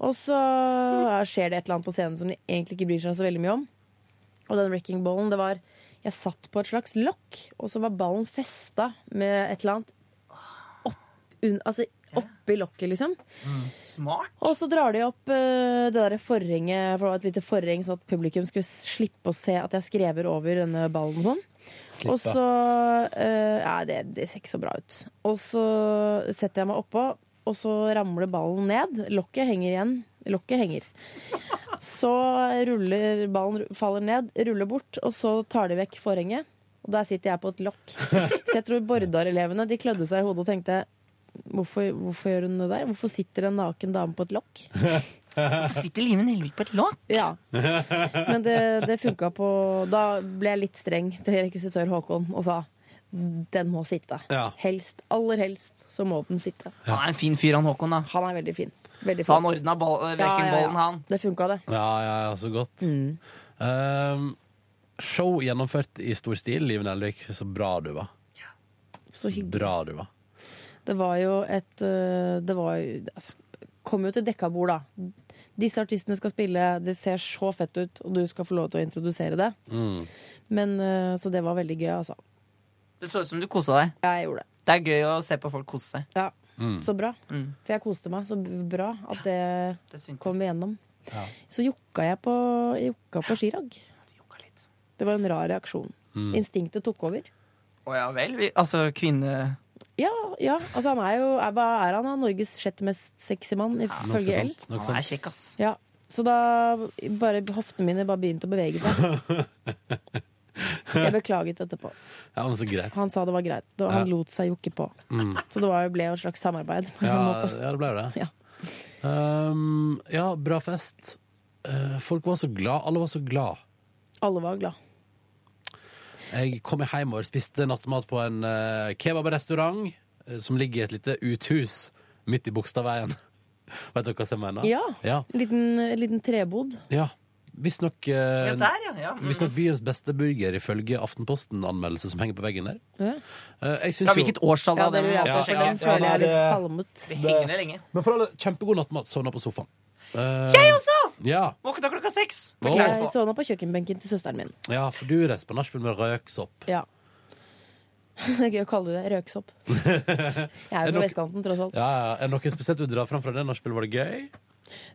S5: Og så ja, skjer det et eller annet på scenen som de egentlig ikke bryr seg så veldig mye om. Og den wrecking ballen, det var Jeg satt på et slags lokk, og så var ballen festa med et eller annet opp, un, altså, oppi lokket, liksom.
S4: Smart.
S5: Og så drar de opp eh, det der forhenget, for det var et lite forheng, sånn at publikum skulle slippe å se at jeg skrever over denne ballen og sånn.
S7: Slippe.
S5: Og så eh, Ja, det, det ser ikke så bra ut. Og så setter jeg meg oppå, og så ramler ballen ned. Lokket henger igjen. Lokket henger. Så ruller ballen faller ned, ruller bort, og så tar de vekk forhenget. Og der sitter jeg på et lokk. Så jeg tror Bordar-elevene de klødde seg i hodet og tenkte Hvorfor, hvorfor gjør hun det der? Hvorfor sitter en naken dame på et lokk?
S4: Hvorfor sitter Live Nelvik på et lokk?
S5: Ja, Men det, det funka på Da ble jeg litt streng til rekvisitør Håkon og sa den må sitte.
S4: Ja.
S5: Helst, aller helst, så må den sitte.
S4: Han er en fin fyr, han Håkon. da
S5: Han er veldig fin. Veldig
S4: Så han
S5: flott.
S4: ordna ball, eh,
S5: Ja,
S4: wrecking ballen, han.
S5: Det funka, det.
S2: Ja, ja, ja, så godt.
S5: Mm.
S2: Ehm, show gjennomført i stor stil, Live Nelvik. Så bra du var.
S5: Så hyggelig.
S2: Bra du var.
S5: Det var jo et øh, Det var jo altså, Kom jo til dekka bord, da. Disse artistene skal spille, det ser så fett ut, og du skal få lov til å introdusere det.
S2: Mm.
S5: Men, øh, så det var veldig gøy, altså.
S4: Det så ut som du kosa deg.
S5: Jeg gjorde det.
S4: Det er gøy å se på folk kose seg.
S5: Ja. Så bra.
S4: Mm.
S5: For jeg koste meg. Så b- bra at det, kom igjennom.
S4: Ja.
S5: Så jokka jeg på, jeg jokka på Chirag. Det var en rar reaksjon.
S4: Mm.
S5: Instinktet tok over.
S4: Å ja vel. Vi, altså kvinne...
S5: Ja, ja. Altså, han er jo er, Hva er han? Han er Norges sjette mest sexy mann, ifølge L.
S4: Han er kjekk, ass.
S5: Ja. Så da bare hoftene mine bare begynte å bevege seg. Jeg beklaget etterpå.
S2: Ja, men så greit.
S5: Han sa det var greit. Det var, han
S2: Ja.
S5: lot seg jokke på.
S2: Mm.
S5: Så det var jo ble jo et slags samarbeid. På en
S2: Ja,
S5: måte.
S2: ja, det ble jo det.
S5: Ja.
S2: Ehm, ja, bra fest. Eh, folk var så glad. Alle var så glad.
S5: Alle var glad.
S2: Jeg kom hjemover, spiste nattmat på en eh, kebabrestaurant eh, som ligger i et lite uthus midt i Bogstadveien. Vet dere hva jeg mener?
S5: Ja.
S2: ja.
S5: En liten, en liten trebod.
S2: Ja. Visstnok
S4: Ja,
S2: eh,
S4: der, ja. ja. Mm.
S2: visstnok byens beste burger, ifølge Aftenposten-anmeldelse som henger på veggen der.
S5: Ja.
S2: Eh, jeg syns
S4: Fra
S2: jo-
S4: hvilket årstall da, Ja, det den- lurer jeg på, for den føler jeg
S2: nei,
S4: er litt
S2: det-
S4: falmet. Det henger ned lenge.
S2: Men for alle, kjempegod nattmat. Sovna på sofaen. Eh,
S4: Jeg også!
S2: Ja.
S4: Våkna klokka seks.
S5: Jeg sovna på kjøkkenbenken til søsteren min.
S2: Ja, for du reiste på nachspiel med røyksopp.
S5: Ja. Det er gøy å kalle det røksopp. Jeg er jo fra vestkanten, tross alt.
S2: Ja, ja. Er det noe spesielt du drar fram fra det nachspielet? Var det gøy?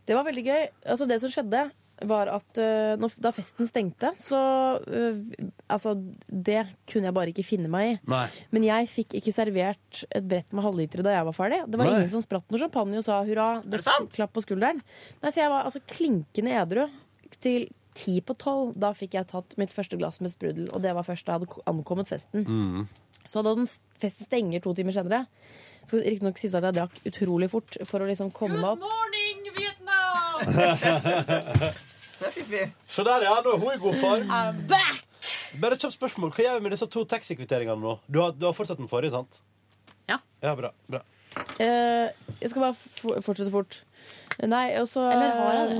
S5: Det var veldig gøy. Altså, det som skjedde, var at eh, når, da festen stengte, så eh, Altså, det kunne jeg bare ikke finne meg i.
S2: Nei.
S5: Men jeg fikk ikke servert et brett med halvlitere da jeg var ferdig. Det var
S2: Nei.
S5: ingen som spratt noe champagne og sa hurra. Det Klapp på skulderen. Nei, så jeg var altså klinkende edru til ti på tolv. Da fikk jeg tatt mitt første glass med sprudel, og det var først da jeg hadde ko- ankommet festen.
S2: Mm.
S5: Så da den s- festen stenger to timer senere Skal riktignok sies at jeg drakk utrolig fort for å liksom komme meg opp.
S3: Morning, Vietnam!
S2: Se der, ja. Nå er hun i god form.
S3: I'm back!
S2: Bare et kjapt spørsmål. Hva gjør vi med disse to taxikvitteringene nå? Du har, du har fortsatt den forrige, sant?
S3: Ja.
S2: Ja, bra. bra.
S5: Eh, jeg skal bare f- fortsette fort. Nei, altså, og så
S3: Eller har jeg det?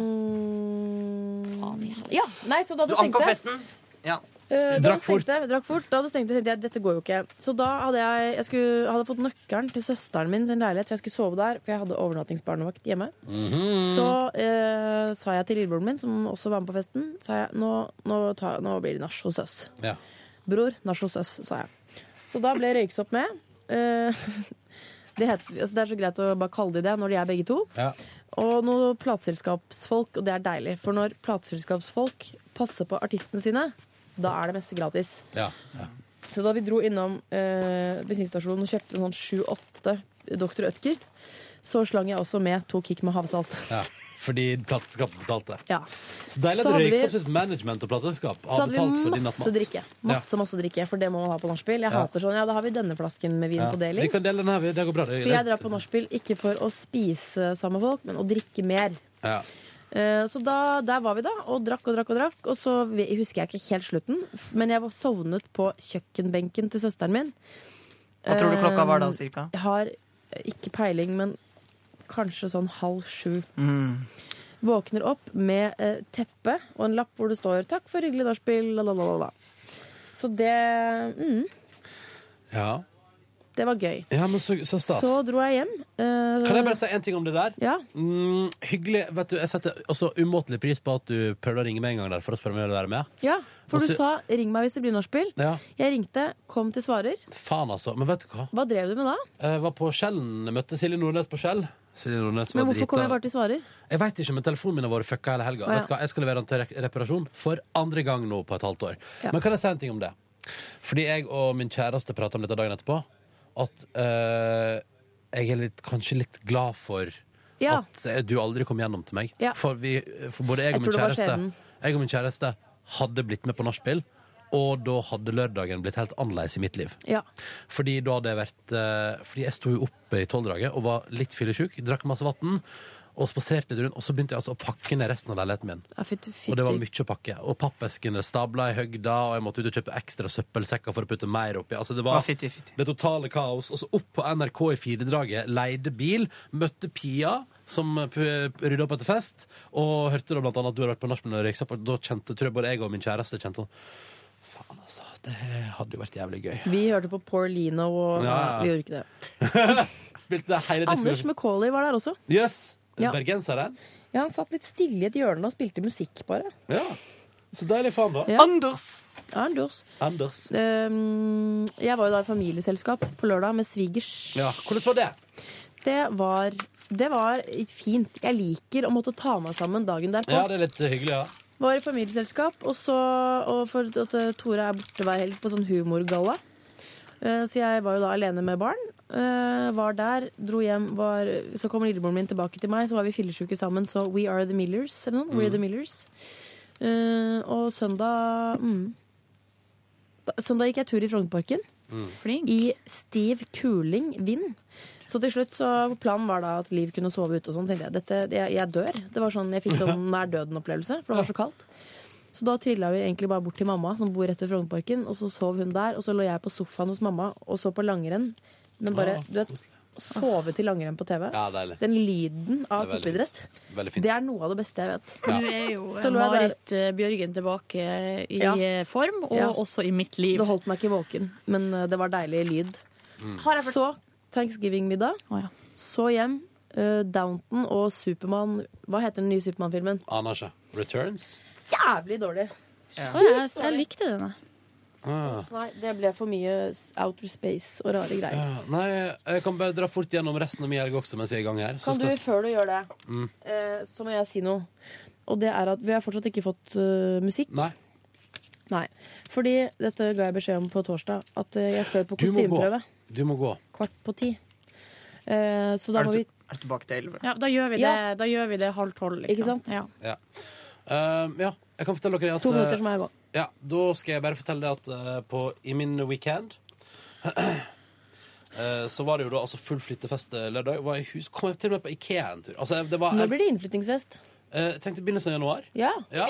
S5: det? Ja, nei, så da
S4: Du
S5: det
S4: ankom
S5: stengte-
S4: festen. Ja.
S5: Eh, da
S4: Drakk
S5: det stengte, drakk fort. Da det stengte, tenkte jeg dette går jo ikke. Så da hadde jeg, jeg skulle, hadde fått nøkkelen til søsteren min sin leilighet, for jeg skulle sove der. For jeg hadde overnattingsbarnevakt hjemme.
S4: Mhm.
S5: Så eh, sa jeg til lillebroren min, som også var med på festen, sa jeg, nå, nå, ta, nå blir det nach hos oss.
S2: Ja.
S5: Bror, nach hos oss, sa jeg. Så da ble røyksopp med. Eh, det, heter, altså det er så greit å bare kalle de det når de er begge to. og noen plateselskapsfolk, og det er deilig. For når plateselskapsfolk passer på artistene sine, da er det meste gratis.
S2: Ja. ja.
S5: Så da vi dro innom eh, bensinstasjonen og kjøpte sånn sju-åtte Dr. Ødker, så slang jeg også med to kick med havsalt.
S2: ja. Fordi plateselskapet betalte.
S5: Ja.
S2: Så deilig
S5: Så
S2: at
S5: hadde vi-
S2: Røyksoppsitt management og plateselskap
S5: Så
S2: har
S5: hadde
S2: betalt for
S5: vi
S2: din
S5: masse
S2: nattmat.
S5: drikke. Masse, masse drikke, For det må man ha på nachspiel. Jeg
S2: Ja.
S5: hater sånn. Ja, da har vi denne flasken med vin
S2: Ja.
S5: på liksom. deling.
S2: Vi kan dele den her, vi. det går bra. Det,
S5: For jeg drar på nachspiel ikke for å spise sammen med folk, men å drikke mer.
S2: Ja.
S5: Eh, Så da, der var vi da, og drakk og drakk og drakk. Og så vi- husker jeg ikke helt slutten, f- men jeg var sovnet på kjøkkenbenken til søsteren min.
S4: Hva tror du klokka var da,
S5: Eh,
S4: cirka?
S5: Jeg har eh, ikke peiling, men kanskje sånn halv sju.
S4: Mm.
S5: Våkner opp med eh, teppe og en lapp hvor det står 'Takk for hyggelig nachspiel', la, la, la, la, la. Så det mm,
S2: Ja.
S5: Det var gøy.
S2: ja, men så, så stas.
S5: Så dro jeg hjem. eh,
S2: Kan jeg bare si en ting om det der?
S5: Ja.
S2: Mm, hyggelig. Vet du, jeg setter også umåtelig pris på at du prøvde å ringe meg en gang der for å spørre om jeg ville være med.
S5: Ja, for
S2: Og
S5: du
S2: så-
S5: sa 'ring meg hvis det blir nachspiel'.
S2: Ja,
S5: Jeg ringte, kom til svarer.
S2: faen altså. Men vet du hva?
S5: Hva drev du med da?
S2: Jeg var på Skjellen. Jeg møtte Silje Nordnes på Skjell. Silje Nordnes var
S5: Men hvorfor kom
S2: drita.
S5: jeg bare til svarer?
S2: Jeg vet ikke, men telefonen min har vært fucka hele helga.
S5: Å, ja.
S2: Vet du hva? Jeg skal levere den til re- reparasjon for andre gang nå på et halvt år.
S5: Ja.
S2: Men kan jeg si en ting om det? Fordi jeg og min kjæreste prata om dette dagen etterpå. At eh, jeg er litt, kanskje litt glad for
S5: Ja.
S2: at eh, du aldri kom gjennom til meg.
S5: Ja.
S2: For, vi, for både jeg
S5: Jeg
S2: og,
S5: tror
S2: min
S5: det var
S2: kjæreste,
S5: skjebnen.
S2: jeg og min kjæreste hadde blitt med på nachspiel, og da hadde lørdagen blitt helt annerledes i mitt liv.
S5: Ja.
S2: Fordi da hadde jeg vært eh, Fordi jeg sto jo oppe i tolvdraget og var litt fyllesyk, drakk masse vann og spaserte litt rundt. Og så begynte jeg altså å pakke ned resten av leiligheten min.
S5: Ja, fytti- fytti.
S2: Og det var mye å pakke. Og pappeskene stabla i høgda, og jeg måtte ut og kjøpe ekstra søppelsekker for å putte mer oppi. Altså, det
S4: Ja,
S2: var
S4: fytti, fytti.
S2: det totale kaos. Og så opp på NRK i firedraget, leide bil, møtte Pia. Som p- p- rydda opp etter fest, og hørte da blant annet at du hadde vært på nachspiel og røyksopp. Og da kjente, tror jeg både jeg og min kjæreste kjente sånn Faen, altså. Det hadde jo vært jævlig gøy.
S5: Vi hørte på Poor Lino og
S2: Ja, ja.
S5: Nei, Vi gjorde ikke det.
S2: Spilte hele
S5: Anders
S2: diskoen.
S5: Macauley var der også.
S2: Jøss!
S5: Ja.
S2: Bergenseren.
S5: Ja, han satt litt stille i et hjørne og spilte musikk, bare.
S2: Ja. Så deilig faen, da.
S5: Ja.
S4: Anders!
S5: Anders.
S2: Anders.
S5: Ehm, jeg var jo da i familieselskap på lørdag med svigers.
S2: Ja, hvordan var det?
S5: Det var, det var fint. Jeg liker å måtte ta meg sammen dagen derpå.
S2: Ja, det er litt hyggelig, ja.
S5: Var i familieselskap, og, så, og for at eh, Tore er borte hver helg på sånn humorgalla. Eh, Så jeg var jo da alene med barn. Eh, Var der, dro hjem, var, så kom lillebroren min tilbake til meg. Så var vi fyllesyke sammen, så We Are The Millers eller noe. We're
S2: Mm.
S5: the Millers. Eh, Og søndag mm, da, Søndag gikk jeg tur i Frognerparken.
S3: Flink.
S5: I stiv kuling vind. Så til slutt så planen var da at Liv kunne sove ute og sånn. Tenkte jeg dette, jeg, jeg dør. Det var sånn, Jeg fikk sånn nær døden-opplevelse, for det var så kaldt. Så da trilla vi egentlig bare bort til mamma, som bor rett ved Frognerparken. Og så sov hun der, og så lå jeg på sofaen hos mamma og så på langrenn. Men bare,
S2: Ah,
S5: du vet, å sove til langrenn på TV.
S2: Ja, deilig.
S5: Den lyden
S2: Det er
S5: av
S2: veldig
S5: toppidrett,
S2: Veldig fint.
S5: det er noe av det beste jeg vet.
S2: Ja.
S3: Nå er jo
S5: Så lå jeg
S3: Marit eh, Bjørgen tilbake i
S5: Ja.
S3: eh, form, og
S5: Ja.
S3: også i mitt liv.
S5: Det holdt meg ikke våken, men eh, det var deilig lyd.
S2: Mm.
S3: Har jeg fått-
S5: Så thanksgiving-middag.
S3: Å, ja.
S5: Så hjem. eh, Downton og Supermann Hva heter den nye Supermann-filmen?
S2: Aner ikke. Returns?
S5: Jævlig dålig!
S3: Å, jeg, jeg likte den, jeg.
S2: Ah.
S5: Nei, det ble for mye s- outer space og rare greier.
S2: Ja, Nei, jeg kan bare dra fort gjennom resten av min helg også mens vi er i gang her. Så
S5: Kan du,
S2: skal-
S5: før du gjør det,
S2: Mm.
S5: eh, så må jeg si noe. Og det er at vi har fortsatt ikke fått eh, musikk.
S2: Nei.
S5: Nei. Fordi dette ga jeg beskjed om på torsdag, at eh, jeg skal ut på
S2: Du må gå.
S5: kostymeprøve
S2: Du må gå.
S5: kvart på ti. Eh, så da
S4: Er
S5: må
S4: du,
S5: vi
S4: er du tilbake til elleve?
S3: Ja, da gjør vi det,
S5: Ja.
S3: da gjør vi det halv tolv, liksom.
S5: Ikke sant?
S3: Ja.
S2: Ehm, ja, jeg kan fortelle dere at
S5: To minutter,
S2: eh,
S5: så må jeg gå.
S2: Ja, da skal jeg bare fortelle deg at eh, på, i min weekend eh, så var det jo da altså full flyttefest eh, lørdag. Var i hus, kom jeg til og med på Ikea en tur. Altså, det var
S5: Nå
S2: helt,
S5: blir det innflyttingsfest.
S2: eh, tenkte begynnelsen av januar.
S5: Ja.
S2: Ja.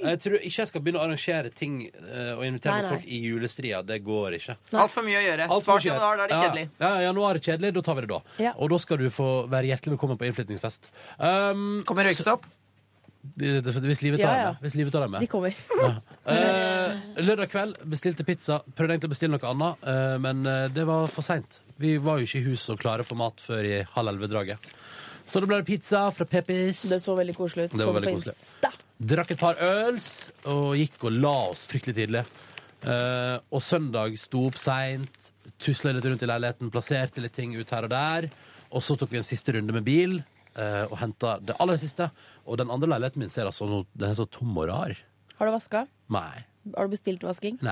S2: Jeg tror ikke jeg skal begynne å arrangere ting eh, og invitere
S5: Nei,
S2: masse
S5: nei.
S2: folk i julestria. Det går ikke.
S4: Altfor mye å gjøre.
S2: Alt for
S4: Spar til
S2: mye å
S4: januar, da er det
S2: gjøre.
S4: kjedelig.
S2: Ja, ja, januar er kjedelig. Da tar vi det da.
S5: Ja.
S2: Og da skal du få være hjertelig velkommen på innflyttingsfest. Um,
S4: Kommer røykesopp?
S2: det- det- Hvis livet tar
S5: Ja,
S2: deg
S5: ja.
S2: med. Hvis livet tar deg med.
S5: De kommer.
S2: Eh, lørdag kveld bestilte pizza. Prøvde egentlig å bestille noe annet, eh, men eh, det var for seint. Vi var jo ikke i huset og klare for mat før i halv elleve-draget. Så da ble det pizza fra Peppers.
S5: Det så veldig koselig ut.
S2: Det var
S5: Så
S2: veldig
S5: på
S2: koselig.
S5: Insta.
S2: Drakk et par øls og gikk og la oss fryktelig tidlig. Eh, og søndag sto opp seint, tusla litt rundt i leiligheten, plasserte litt ting ut her og der. Og så tok vi en siste runde med bil. eh, eh, og henta det aller siste. Og den andre leiligheten min ser altså no, den er så tom og rar.
S5: Har du vaska?
S2: Nei.
S5: Har du bestilt vasking?
S2: Nei.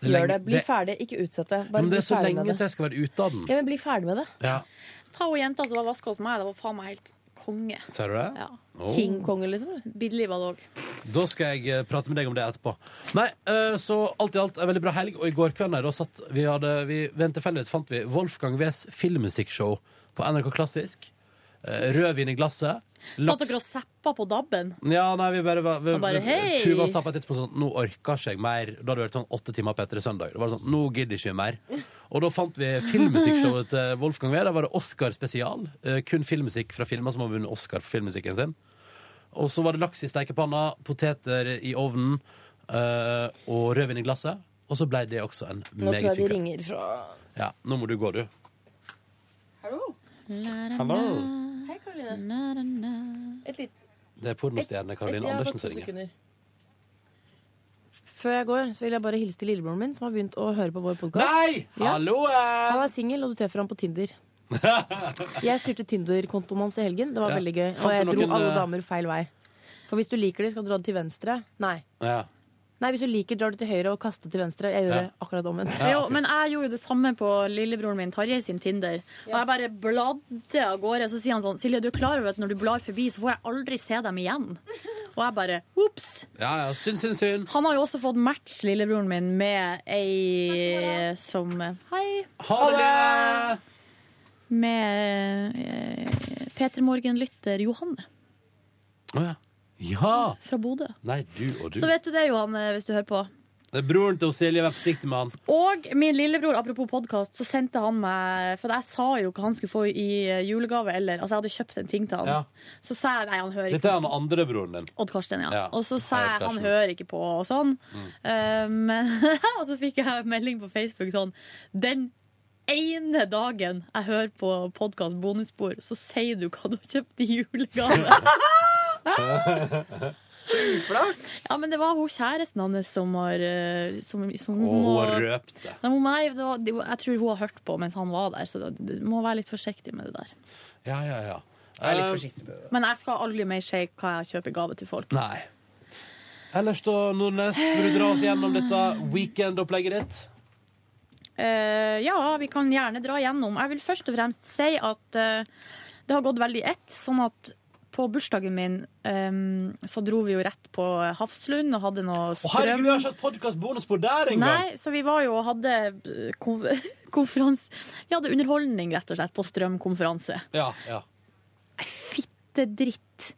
S2: er
S5: Gjør
S2: lenge-
S5: det. Bli ferdig, ikke utsett det.
S2: Ja,
S5: Bare
S2: men
S5: bli
S2: det er så
S5: ferdig
S2: lenge
S5: med
S2: til
S5: det.
S2: jeg skal være ute av den.
S5: Ja, men bli ferdig med det.
S2: Ja,
S3: Ta hun jenta som var vaska hos meg. Det var faen meg helt konge.
S2: Ser du det?
S3: Ja.
S2: Åh.
S5: konge, liksom?
S3: Billig var det òg.
S2: Da skal jeg eh, prate med deg om det etterpå. Nei, eh, så alt i alt en veldig bra helg. Og i går kveld da satt vi hadde, vi, ved en tilfeldighet fant vi Wolfgang Wees filmmusikkshow på NRK Klassisk. Eh, Rødvin i glasset.
S3: Satt dere og zappa på dabben?
S2: Ja, nei, vi bare, var- vi,
S3: Og bare,
S2: vi-
S3: hei!
S2: Tuva sa på et tidspunkt sånn Nå orker ikke jeg mer. Da hadde det vært sånn åtte timer på etter søndag. Det var det sånn, nå gidder ikke vi mer. Og da fant vi filmmusikkshowet til Wolfgang Wehr. Der var det Oscar-spesial. Eh, kun filmmusikk fra filmer som har vunnet Oscar for filmmusikken sin. Og så var det laks i steikepanna, poteter i ovnen eh, og rødvin i glasset. Og så ble det også en
S5: Nå
S2: meget
S5: tror jeg de
S2: fin kveld.
S5: ringer fra
S2: Ja, nå må du gå, du.
S5: Hei, Karoline. Et litt
S2: Det er pornostjerne Karoline
S5: et- ja, bare
S2: Andersen
S5: to
S2: som ringer.
S5: sekunder. Før jeg går, så vil jeg bare hilse til lillebroren min, som har begynt å høre på vår
S2: Nei!
S5: podkast.
S2: Hallo! eh!
S5: Han er singel, og du treffer ham på Tinder. Jeg styrte Tinder-kontoen hans i helgen. Det var
S2: Ja.
S5: veldig gøy. Og
S2: Fant
S5: jeg
S2: du
S5: dro
S2: noen,
S5: alle
S2: eh,
S5: damer feil vei. For hvis du liker det, skal du dra det til venstre. Nei.
S2: Ja.
S5: Nei, hvis du liker, drar du til høyre og kaster til venstre. Jeg gjør
S2: Ja.
S5: det akkurat omvendt.
S3: Jo, men jeg gjorde jo det samme på lillebroren min Tarjei sin Tinder. Og jeg bare bladde av gårde, så sier han sånn Silje, du er klar over at når du blar forbi, så får jeg aldri se dem igjen. Og jeg bare ops.
S2: Ja, ja. Synd, synd, synd.
S3: Han har jo også fått match, lillebroren min, med ei som Hei.
S2: Ha det!
S3: Med eh, Peter Morgen-lytter Johanne
S2: Å ja. ja.
S3: fra Bodø.
S2: Nei, du og du.
S3: Så vet du det, Johanne, hvis du hører på.
S2: Det er broren til Silje, vær forsiktig med han.
S3: Og min lillebror, apropos podkast, så sendte han meg For jeg sa jo hva han skulle få i julegave, eller Altså, jeg hadde kjøpt en ting til han.
S2: Ja.
S3: Så sa jeg nei, han hører
S2: Dette
S3: ikke
S2: er han andre broren din.
S3: Odd Karsten, ja.
S2: Ja,
S3: Og så sa
S2: Odd
S3: jeg han
S2: Karsten.
S3: hører ikke på og sånn. Eh, men, og så fikk jeg melding på Facebook sånn Den ene dagen jeg hører på podkast bonusspor, så sier du hva du har kjøpt i julegave. ja, men det var hun kjæresten hans som har eh, Som, som
S2: Og hun har
S3: må-
S2: røpt det.
S3: Nei, hun meg, det var, det, jeg tror hun har hørt på mens han var der, så det- du må være litt forsiktig med det der.
S2: Ja, ja, ja.
S4: Jeg er litt
S2: Eh,
S4: forsiktig med det.
S3: Men jeg skal aldri mer si hva jeg kjøper gave til folk.
S2: Eh, Nei. Ellers da, Nordnes, vil du dra oss gjennom dette weekendopplegget ditt?
S3: Eh, ja, vi kan gjerne dra gjennom. Jeg vil først og fremst si at eh, det har gått veldig i ett, sånn at på bursdagen min eh, så dro vi jo rett på Hafslund og hadde noe
S2: Å, herregud, vi har ikke
S3: strøm.
S2: hatt podkastbonusspor der engang!
S3: Nei, så vi var jo og hadde eh, konf konferanse Vi hadde underholdning, rett og slett, på strømkonferanse.
S2: Ja, ja.
S3: fitte dritt.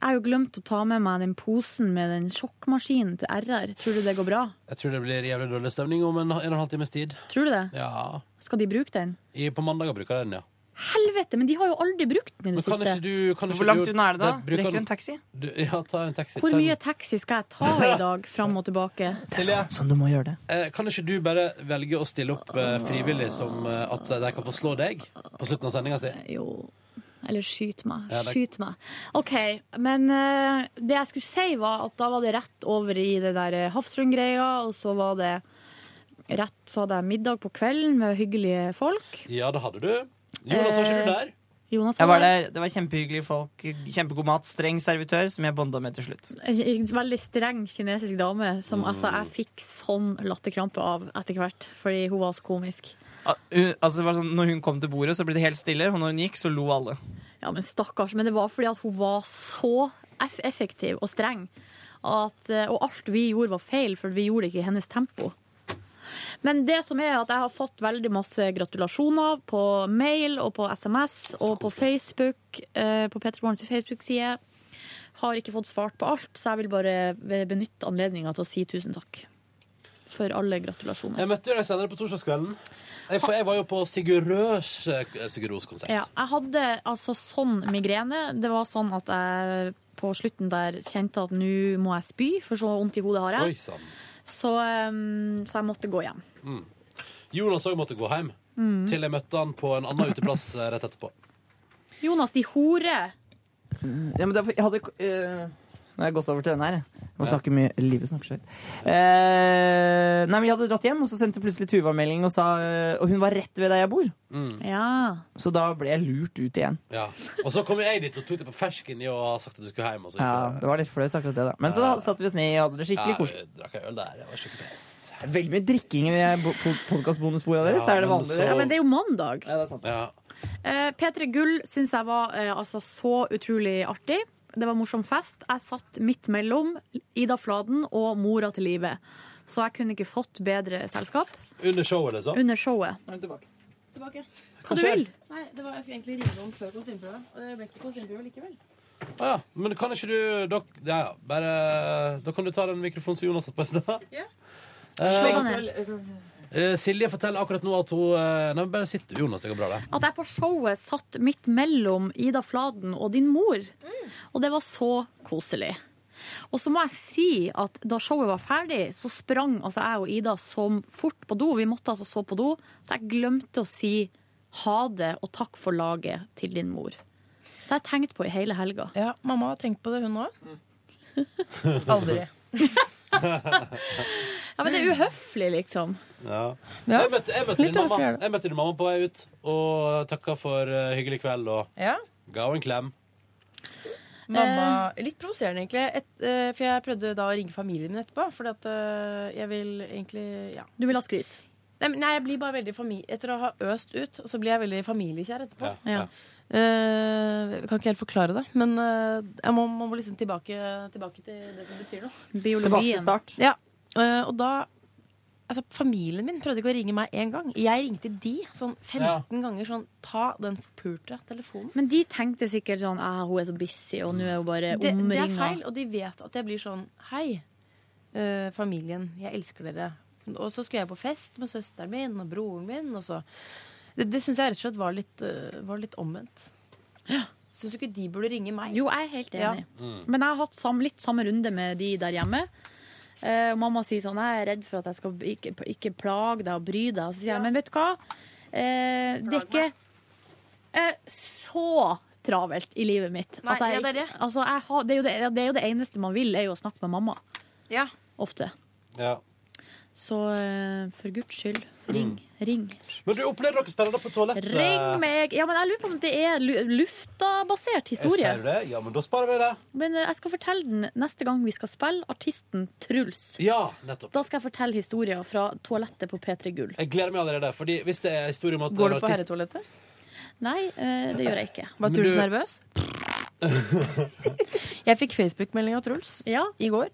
S3: Jeg har jo glemt å ta med meg den posen med den sjokkmaskinen til RR. Tror du det går bra?
S2: Jeg tror det blir jævlig dårlig stemning om en, en og en halv times tid.
S3: Tror du det?
S2: Ja.
S3: Skal de bruke den?
S2: I, på mandager bruker jeg den, ja.
S3: Helvete, men de har jo aldri brukt den i
S2: Men
S3: det
S2: kan
S3: siste.
S2: ikke du kan ikke
S4: Hvor langt
S2: du-
S4: unna er det, da?
S2: bruker
S4: Rekker
S2: den-
S4: du en taxi?
S2: Du, ja, ta en taxi.
S3: Hvor
S2: Ta en-
S3: mye taxi skal jeg ta i dag fram og tilbake?
S2: Silje?
S4: Sånn du må gjøre det.
S2: Eh, Kan ikke du bare velge å stille opp eh, frivillig som eh, at de kan få slå deg på slutten av sendinga si?
S3: Jo. Eller skyt meg.
S2: Ja, det-
S3: Skyt meg. OK. Men eh, det jeg skulle si, var at da var det rett over i det der eh, Hafslund-greia, og så var det rett Så hadde jeg middag på kvelden med hyggelige folk.
S2: Ja, det hadde du. Jonas, var
S4: Eh.
S2: ikke du der?
S3: Jonas
S4: Jeg var der, Det var kjempehyggelige folk. Kjempegod mat. Streng servitør, som jeg bonda med til slutt.
S3: En veldig streng kinesisk dame som altså, jeg fikk sånn latterkrampe av etter hvert, fordi hun var så komisk.
S4: Al- hun- Altså, det var sånn, når hun kom til bordet, så ble det helt stille, og når hun gikk, så lo alle.
S3: Ja, men stakkars. Men det var fordi at hun var så eff effektiv og streng. At, eh, og alt vi gjorde var feil, for vi gjorde det ikke i hennes tempo. Men det som er at jeg har fått veldig masse gratulasjoner på mail og på SMS og på Facebook, eh, på Peter Morgens Facebook-side. Har ikke fått svart på alt, så jeg vil bare benytte anledninga til å si tusen takk. For alle gratulasjoner.
S2: Jeg møtte jo deg senere på torsdagskvelden. Jeg, for jeg var jo på Sigurd Røs eh, Sigurd Ros konsert.
S3: Ja, jeg hadde altså sånn migrene. Det var sånn at jeg på slutten der kjente at nå må jeg spy, for så vondt i hodet har
S2: Oi
S3: jeg.
S2: sann.
S3: Så, um, så jeg måtte gå hjem.
S2: Jonas òg måtte gå hjem.
S4: Mm.
S2: Til jeg møtte han på en annen uteplass eh, rett etterpå.
S3: Jonas, de hore!
S4: Ja, men det, var- jeg hadde eh, Nå har jeg gått over til den her. Jeg Må snakke mye, livet snakker så høyt. Eh, nei, men Jeg hadde dratt hjem, og så sendte plutselig Tuva melding, og, sa, eh, og hun var rett ved der jeg bor. Så da ble jeg lurt ut igjen.
S2: Ja. Og så kom jeg dit og tok det på fersken i å ha sagt at du skulle hjem. Og så
S4: Ja, Det var litt flaut, akkurat det. da Men så
S2: Ja.
S4: satte vi oss ned og hadde det skikkelig
S2: Ja,
S4: koselig.
S2: vi drakk en øl der. Det var skikkelig pes.
S4: Veldig mye drikking i podkastbonusbordet deres.
S2: Ja,
S4: er det
S2: men
S4: vanlig?
S2: så-
S3: Ja, men det er jo mandag.
S4: Ja, det er sant.
S3: Eh, P3 Gull syns jeg var eh, altså, så utrolig artig. Det var morsom fest. Jeg satt midt mellom Ida Fladen og mora til livet. Så jeg kunne ikke fått bedre selskap
S2: Under showet, liksom.
S3: under showet.
S5: Tilbake.
S3: Hva du vil.
S5: Nei, det var, jeg skulle egentlig rive om før kostymeprøve. Og det ble ikke kostymeprøve likevel.
S2: Å ja. Men kan ikke du da, ja, ja, bare, da kan du ta den mikrofonen som Jonas satt på i stad.
S5: Ja.
S2: Eh,
S3: Slå den
S2: eh, Silje forteller akkurat nå at hun eh, Nei, men bare sitt, Jonas. Det går bra, det.
S3: At jeg på showet satt midt mellom Ida Fladen og din mor. Og det var så koselig. Og så må jeg si at da showet var ferdig, så sprang altså jeg og Ida som fort på do. Vi måtte altså så på do, så jeg glemte å si ha det og takk for laget til din mor. Så jeg tenkte på i hele helga.
S5: Ja, mamma har tenkt på det, hun òg. Aldri.
S3: Ja, men det er uhøflig, liksom.
S2: Ja.
S5: Ja.
S2: Jeg, møtte, jeg, møtte
S5: Litt
S2: din mamma,
S5: overfor, ja.
S2: jeg møtte din mamma på vei ut og takka for eh, hyggelig kveld og
S5: Ja.
S2: ga henne en klem.
S5: Mamma, Litt provoserende, egentlig. Et, eh, for jeg prøvde da å ringe familien min etterpå. Fordi at eh, jeg vil egentlig ja.
S3: Du vil ha skryt?
S5: Nei, men- nei, jeg blir bare veldig fami etter å ha øst ut, så blir jeg veldig familiekjær etterpå.
S3: Ja.
S5: Eh, jeg kan ikke helt forklare det, men eh, jeg må, man må liksom tilbake, tilbake til det som betyr noe.
S4: Tilbake til
S3: Biologien.
S4: start.
S5: Ja, eh, og da Altså, Familien min prøvde ikke å ringe meg én gang. Jeg ringte de sånn 15 ganger. sånn, Ta den forpulte telefonen.
S3: Men de tenkte sikkert sånn ah, hun er så busy, og nå er hun bare
S5: Det, det er
S3: omringa.
S5: feil, og de vet at jeg blir sånn Hei, eh, familien. Jeg elsker dere. Og så skulle jeg på fest med søsteren min og broren min. Og så. Det, det syns jeg rett og slett var litt, eh, var litt omvendt. Syns du ikke de burde ringe meg?
S3: Jo, jeg er helt
S5: Ja.
S3: enig. Men jeg har hatt sam, litt samme runde med de der hjemme. Eh, og mamma sier sånn Jeg er redd for at jeg skal ikke, ikke plage deg og bry deg. Og så sier jeg men vet du hva? Eh, det er ikke eh, så travelt i livet mitt.
S5: Nei,
S3: jeg,
S5: ja, det er det.
S3: ikke- Altså, jeg har, det, er jo det, det er jo det eneste man vil, er jo å snakke med mamma.
S5: Ja.
S3: Ofte.
S2: Ja.
S3: Så eh, for guds skyld, ring. Ring.
S2: Men du opplevde dere spennende på toalettet?
S3: Ring meg! Ja, men jeg lurer på om det er lu- luftabasert historie.
S2: Eh, Ser du det? Ja, men da sparer vi det.
S3: Men eh, jeg skal fortelle den neste gang vi skal spille artisten Truls.
S2: Ja, nettopp.
S3: Da skal jeg fortelle historier fra toalettet på P3 Gull.
S2: Jeg gleder meg allerede. Fordi hvis det er historie om at
S5: Går du
S2: en
S5: på
S2: artist-
S5: herretoalettet?
S3: Nei, eh, det gjør jeg ikke.
S5: Var
S2: Men
S5: Truls
S2: du-
S5: nervøs? jeg fikk Facebook-melding av Truls
S3: Ja,
S5: i går.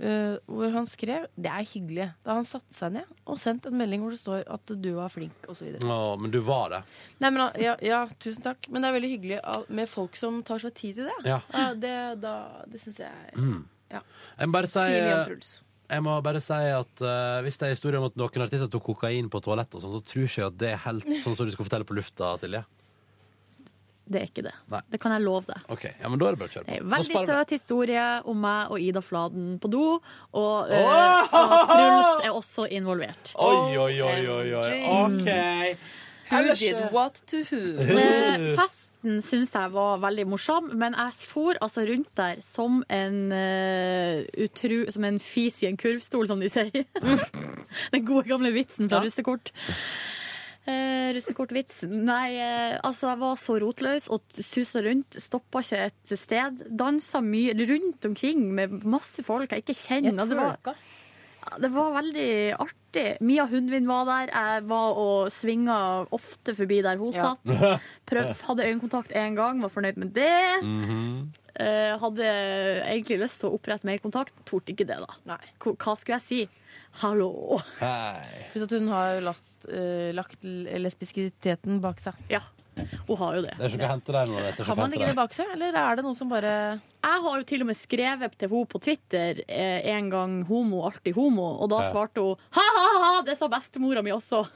S5: eh, hvor han skrev Det er hyggelig. Da han satte seg ned og sendte en melding hvor det står at du var flink osv.
S2: Å, men du var det.
S5: Ja, ja, tusen takk. Men det er veldig hyggelig av- med folk som tar seg tid til det.
S2: Ja. Mm.
S5: Ja, det da- det syns jeg
S2: Jeg må bare si, eh,
S5: sier mye om Truls.
S2: jeg må bare si at eh, hvis det er historie om at noen artister tok kokain på toalettet, og sånn, så tror ikke jeg at det er helt sånn som du skal fortelle på lufta, Silje.
S3: det er ikke det.
S2: Nei.
S3: Det kan jeg love deg.
S2: Ok, ja, men Da er det bare å kjøre
S3: Det
S2: på.
S3: er en
S2: Da
S3: Eh, veldig
S2: sparer vi det.
S3: søt historie om meg og Ida Fladen på do, og, eh, og Truls er også involvert.
S2: Oi, oi, oi, oi, oi.
S3: Mm.
S2: OK.
S5: Who did what to who?
S3: Eh, Festen syns jeg var veldig morsom, men jeg for altså rundt der som en eh, utru, Som en fis i en kurvstol, som de sier. Den gode gamle vitsen fra russekort. Eh, russekortvitsen. Nei, eh, altså jeg var så rotløs og susa rundt. Stoppa ikke et sted. Dansa mye rundt omkring med masse folk jeg ikke
S5: Jeg
S3: kjenner. og det var-
S5: twerka.
S3: det var veldig artig. Mia Hundvin var der. Jeg var og svinga ofte forbi der hun
S5: Ja.
S3: satt. Prøv, hadde øyekontakt én gang, var fornøyd med det. Eh, hadde egentlig lyst til å opprette mer kontakt. Torde ikke det, da.
S5: Nei.
S3: Ko- Hva skulle jeg si? Hallo.
S2: Hei.
S5: Pluss at hun har lagt, eh, lagt lesbiskiteten bak seg.
S3: Ja, hun har jo det.
S2: Det er ikke noe å hente der nå. det er ikke
S5: Kan
S2: noe å
S5: man
S2: hente
S5: legge det
S2: der.
S5: bak seg, eller er det noen som bare
S3: Jeg har jo til og med skrevet til henne på Twitter eh, en gang 'homo, alltid homo', og da
S2: Ja.
S3: svarte hun 'ha-ha-ha, det sa bestemora mi også'.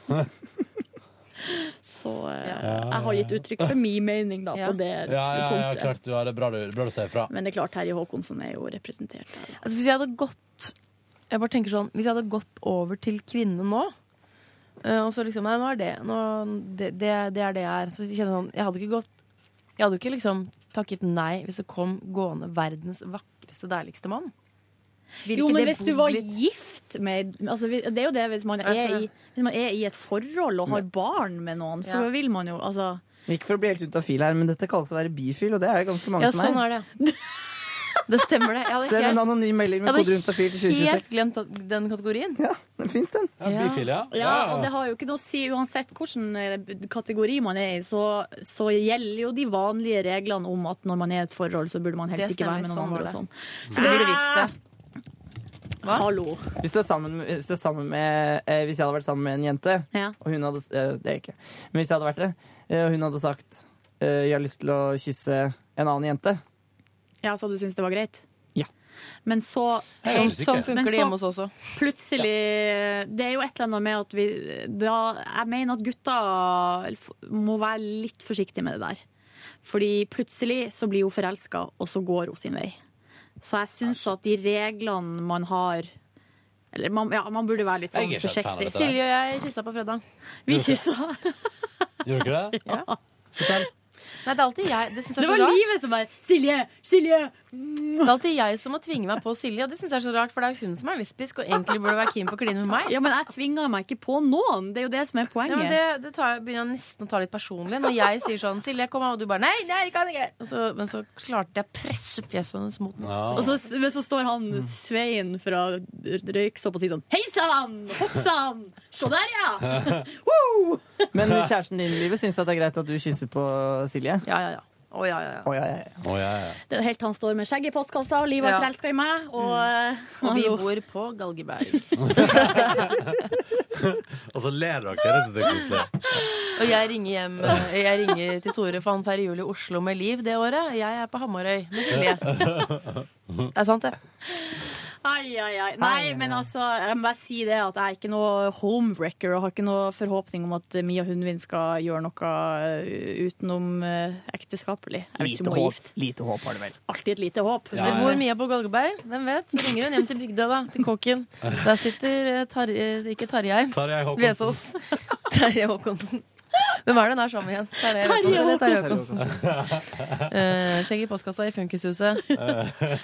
S3: Så eh, jeg har gitt uttrykk for min mening da,
S5: Ja.
S3: på det
S2: Ja, ja, ja,
S3: punktet.
S2: klart du har det. Bra du, bra du sier ifra.
S3: Men det er klart, Terje Håkonsen er jo representert der. da.
S5: Altså, hvis jeg hadde gått Jeg bare tenker sånn Hvis jeg hadde gått over til kvinne nå eh, Og så liksom Nei, nå er det nå, det, det, det er det jeg er Så kjenner jeg sånn Jeg hadde ikke gått Jeg hadde ikke liksom takket nei Hvis det kom gående verdens vakreste vakreste, deiligste mann. Vil
S3: Jo,
S5: ikke
S3: men
S5: det
S3: hvis du
S5: bo
S3: var
S5: litt-
S3: gift med altså, vi- Det er jo det hvis man
S5: Jeg
S3: er
S5: ser
S3: i,
S5: det.
S3: hvis man er i et forhold og har barn med noen, så
S4: Ja.
S3: vil man jo altså
S4: Ikke for å bli helt ut av fil her, men dette kalles å være bifil, og det er det ganske mange
S5: Ja,
S4: som er.
S5: sånn er det. Det stemmer det. Jeg hadde
S4: Send en
S5: helt-
S4: anonym melding med
S5: Jeg hadde
S4: kode Juntafil til 2026.
S5: Helt glemt at- den kategorien.
S4: Ja, den fins, den.
S3: Ja. Ja, og det har jo ikke noe å si uansett hvilken eh, kategori man er i, så, så gjelder jo de vanlige reglene om at når man er i et forhold, så burde man helst
S5: Det
S3: ikke være med
S5: stemmer,
S3: noen
S5: sånn var
S3: andre og
S5: det.
S3: sånn.
S5: Så du burde visst
S3: det. Hallo.
S4: Hvis du er sammen, hvis du er sammen med eh, Hvis jeg hadde vært sammen med en jente, og hun hadde s- eh, Det er jeg ikke. Men hvis jeg hadde vært det, eh, og hun hadde sagt eh, 'Jeg har lyst til å kysse en annen jente',
S3: Ja, så du syns det var greit?
S4: Ja.
S3: Men så
S4: Jeg er usikker. Sånn funker
S3: men
S4: det
S3: så
S4: hjemme hos oss også.
S3: Plutselig Det er jo et eller annet med at vi da, Jeg mener at gutta må være litt forsiktige med det der. Fordi plutselig så blir hun forelska, og så går hun sin vei. Så jeg syns at de reglene man har Eller man, ja, man burde være litt sånn
S2: Jeg er ikke helt fan av
S3: forsiktig.
S2: dette der. Silje
S5: og jeg kyssa på fredag.
S3: Vi kyssa.
S2: Gjorde dere det?
S5: Ja.
S2: Fortell.
S5: Nei, det er alltid jeg. Det, synes jeg
S3: Det
S5: er så
S3: var
S5: rart.
S3: livet som er Silje! Silje!
S5: Det er alltid jeg som må tvinge meg på Silje, og det syns jeg er så rart, for det er jo hun som er lesbisk og egentlig burde være keen på å kline med meg.
S3: Ja, men jeg tvinger meg ikke på noen. Det er jo det som er
S5: Ja,
S3: poenget.
S5: men det, det tar, jeg- begynner jeg nesten å ta litt personlig når jeg sier sånn 'Silje, kom her', og du bare 'nei, det kan jeg ikke'. Og så, men så klarte jeg å presse fjeset hennes mot meg.
S3: Og så, men så står han
S4: Mm.
S3: Svein fra Røyksopp og sier sånn Hei sann! Hopp sann! Se der, ja! Woo!
S4: Men kjæresten din i livet syns at det er greit at du kysser på Silje?
S5: Ja, ja, ja. Å, ja, ja,
S4: ja,
S3: Det er jo helt til han står med skjegg i postkassa, og livet
S5: Ja.
S3: er forelska i meg, og,
S5: Og vi
S3: Hallo.
S5: bor på Galgeberg.
S2: Og så ler dere. Det er koselig.
S5: Og jeg ringer hjem eh, Jeg ringer til Tore, for han feirer jul i Oslo med Liv det året. Jeg er på Hamarøy med Silje. Det er sant, det.
S3: Ai, ai, ai. Nei, men altså, jeg må bare si det at jeg er ikke noe homewrecker og har ikke noe forhåpning om at Mia Hundvin skal gjøre noe eh, utenom eh, ekteskapelig. Jeg
S4: Lite
S3: vet ikke om hun er
S4: håp,
S3: gift.
S4: lite håp har du vel.
S3: Alltid et lite håp.
S5: Hvis det bor Mia på Galgeberg, hvem vet? Så ringer hun hjem til bygda, da. Til kåken. Der sitter eh, Tar eh, ikke Tarjei.
S2: Tarjei Håkonsen.
S5: Vesaas. Terje Håkonsen. Hvem er det hun er sammen med igjen? Terje Vesaas eller Terje Håkonsen? Eh, Skjegg i postkassa i funkishuset.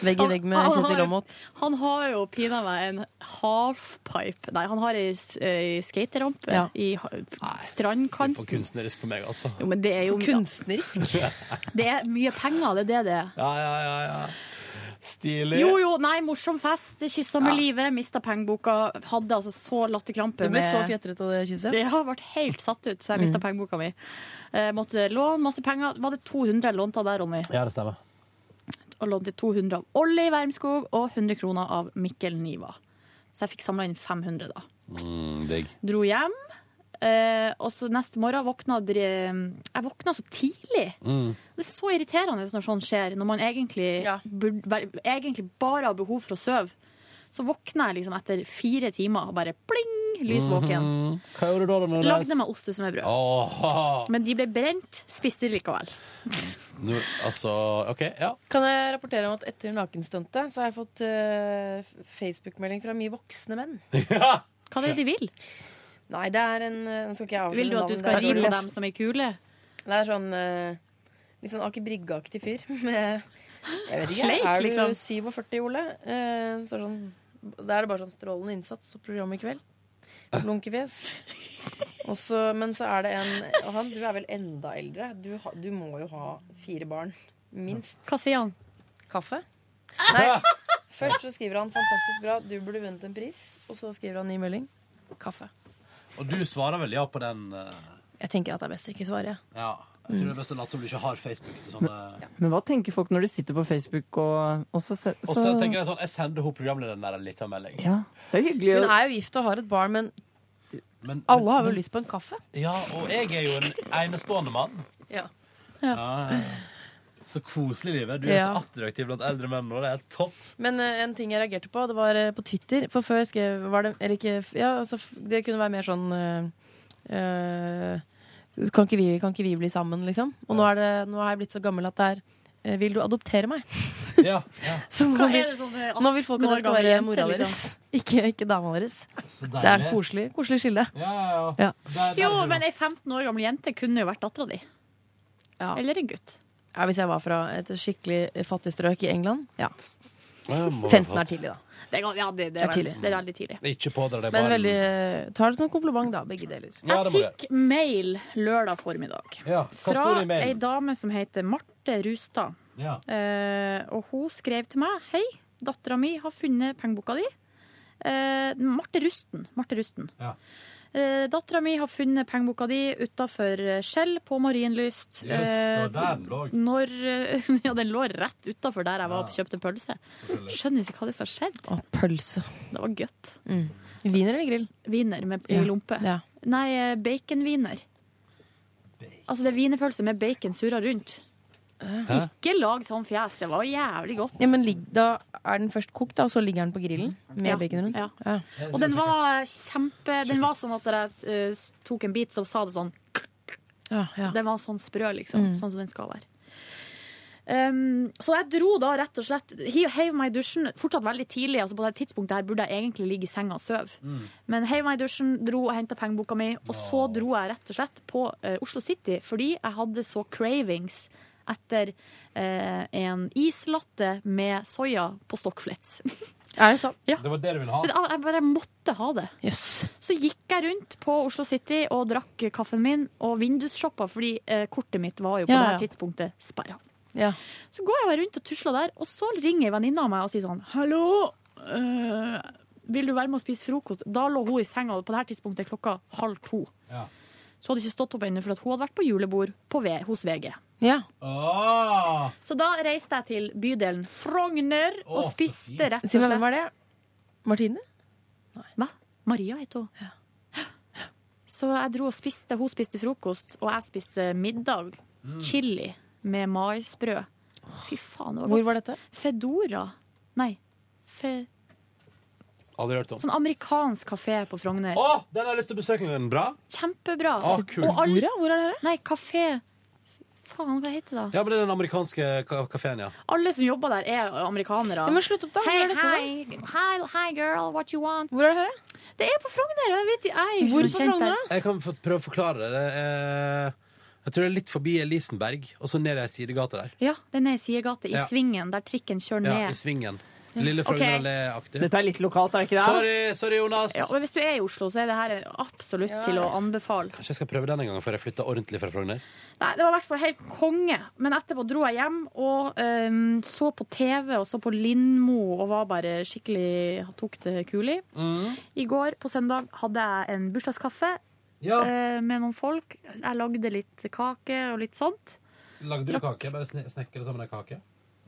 S5: Vegg i vegg med
S3: Han- han
S5: Kjetil
S3: har-
S5: Aamodt.
S3: Han har jo pinadø meg en halfpipe Nei, han har ei s- ei skaterampe
S2: Ja.
S3: i ha- strandkant.
S2: For kunstnerisk for meg, altså.
S3: Jo, men det er jo
S5: Kunstnerisk?
S3: Det er mye penger, det er det det er.
S2: Ja, ja, ja, ja. Stilig.
S3: Jo, jo, nei, morsom fest. Kyssa med livet, mista pengeboka. Hadde altså så latterkrampe.
S5: Du ble
S3: med-
S5: så fjetret av det kysset.
S3: Jeg har vært helt satt ut, så jeg mista
S5: Mm.
S3: pengeboka mi. Eh, måtte låne masse penger. Var det 200 jeg lånte av deg, Ronny?
S2: Ja, det stemmer.
S3: og lånte 200 av Olli Wermskog og 100 kroner av Mikkel Niva. Så jeg fikk samla inn 500, da.
S2: Mm, digg.
S3: Dro hjem. Eh, og så neste morgen våkna dere- eh, Jeg våkna så tidlig.
S2: Mm.
S3: Det er så irriterende når sånt skjer, når man egentlig, burde, være- egentlig bare har behov for å sove. Så våkner jeg liksom etter fire timer og bare pling, lysvåken.
S2: Mhm. Hva gjorde du da? da når du
S3: Lagde
S2: reiste?
S3: meg ostesmørbrød.
S2: Åh.
S3: Men de ble brent, spiste de likevel.
S2: Nå, altså, OK, ja.
S5: Kan jeg rapportere om at etter nakenstuntet så har jeg fått eh, Facebook-melding fra mye voksne menn.
S3: Hva er det de vil?
S5: Nei, det er en eh, Nå skal ikke jeg avsløre
S3: Vil du at du
S5: navn,
S3: skal
S5: det er
S3: ri på
S5: dårlig.
S3: dem som er kule?
S5: Det er sånn eh, litt sånn Aker Brygge-aktig fyr. Med, jeg vet ikke,
S3: Sleik,
S5: Er du
S3: liksom.
S5: 47, Ole? Eh, så er det sånn, da er det bare sånn strålende innsats og program i kveld. Blunkefjes. Og så- men så er det en og han, Du er vel enda eldre? Du, ha, du må jo ha fire barn. Minst.
S3: Hva sier han?
S5: Kaffe? Nei. Først så skriver han 'fantastisk bra, du burde vunnet en pris'. Og så skriver han ny melding. Kaffe.
S2: Og du svarer vel ja på den? eh,
S5: Jeg tenker at det er best å ikke svare. jeg.
S2: Ja. Jeg tror det er best å late som du ikke har Facebook. til Sånne,
S4: Men hva tenker folk når de sitter på Facebook og, og så, se-
S2: Og så tenker jeg sånn, jeg sender hun programlederen der en liten melding.
S4: Ja, det er hyggelig.
S5: Hun
S4: å-
S5: er jo gift og har et barn, men
S2: Men,
S5: alle har jo lyst på en kaffe.
S2: Ja, og jeg er jo en enestående mann.
S5: Ja.
S2: Ja. ja, ja. Så koselig, livet. Du er
S5: Ja.
S2: så attraktiv blant eldre menn nå. Det er helt topp.
S5: Men eh, en ting jeg reagerte på, det var eh, på Twitter. For før skrev var det, Eller ikke f- Ja, altså, f- det kunne være mer sånn eh, eh, kan, ikke vi, kan ikke vi bli sammen, liksom? Og nå, er det, nå er jeg blitt så gammel at det er eh, Vil du adoptere meg?
S2: Ja, ja.
S5: Så nå
S3: Hva er
S5: vil,
S3: det sånn, eh,
S5: nå vil folk at jeg skal
S3: gammel
S5: være
S3: jente,
S5: mora
S3: liksom?
S5: deres. Ikke, ikke dama deres.
S2: deilig.
S5: Det er koselig, koselig skille. Ja.
S3: Jo, men ei 15 år gammel jente kunne jo vært dattera di. Eller en gutt.
S13: Ja, hvis jeg var fra et
S5: eh,
S13: skikkelig fattig strøk i England? Ja.
S2: Ja,
S13: 15
S2: må ha
S13: er
S2: fått.
S13: tidlig, da.
S3: Det, er gal- ja, det, det,
S13: Det er
S3: er
S13: tidlig.
S3: veldig, det er veldig tidlig.
S2: Ikke pådra deg
S13: Men
S2: ballen.
S13: veldig eh, Tar det som en kompliment, da. Begge deler.
S2: Ja, det må
S3: Jeg fikk mail lørdag formiddag
S2: Ja, hva
S3: fra
S2: står det i mailen?
S3: ei dame som heter Marte Rustad.
S2: Ja.
S3: Eh, og hun skrev til meg Hei, dattera mi har funnet pengeboka di. Eh, Marte Rusten. Marte Rusten.
S2: Ja.
S3: Eh, dattera mi har funnet pengeboka di utafor Skjell på Marienlyst. Eh,
S2: Yes, det var der den lå.
S3: når, ja, den lå rett utafor der jeg var og kjøpte pølse. Skjønner ikke hva det som har skjedd.
S5: Å, pølse.
S3: Det var godt.
S5: Wiener eller grill?
S3: Wiener med i
S5: Ja,
S3: lompe.
S5: ja.
S3: Nei, eh, baconwiener. Altså, det er wienerpølse med bacon surra rundt.
S5: Hæ?
S3: Ikke lag sånn fjes, det var jævlig godt.
S5: Ja, men ligg- da er den først kokt, da, og så ligger den på grillen med
S3: Mm. Ja,
S5: bacon rundt?
S3: ja.
S5: Ja.
S3: Og den var eh, kjempe Den var sånn at når jeg eh, s- tok en bit, så sa det sånn
S5: Ja, ja.
S3: Den var sånn sprø, liksom.
S5: Mm.
S3: Sånn som den skal være. Um, så jeg dro da rett og slett hi- Heiv meg i dusjen. Fortsatt veldig tidlig. Altså på det tidspunktet her burde jeg egentlig ligge i senga og sove.
S5: Mm.
S3: Men heiv meg i dusjen, dro og henta pengeboka mi, og så dro jeg rett og slett på eh, Oslo City fordi jeg hadde så cravings etter eh, en islatte med soya på stokkflets.
S5: Er det sant?
S3: Ja.
S2: Det var det du ville
S3: Men
S2: ha?
S3: Jeg jeg bare måtte ha det. Så gikk jeg rundt på Oslo City og drakk kaffen min og vindusshoppa, fordi eh, kortet mitt var jo på
S5: Ja,
S3: det her
S5: ja.
S3: tidspunktet sperra.
S5: Ja.
S3: Så går jeg rundt og tusler der, og så ringer en venninne av meg og sier sånn Hallo, eh, vil du være med og spise frokost? Da lå hun i senga, og på det her tidspunktet er klokka halv to.
S2: Ja.
S3: Så hadde hun ikke stått opp ennå, for at hun hadde vært på julebord på v hos VG.
S5: Ja.
S2: Ah.
S3: Så da reiste jeg til bydelen Frogner og spiste rett og
S5: Si
S3: slett
S5: meg, hvem var det? Martine?
S3: Hva? Maria heter hun. Så jeg dro og spiste. Hun spiste frokost, og jeg spiste middag.
S5: Mm.
S3: Chili med maisbrød. Fy faen, det var godt.
S5: Hvor var dette?
S3: Fedora. Nei. Fe
S2: Aldri hørt om.
S3: sånn amerikansk kafé på Frogner.
S2: Å, den har jeg lyst til å besøke. Er Den bra?
S3: Kjempebra.
S2: Å, kult.
S3: Og alle-
S2: Hvor
S5: Hvor er det?
S3: Nei, kafé Faen, hva heter det? da?
S2: Ja, men det er den amerikanske ka- kafeen, ja.
S3: Alle som jobber der, er amerikanere.
S2: Ja, men slutt
S5: opp da. Hvor
S3: Hei,
S5: er dette
S3: hei. Hi, hi, girl, what you want?
S5: Hvor er det her?
S3: Det er på Frogner. og Jeg vet, jeg er jo
S2: Hvor
S3: ikke noe
S2: på
S3: kjent der.
S2: Jeg kan få prøve å forklare det. det er, jeg tror det er litt forbi Elisenberg, og så ned ei sidegate der.
S3: Ja, den er i sidegata, i
S2: Ja.
S3: svingen, der trikken kjører
S2: Ja, I
S3: ned.
S2: svingen.
S3: Ja.
S2: Lille
S3: Ok.
S2: Frogner Allé-aktig.
S4: Dette er litt lokalt, er ikke det?
S2: Sorry, sorry, Jonas.
S3: Ja, men hvis du er i Oslo, så er det her absolutt til å anbefale.
S2: Kanskje jeg skal prøve den en gang før jeg flytter ordentlig fra Frogner.
S3: Nei, Det var i hvert fall helt konge. Men etterpå dro jeg hjem og ehm, så på TV og så på Lindmo og var bare skikkelig tok det kulig. I går på søndag hadde jeg en bursdagskaffe
S2: Ja.
S3: eh, med noen folk. Jeg lagde litt kake og litt sånt.
S2: Lagde
S3: du
S2: kake? Bare snekre sammen ei kake?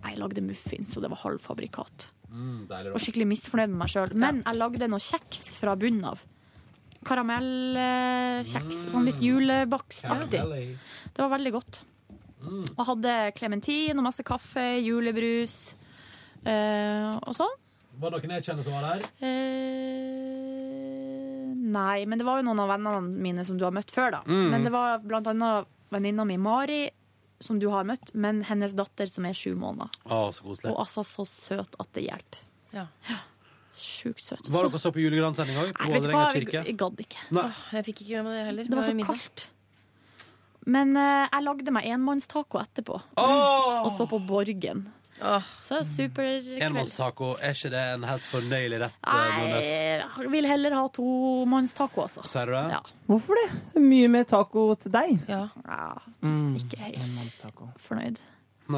S3: Jeg lagde muffins, og det var halvfabrikat.
S2: Mm, deilig
S3: var skikkelig misfornøyd med meg sjøl. Men jeg lagde noe kjeks fra bunnen av. Karamellkjeks. Sånn litt julebakstaktig.
S2: Karamelli.
S3: Det var veldig godt.
S2: Mm.
S3: Og hadde klementin og masse kaffe, julebrus eh, og sånn.
S2: Var det noen jeg kjenner som var der?
S3: Eh, nei, men det var jo noen av vennene mine som du har møtt før, da.
S2: Mm.
S3: Men det var blant annet venninna mi Mari, som du har møtt, men hennes datter som er sju måneder.
S2: Å, så koselig.
S3: Og altså så søt at det hjelper.
S5: Ja.
S3: Sjukt søt.
S2: Var dere så på julegrantenning òg? På
S3: Nei, vet du
S2: Vålerenga
S3: hva?
S2: kirke?
S3: Jeg gadd ikke.
S2: Nei.
S5: Jeg fikk ikke med meg det heller.
S3: Det var så
S5: Jeg i middag.
S3: kaldt. Men eh, jeg lagde meg enmannstaco etterpå.
S2: Åh!
S3: Og så på Borgen.
S5: Mm.
S3: Så superkveld.
S2: Enmannstaco, er ikke det en helt fornøyelig rett? eh,
S3: Nei,
S2: Nordnes?
S3: jeg vil heller ha tomannstaco, altså.
S2: Sier du det?
S3: Ja.
S4: Hvorfor det? Det er Mye mer taco til deg.
S5: Ja.
S4: Mm.
S3: Ikke helt fornøyd.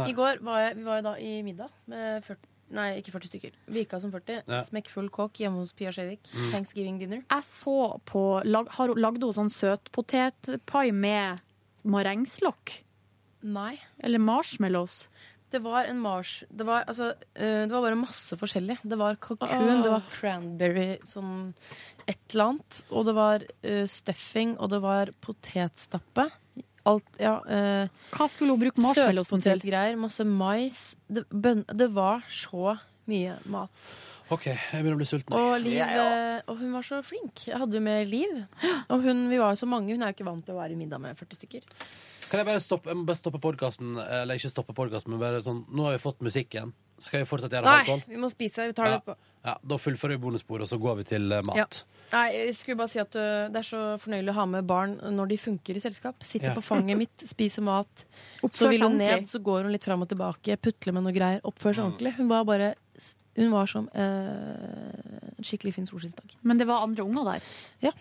S5: I går var jeg, vi var jo da i middag med 40, nei, ikke 40 stykker. Virka som 40.
S3: Ja.
S5: Smekkfull kåk hjemme hos Pia Skjevik.
S3: Mm.
S5: Thanksgiving dinner.
S3: Jeg så på lag, har, hun- Lagde hun sånn søtpotetpai med marengslokk?
S5: Nei.
S3: Eller marshmallows?
S5: Det var en mars det var, altså, eh, det var bare masse forskjellig. Det var kalkun,
S3: Ah.
S5: det var cranberry, sånn et eller annet. Og det var eh, stuffing, og det var potetstappe. Alt, ja. eh,
S3: Hva skulle hun bruke marshmallowsen til?
S5: Søtpotetgreier, masse mais. Det, bønn, det var så mye mat.
S2: OK, jeg begynner å bli sulten.
S5: Og, Liv, eh, og hun var så flink. Jeg hadde jo med Liv. Og hun, vi var jo så mange. Hun er jo ikke vant til å være i middag med 40 stykker.
S2: Kan jeg bare stoppe, jeg må bare stoppe podkasten? Eller ikke stoppe podkasten, men bare sånn Nå har vi fått musikken. Skal vi fortsatt gjøre
S5: Nei,
S2: halvtolv?
S5: vi må spise. Vi tar det på
S2: Ja, da fullfører vi bonusbordet, og så går vi til eh,
S5: ja.
S2: mat.
S5: Nei, jeg skulle bare si at ø, Det er så fornøyelig å ha med barn når de funker i selskap. Sitter
S2: Ja.
S5: på fanget mitt, spiser mat.
S3: Oppfør
S5: Så vil hun
S3: seg ordentlig.
S5: ned, så går hun litt fram og tilbake, putler med noe greier. Oppfører
S4: Mm.
S5: seg ordentlig. Hun var bare s- Hun var som ø, en skikkelig fin solskinnsdag.
S3: Men det var andre unger der.
S5: Ja.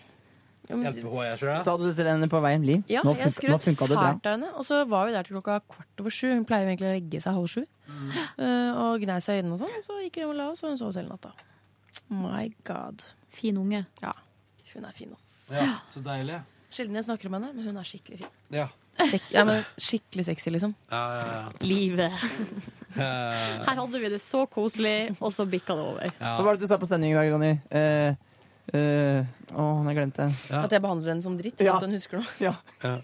S4: Sa du det til henne på veien, Liv?
S5: Ja,
S4: nå
S5: jeg
S4: funka, nå
S5: skrøt
S4: funka det bra.
S5: fælt av henne. Og så var vi der til klokka kvart over sju. Hun pleier jo egentlig å legge seg halv sju.
S4: Mm.
S5: Eh, og gnei seg i øynene og sånn. Så gikk vi hjem og la oss, og hun sov til hele natta. My god.
S3: Fin unge.
S5: Ja. Hun er fin, ass.
S2: Ja, så deilig.
S5: Sjelden jeg snakker om henne, men hun er skikkelig fin.
S2: Ja.
S5: Sek ja, men skikkelig sexy, liksom.
S2: Ja, ja,
S3: Livet.
S2: ja.
S3: Her hadde vi det så koselig, og så bikka det over.
S4: Hva var det du sa på sending i dag, Ronny? Eh, eh, Å, jeg glemte det.
S5: At jeg behandler henne som dritt.
S4: Ja.
S5: At hun husker noe.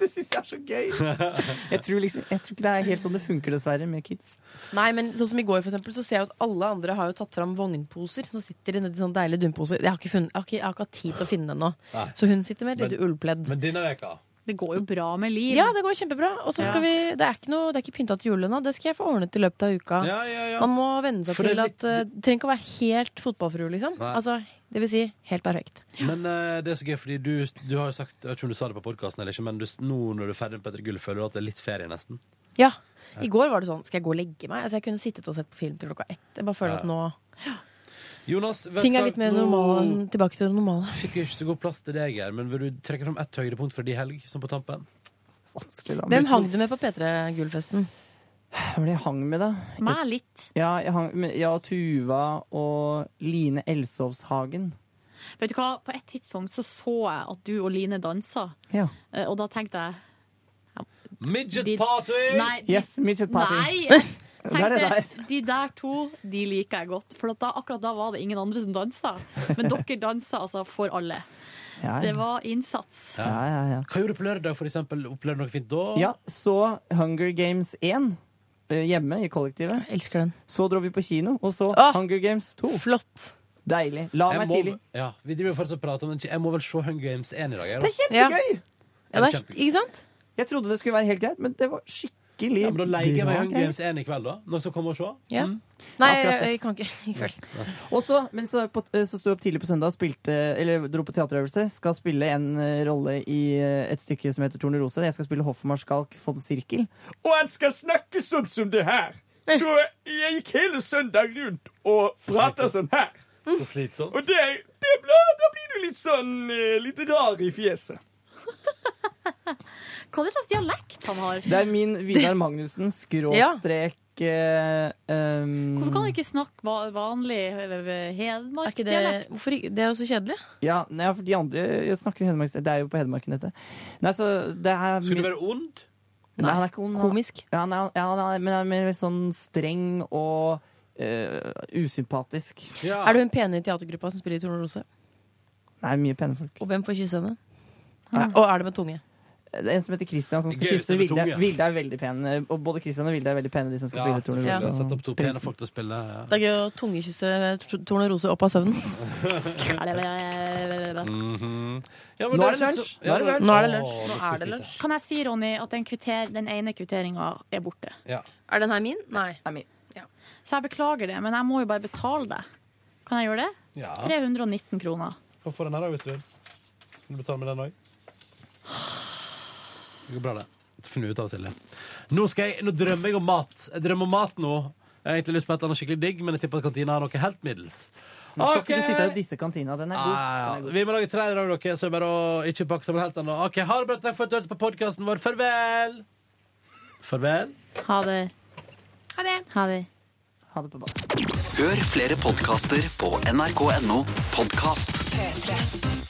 S4: Det syns jeg er så gøy. Jeg tror, liksom, jeg tror ikke det er helt sånn det funker, dessverre, med kids.
S5: Nei, men sånn som i går, for eksempel, så ser jeg jo at alle andre har jo tatt fram vognposer. Som sitter i nedi sånne deilige dunposer. Jeg har ikke, funnet, jeg har ikke, jeg har ikke hatt tid til å finne den nå.
S2: Nei.
S5: Så hun sitter med et lite
S2: Men-
S5: ullpledd.
S2: Men denne veka
S3: Det går jo bra med liv.
S5: Ja, det går kjempebra. Og så
S3: Ja.
S5: skal vi Det er ikke, noe- det er ikke pynta til jul ennå. Det skal jeg få ordnet i løpet av uka.
S2: Ja, ja, ja.
S5: Man må venne seg
S2: For det
S5: til
S2: er
S5: at eh, Det trenger ikke å være helt fotballfrue, liksom.
S2: Nei.
S5: Altså, det vil si helt perfekt.
S2: Men eh, det er så gøy, fordi du, du har jo sagt Jeg vet ikke om du sa det på podkasten eller ikke, men du, nå når du er ferdig med Petter Gull, føler du at det er litt ferie, nesten?
S5: Ja. I går var det sånn Skal jeg gå og legge meg? Altså, jeg kunne sittet og sett på film til klokka ett. Jeg bare
S2: Ja.
S5: føler at nå
S2: Jonas, vet
S5: Ting
S2: hva?
S5: er litt mer
S2: Nå
S5: normale, enn- tilbake til det normale.
S2: Fikk jeg ikke så god plass til deg her, men vil du trekke fram ett høydepunkt for de helg, som på tampen?
S5: Hvem hang du med på P3 Gullfesten?
S4: Hva var det jeg hang med, da?
S3: Meg litt.
S4: Ja, jeg hang med ja, Tuva og Line Elsovshagen.
S3: Vet du hva, på et tidspunkt så så jeg at du og Line dansa,
S4: Ja.
S3: eh, og da tenkte jeg
S2: Midget
S3: De-
S2: party!
S3: Nei, de-
S4: Yes, midget party.
S3: Nei!
S4: Det er det
S3: jeg Tenkte, de der to de liker jeg godt. For at da, akkurat da var det ingen andre som dansa. Men dere dansa altså for alle.
S4: Ja,
S3: Det var innsats.
S2: Ja. Hva gjorde du på lørdag, for eksempel? Opplevde du noe fint da?
S4: Ja, så Hunger Games 1 eh, hjemme i kollektivet.
S5: elsker den.
S4: Så dro vi på kino, og så Hunger Games
S5: Oh.
S4: 2.
S5: Flott.
S4: Deilig. La
S2: Jeg
S4: meg
S2: må,
S4: tidlig.
S2: ja, vi driver jo fortsatt og prater, men jeg må vel se Hunger Games 1 i dag. jeg, da.
S4: Det er kjempegøy!
S2: Ja, det er kjempegøy.
S5: Ikke sant?
S4: Jeg trodde det skulle være helt greit, men det var skikkelig
S2: Ja, men Da leier jeg meg
S4: bra
S2: Hunger
S4: greier.
S2: Games 1 i kveld, da. Noen som kommer og ser?
S5: Ja.
S2: Mm.
S5: Nei,
S4: Akkurat
S5: jeg,
S4: sett.
S5: jeg kan ikke i kveld.
S4: Og så, men så, på, eh, så sto jeg opp tidlig på søndag, spilte, eller dro på teaterøvelse. Skal spille en eh, rolle i eh, et stykke som heter Tornerose. Jeg skal spille hoffmarskalk von Sirkel.
S14: Og han skal snakke sånn som det her. Så jeg gikk hele søndag rundt og prata sånn her.
S2: Så slitsomt.
S14: Og det, det ble, da blir du litt sånn eh, litt rar i fjeset.
S3: Hva er det slags dialekt han har?
S4: Det er min Vidar Magnussen skråstrek eh, ehm,
S3: Hvorfor kan han ikke snakke va- vanlig eh, hedmarkdialekt?
S5: Hvorfor ikke? Det er jo så kjedelig.
S4: Ja, nei, for de andre jeg snakker jo Hedmark, Det er jo på Hedmarken, dette. Nei, så det er
S2: Skulle det være ond?
S4: Nei, han er ikke ond. han-
S5: Komisk?
S4: Ja, han er, ja, han er, men han er mer sånn streng og eh, usympatisk.
S5: Er du hun pene i teatergruppa som spiller i Tornerose?
S4: Nei, mye pene folk.
S5: Og hvem får kysse henne? Nei. Og er det med tunge?
S4: Det er En som heter Christian, som skal
S2: Gøyeste
S4: kysse
S2: med
S4: Vilde.
S2: tunge.
S4: Vilde er veldig pen. eh, Og både Christian og Vilde er veldig pene, de som skal
S2: Ja,
S4: spille Tornerose.
S2: selvfølgelig.
S4: og
S2: Sett opp to pene
S4: Prinsen.
S2: folk til å spille. Ja.
S5: Det er gøy å tungekysse Tor- Tornerose opp av søvnen.
S2: Mhm. Ja, men
S4: Nå er
S2: det
S4: det
S2: er så-
S4: lunsj!
S2: ja, men-
S5: Nå er det
S2: Åh,
S5: lunsj.
S2: nå
S5: Nå
S2: skal
S5: er det
S2: vi spise.
S5: lunsj.
S3: Kan jeg si, Ronny, at den, kvitter, den ene kvitteringa er borte?
S2: Ja.
S5: Er den her min? Nei.
S3: Så jeg beklager det, men jeg må jo bare betale det. Kan jeg gjøre det?
S2: Ja.
S3: 319 kroner.
S2: Kan få den her, da, hvis du vil. Kan du betale med den òg? Det går bra, det. Det finner vi ut av og til. det. Nå, skal jeg, nå drømmer jeg om mat. Jeg drømmer om mat nå. Jeg har egentlig lyst på et eller annet skikkelig digg, men jeg tipper at kantina har noe helt middels.
S4: Nå skal ikke
S2: Ok.
S4: du sitte og disse kantina. Den er
S2: Ja,
S4: god.
S2: ja,
S4: Den er
S2: ja.
S4: god.
S2: Vi må lage trailer av dere, så det er bare å ikke pakke sammen helt ennå. OK, ha det bra. Takk for at du hørte på podkasten vår. Farvel! Farvel.
S3: Ha det. Ha det. Ha det.
S4: Ha det på badet.
S6: Hør flere podkaster på nrk.no podkast.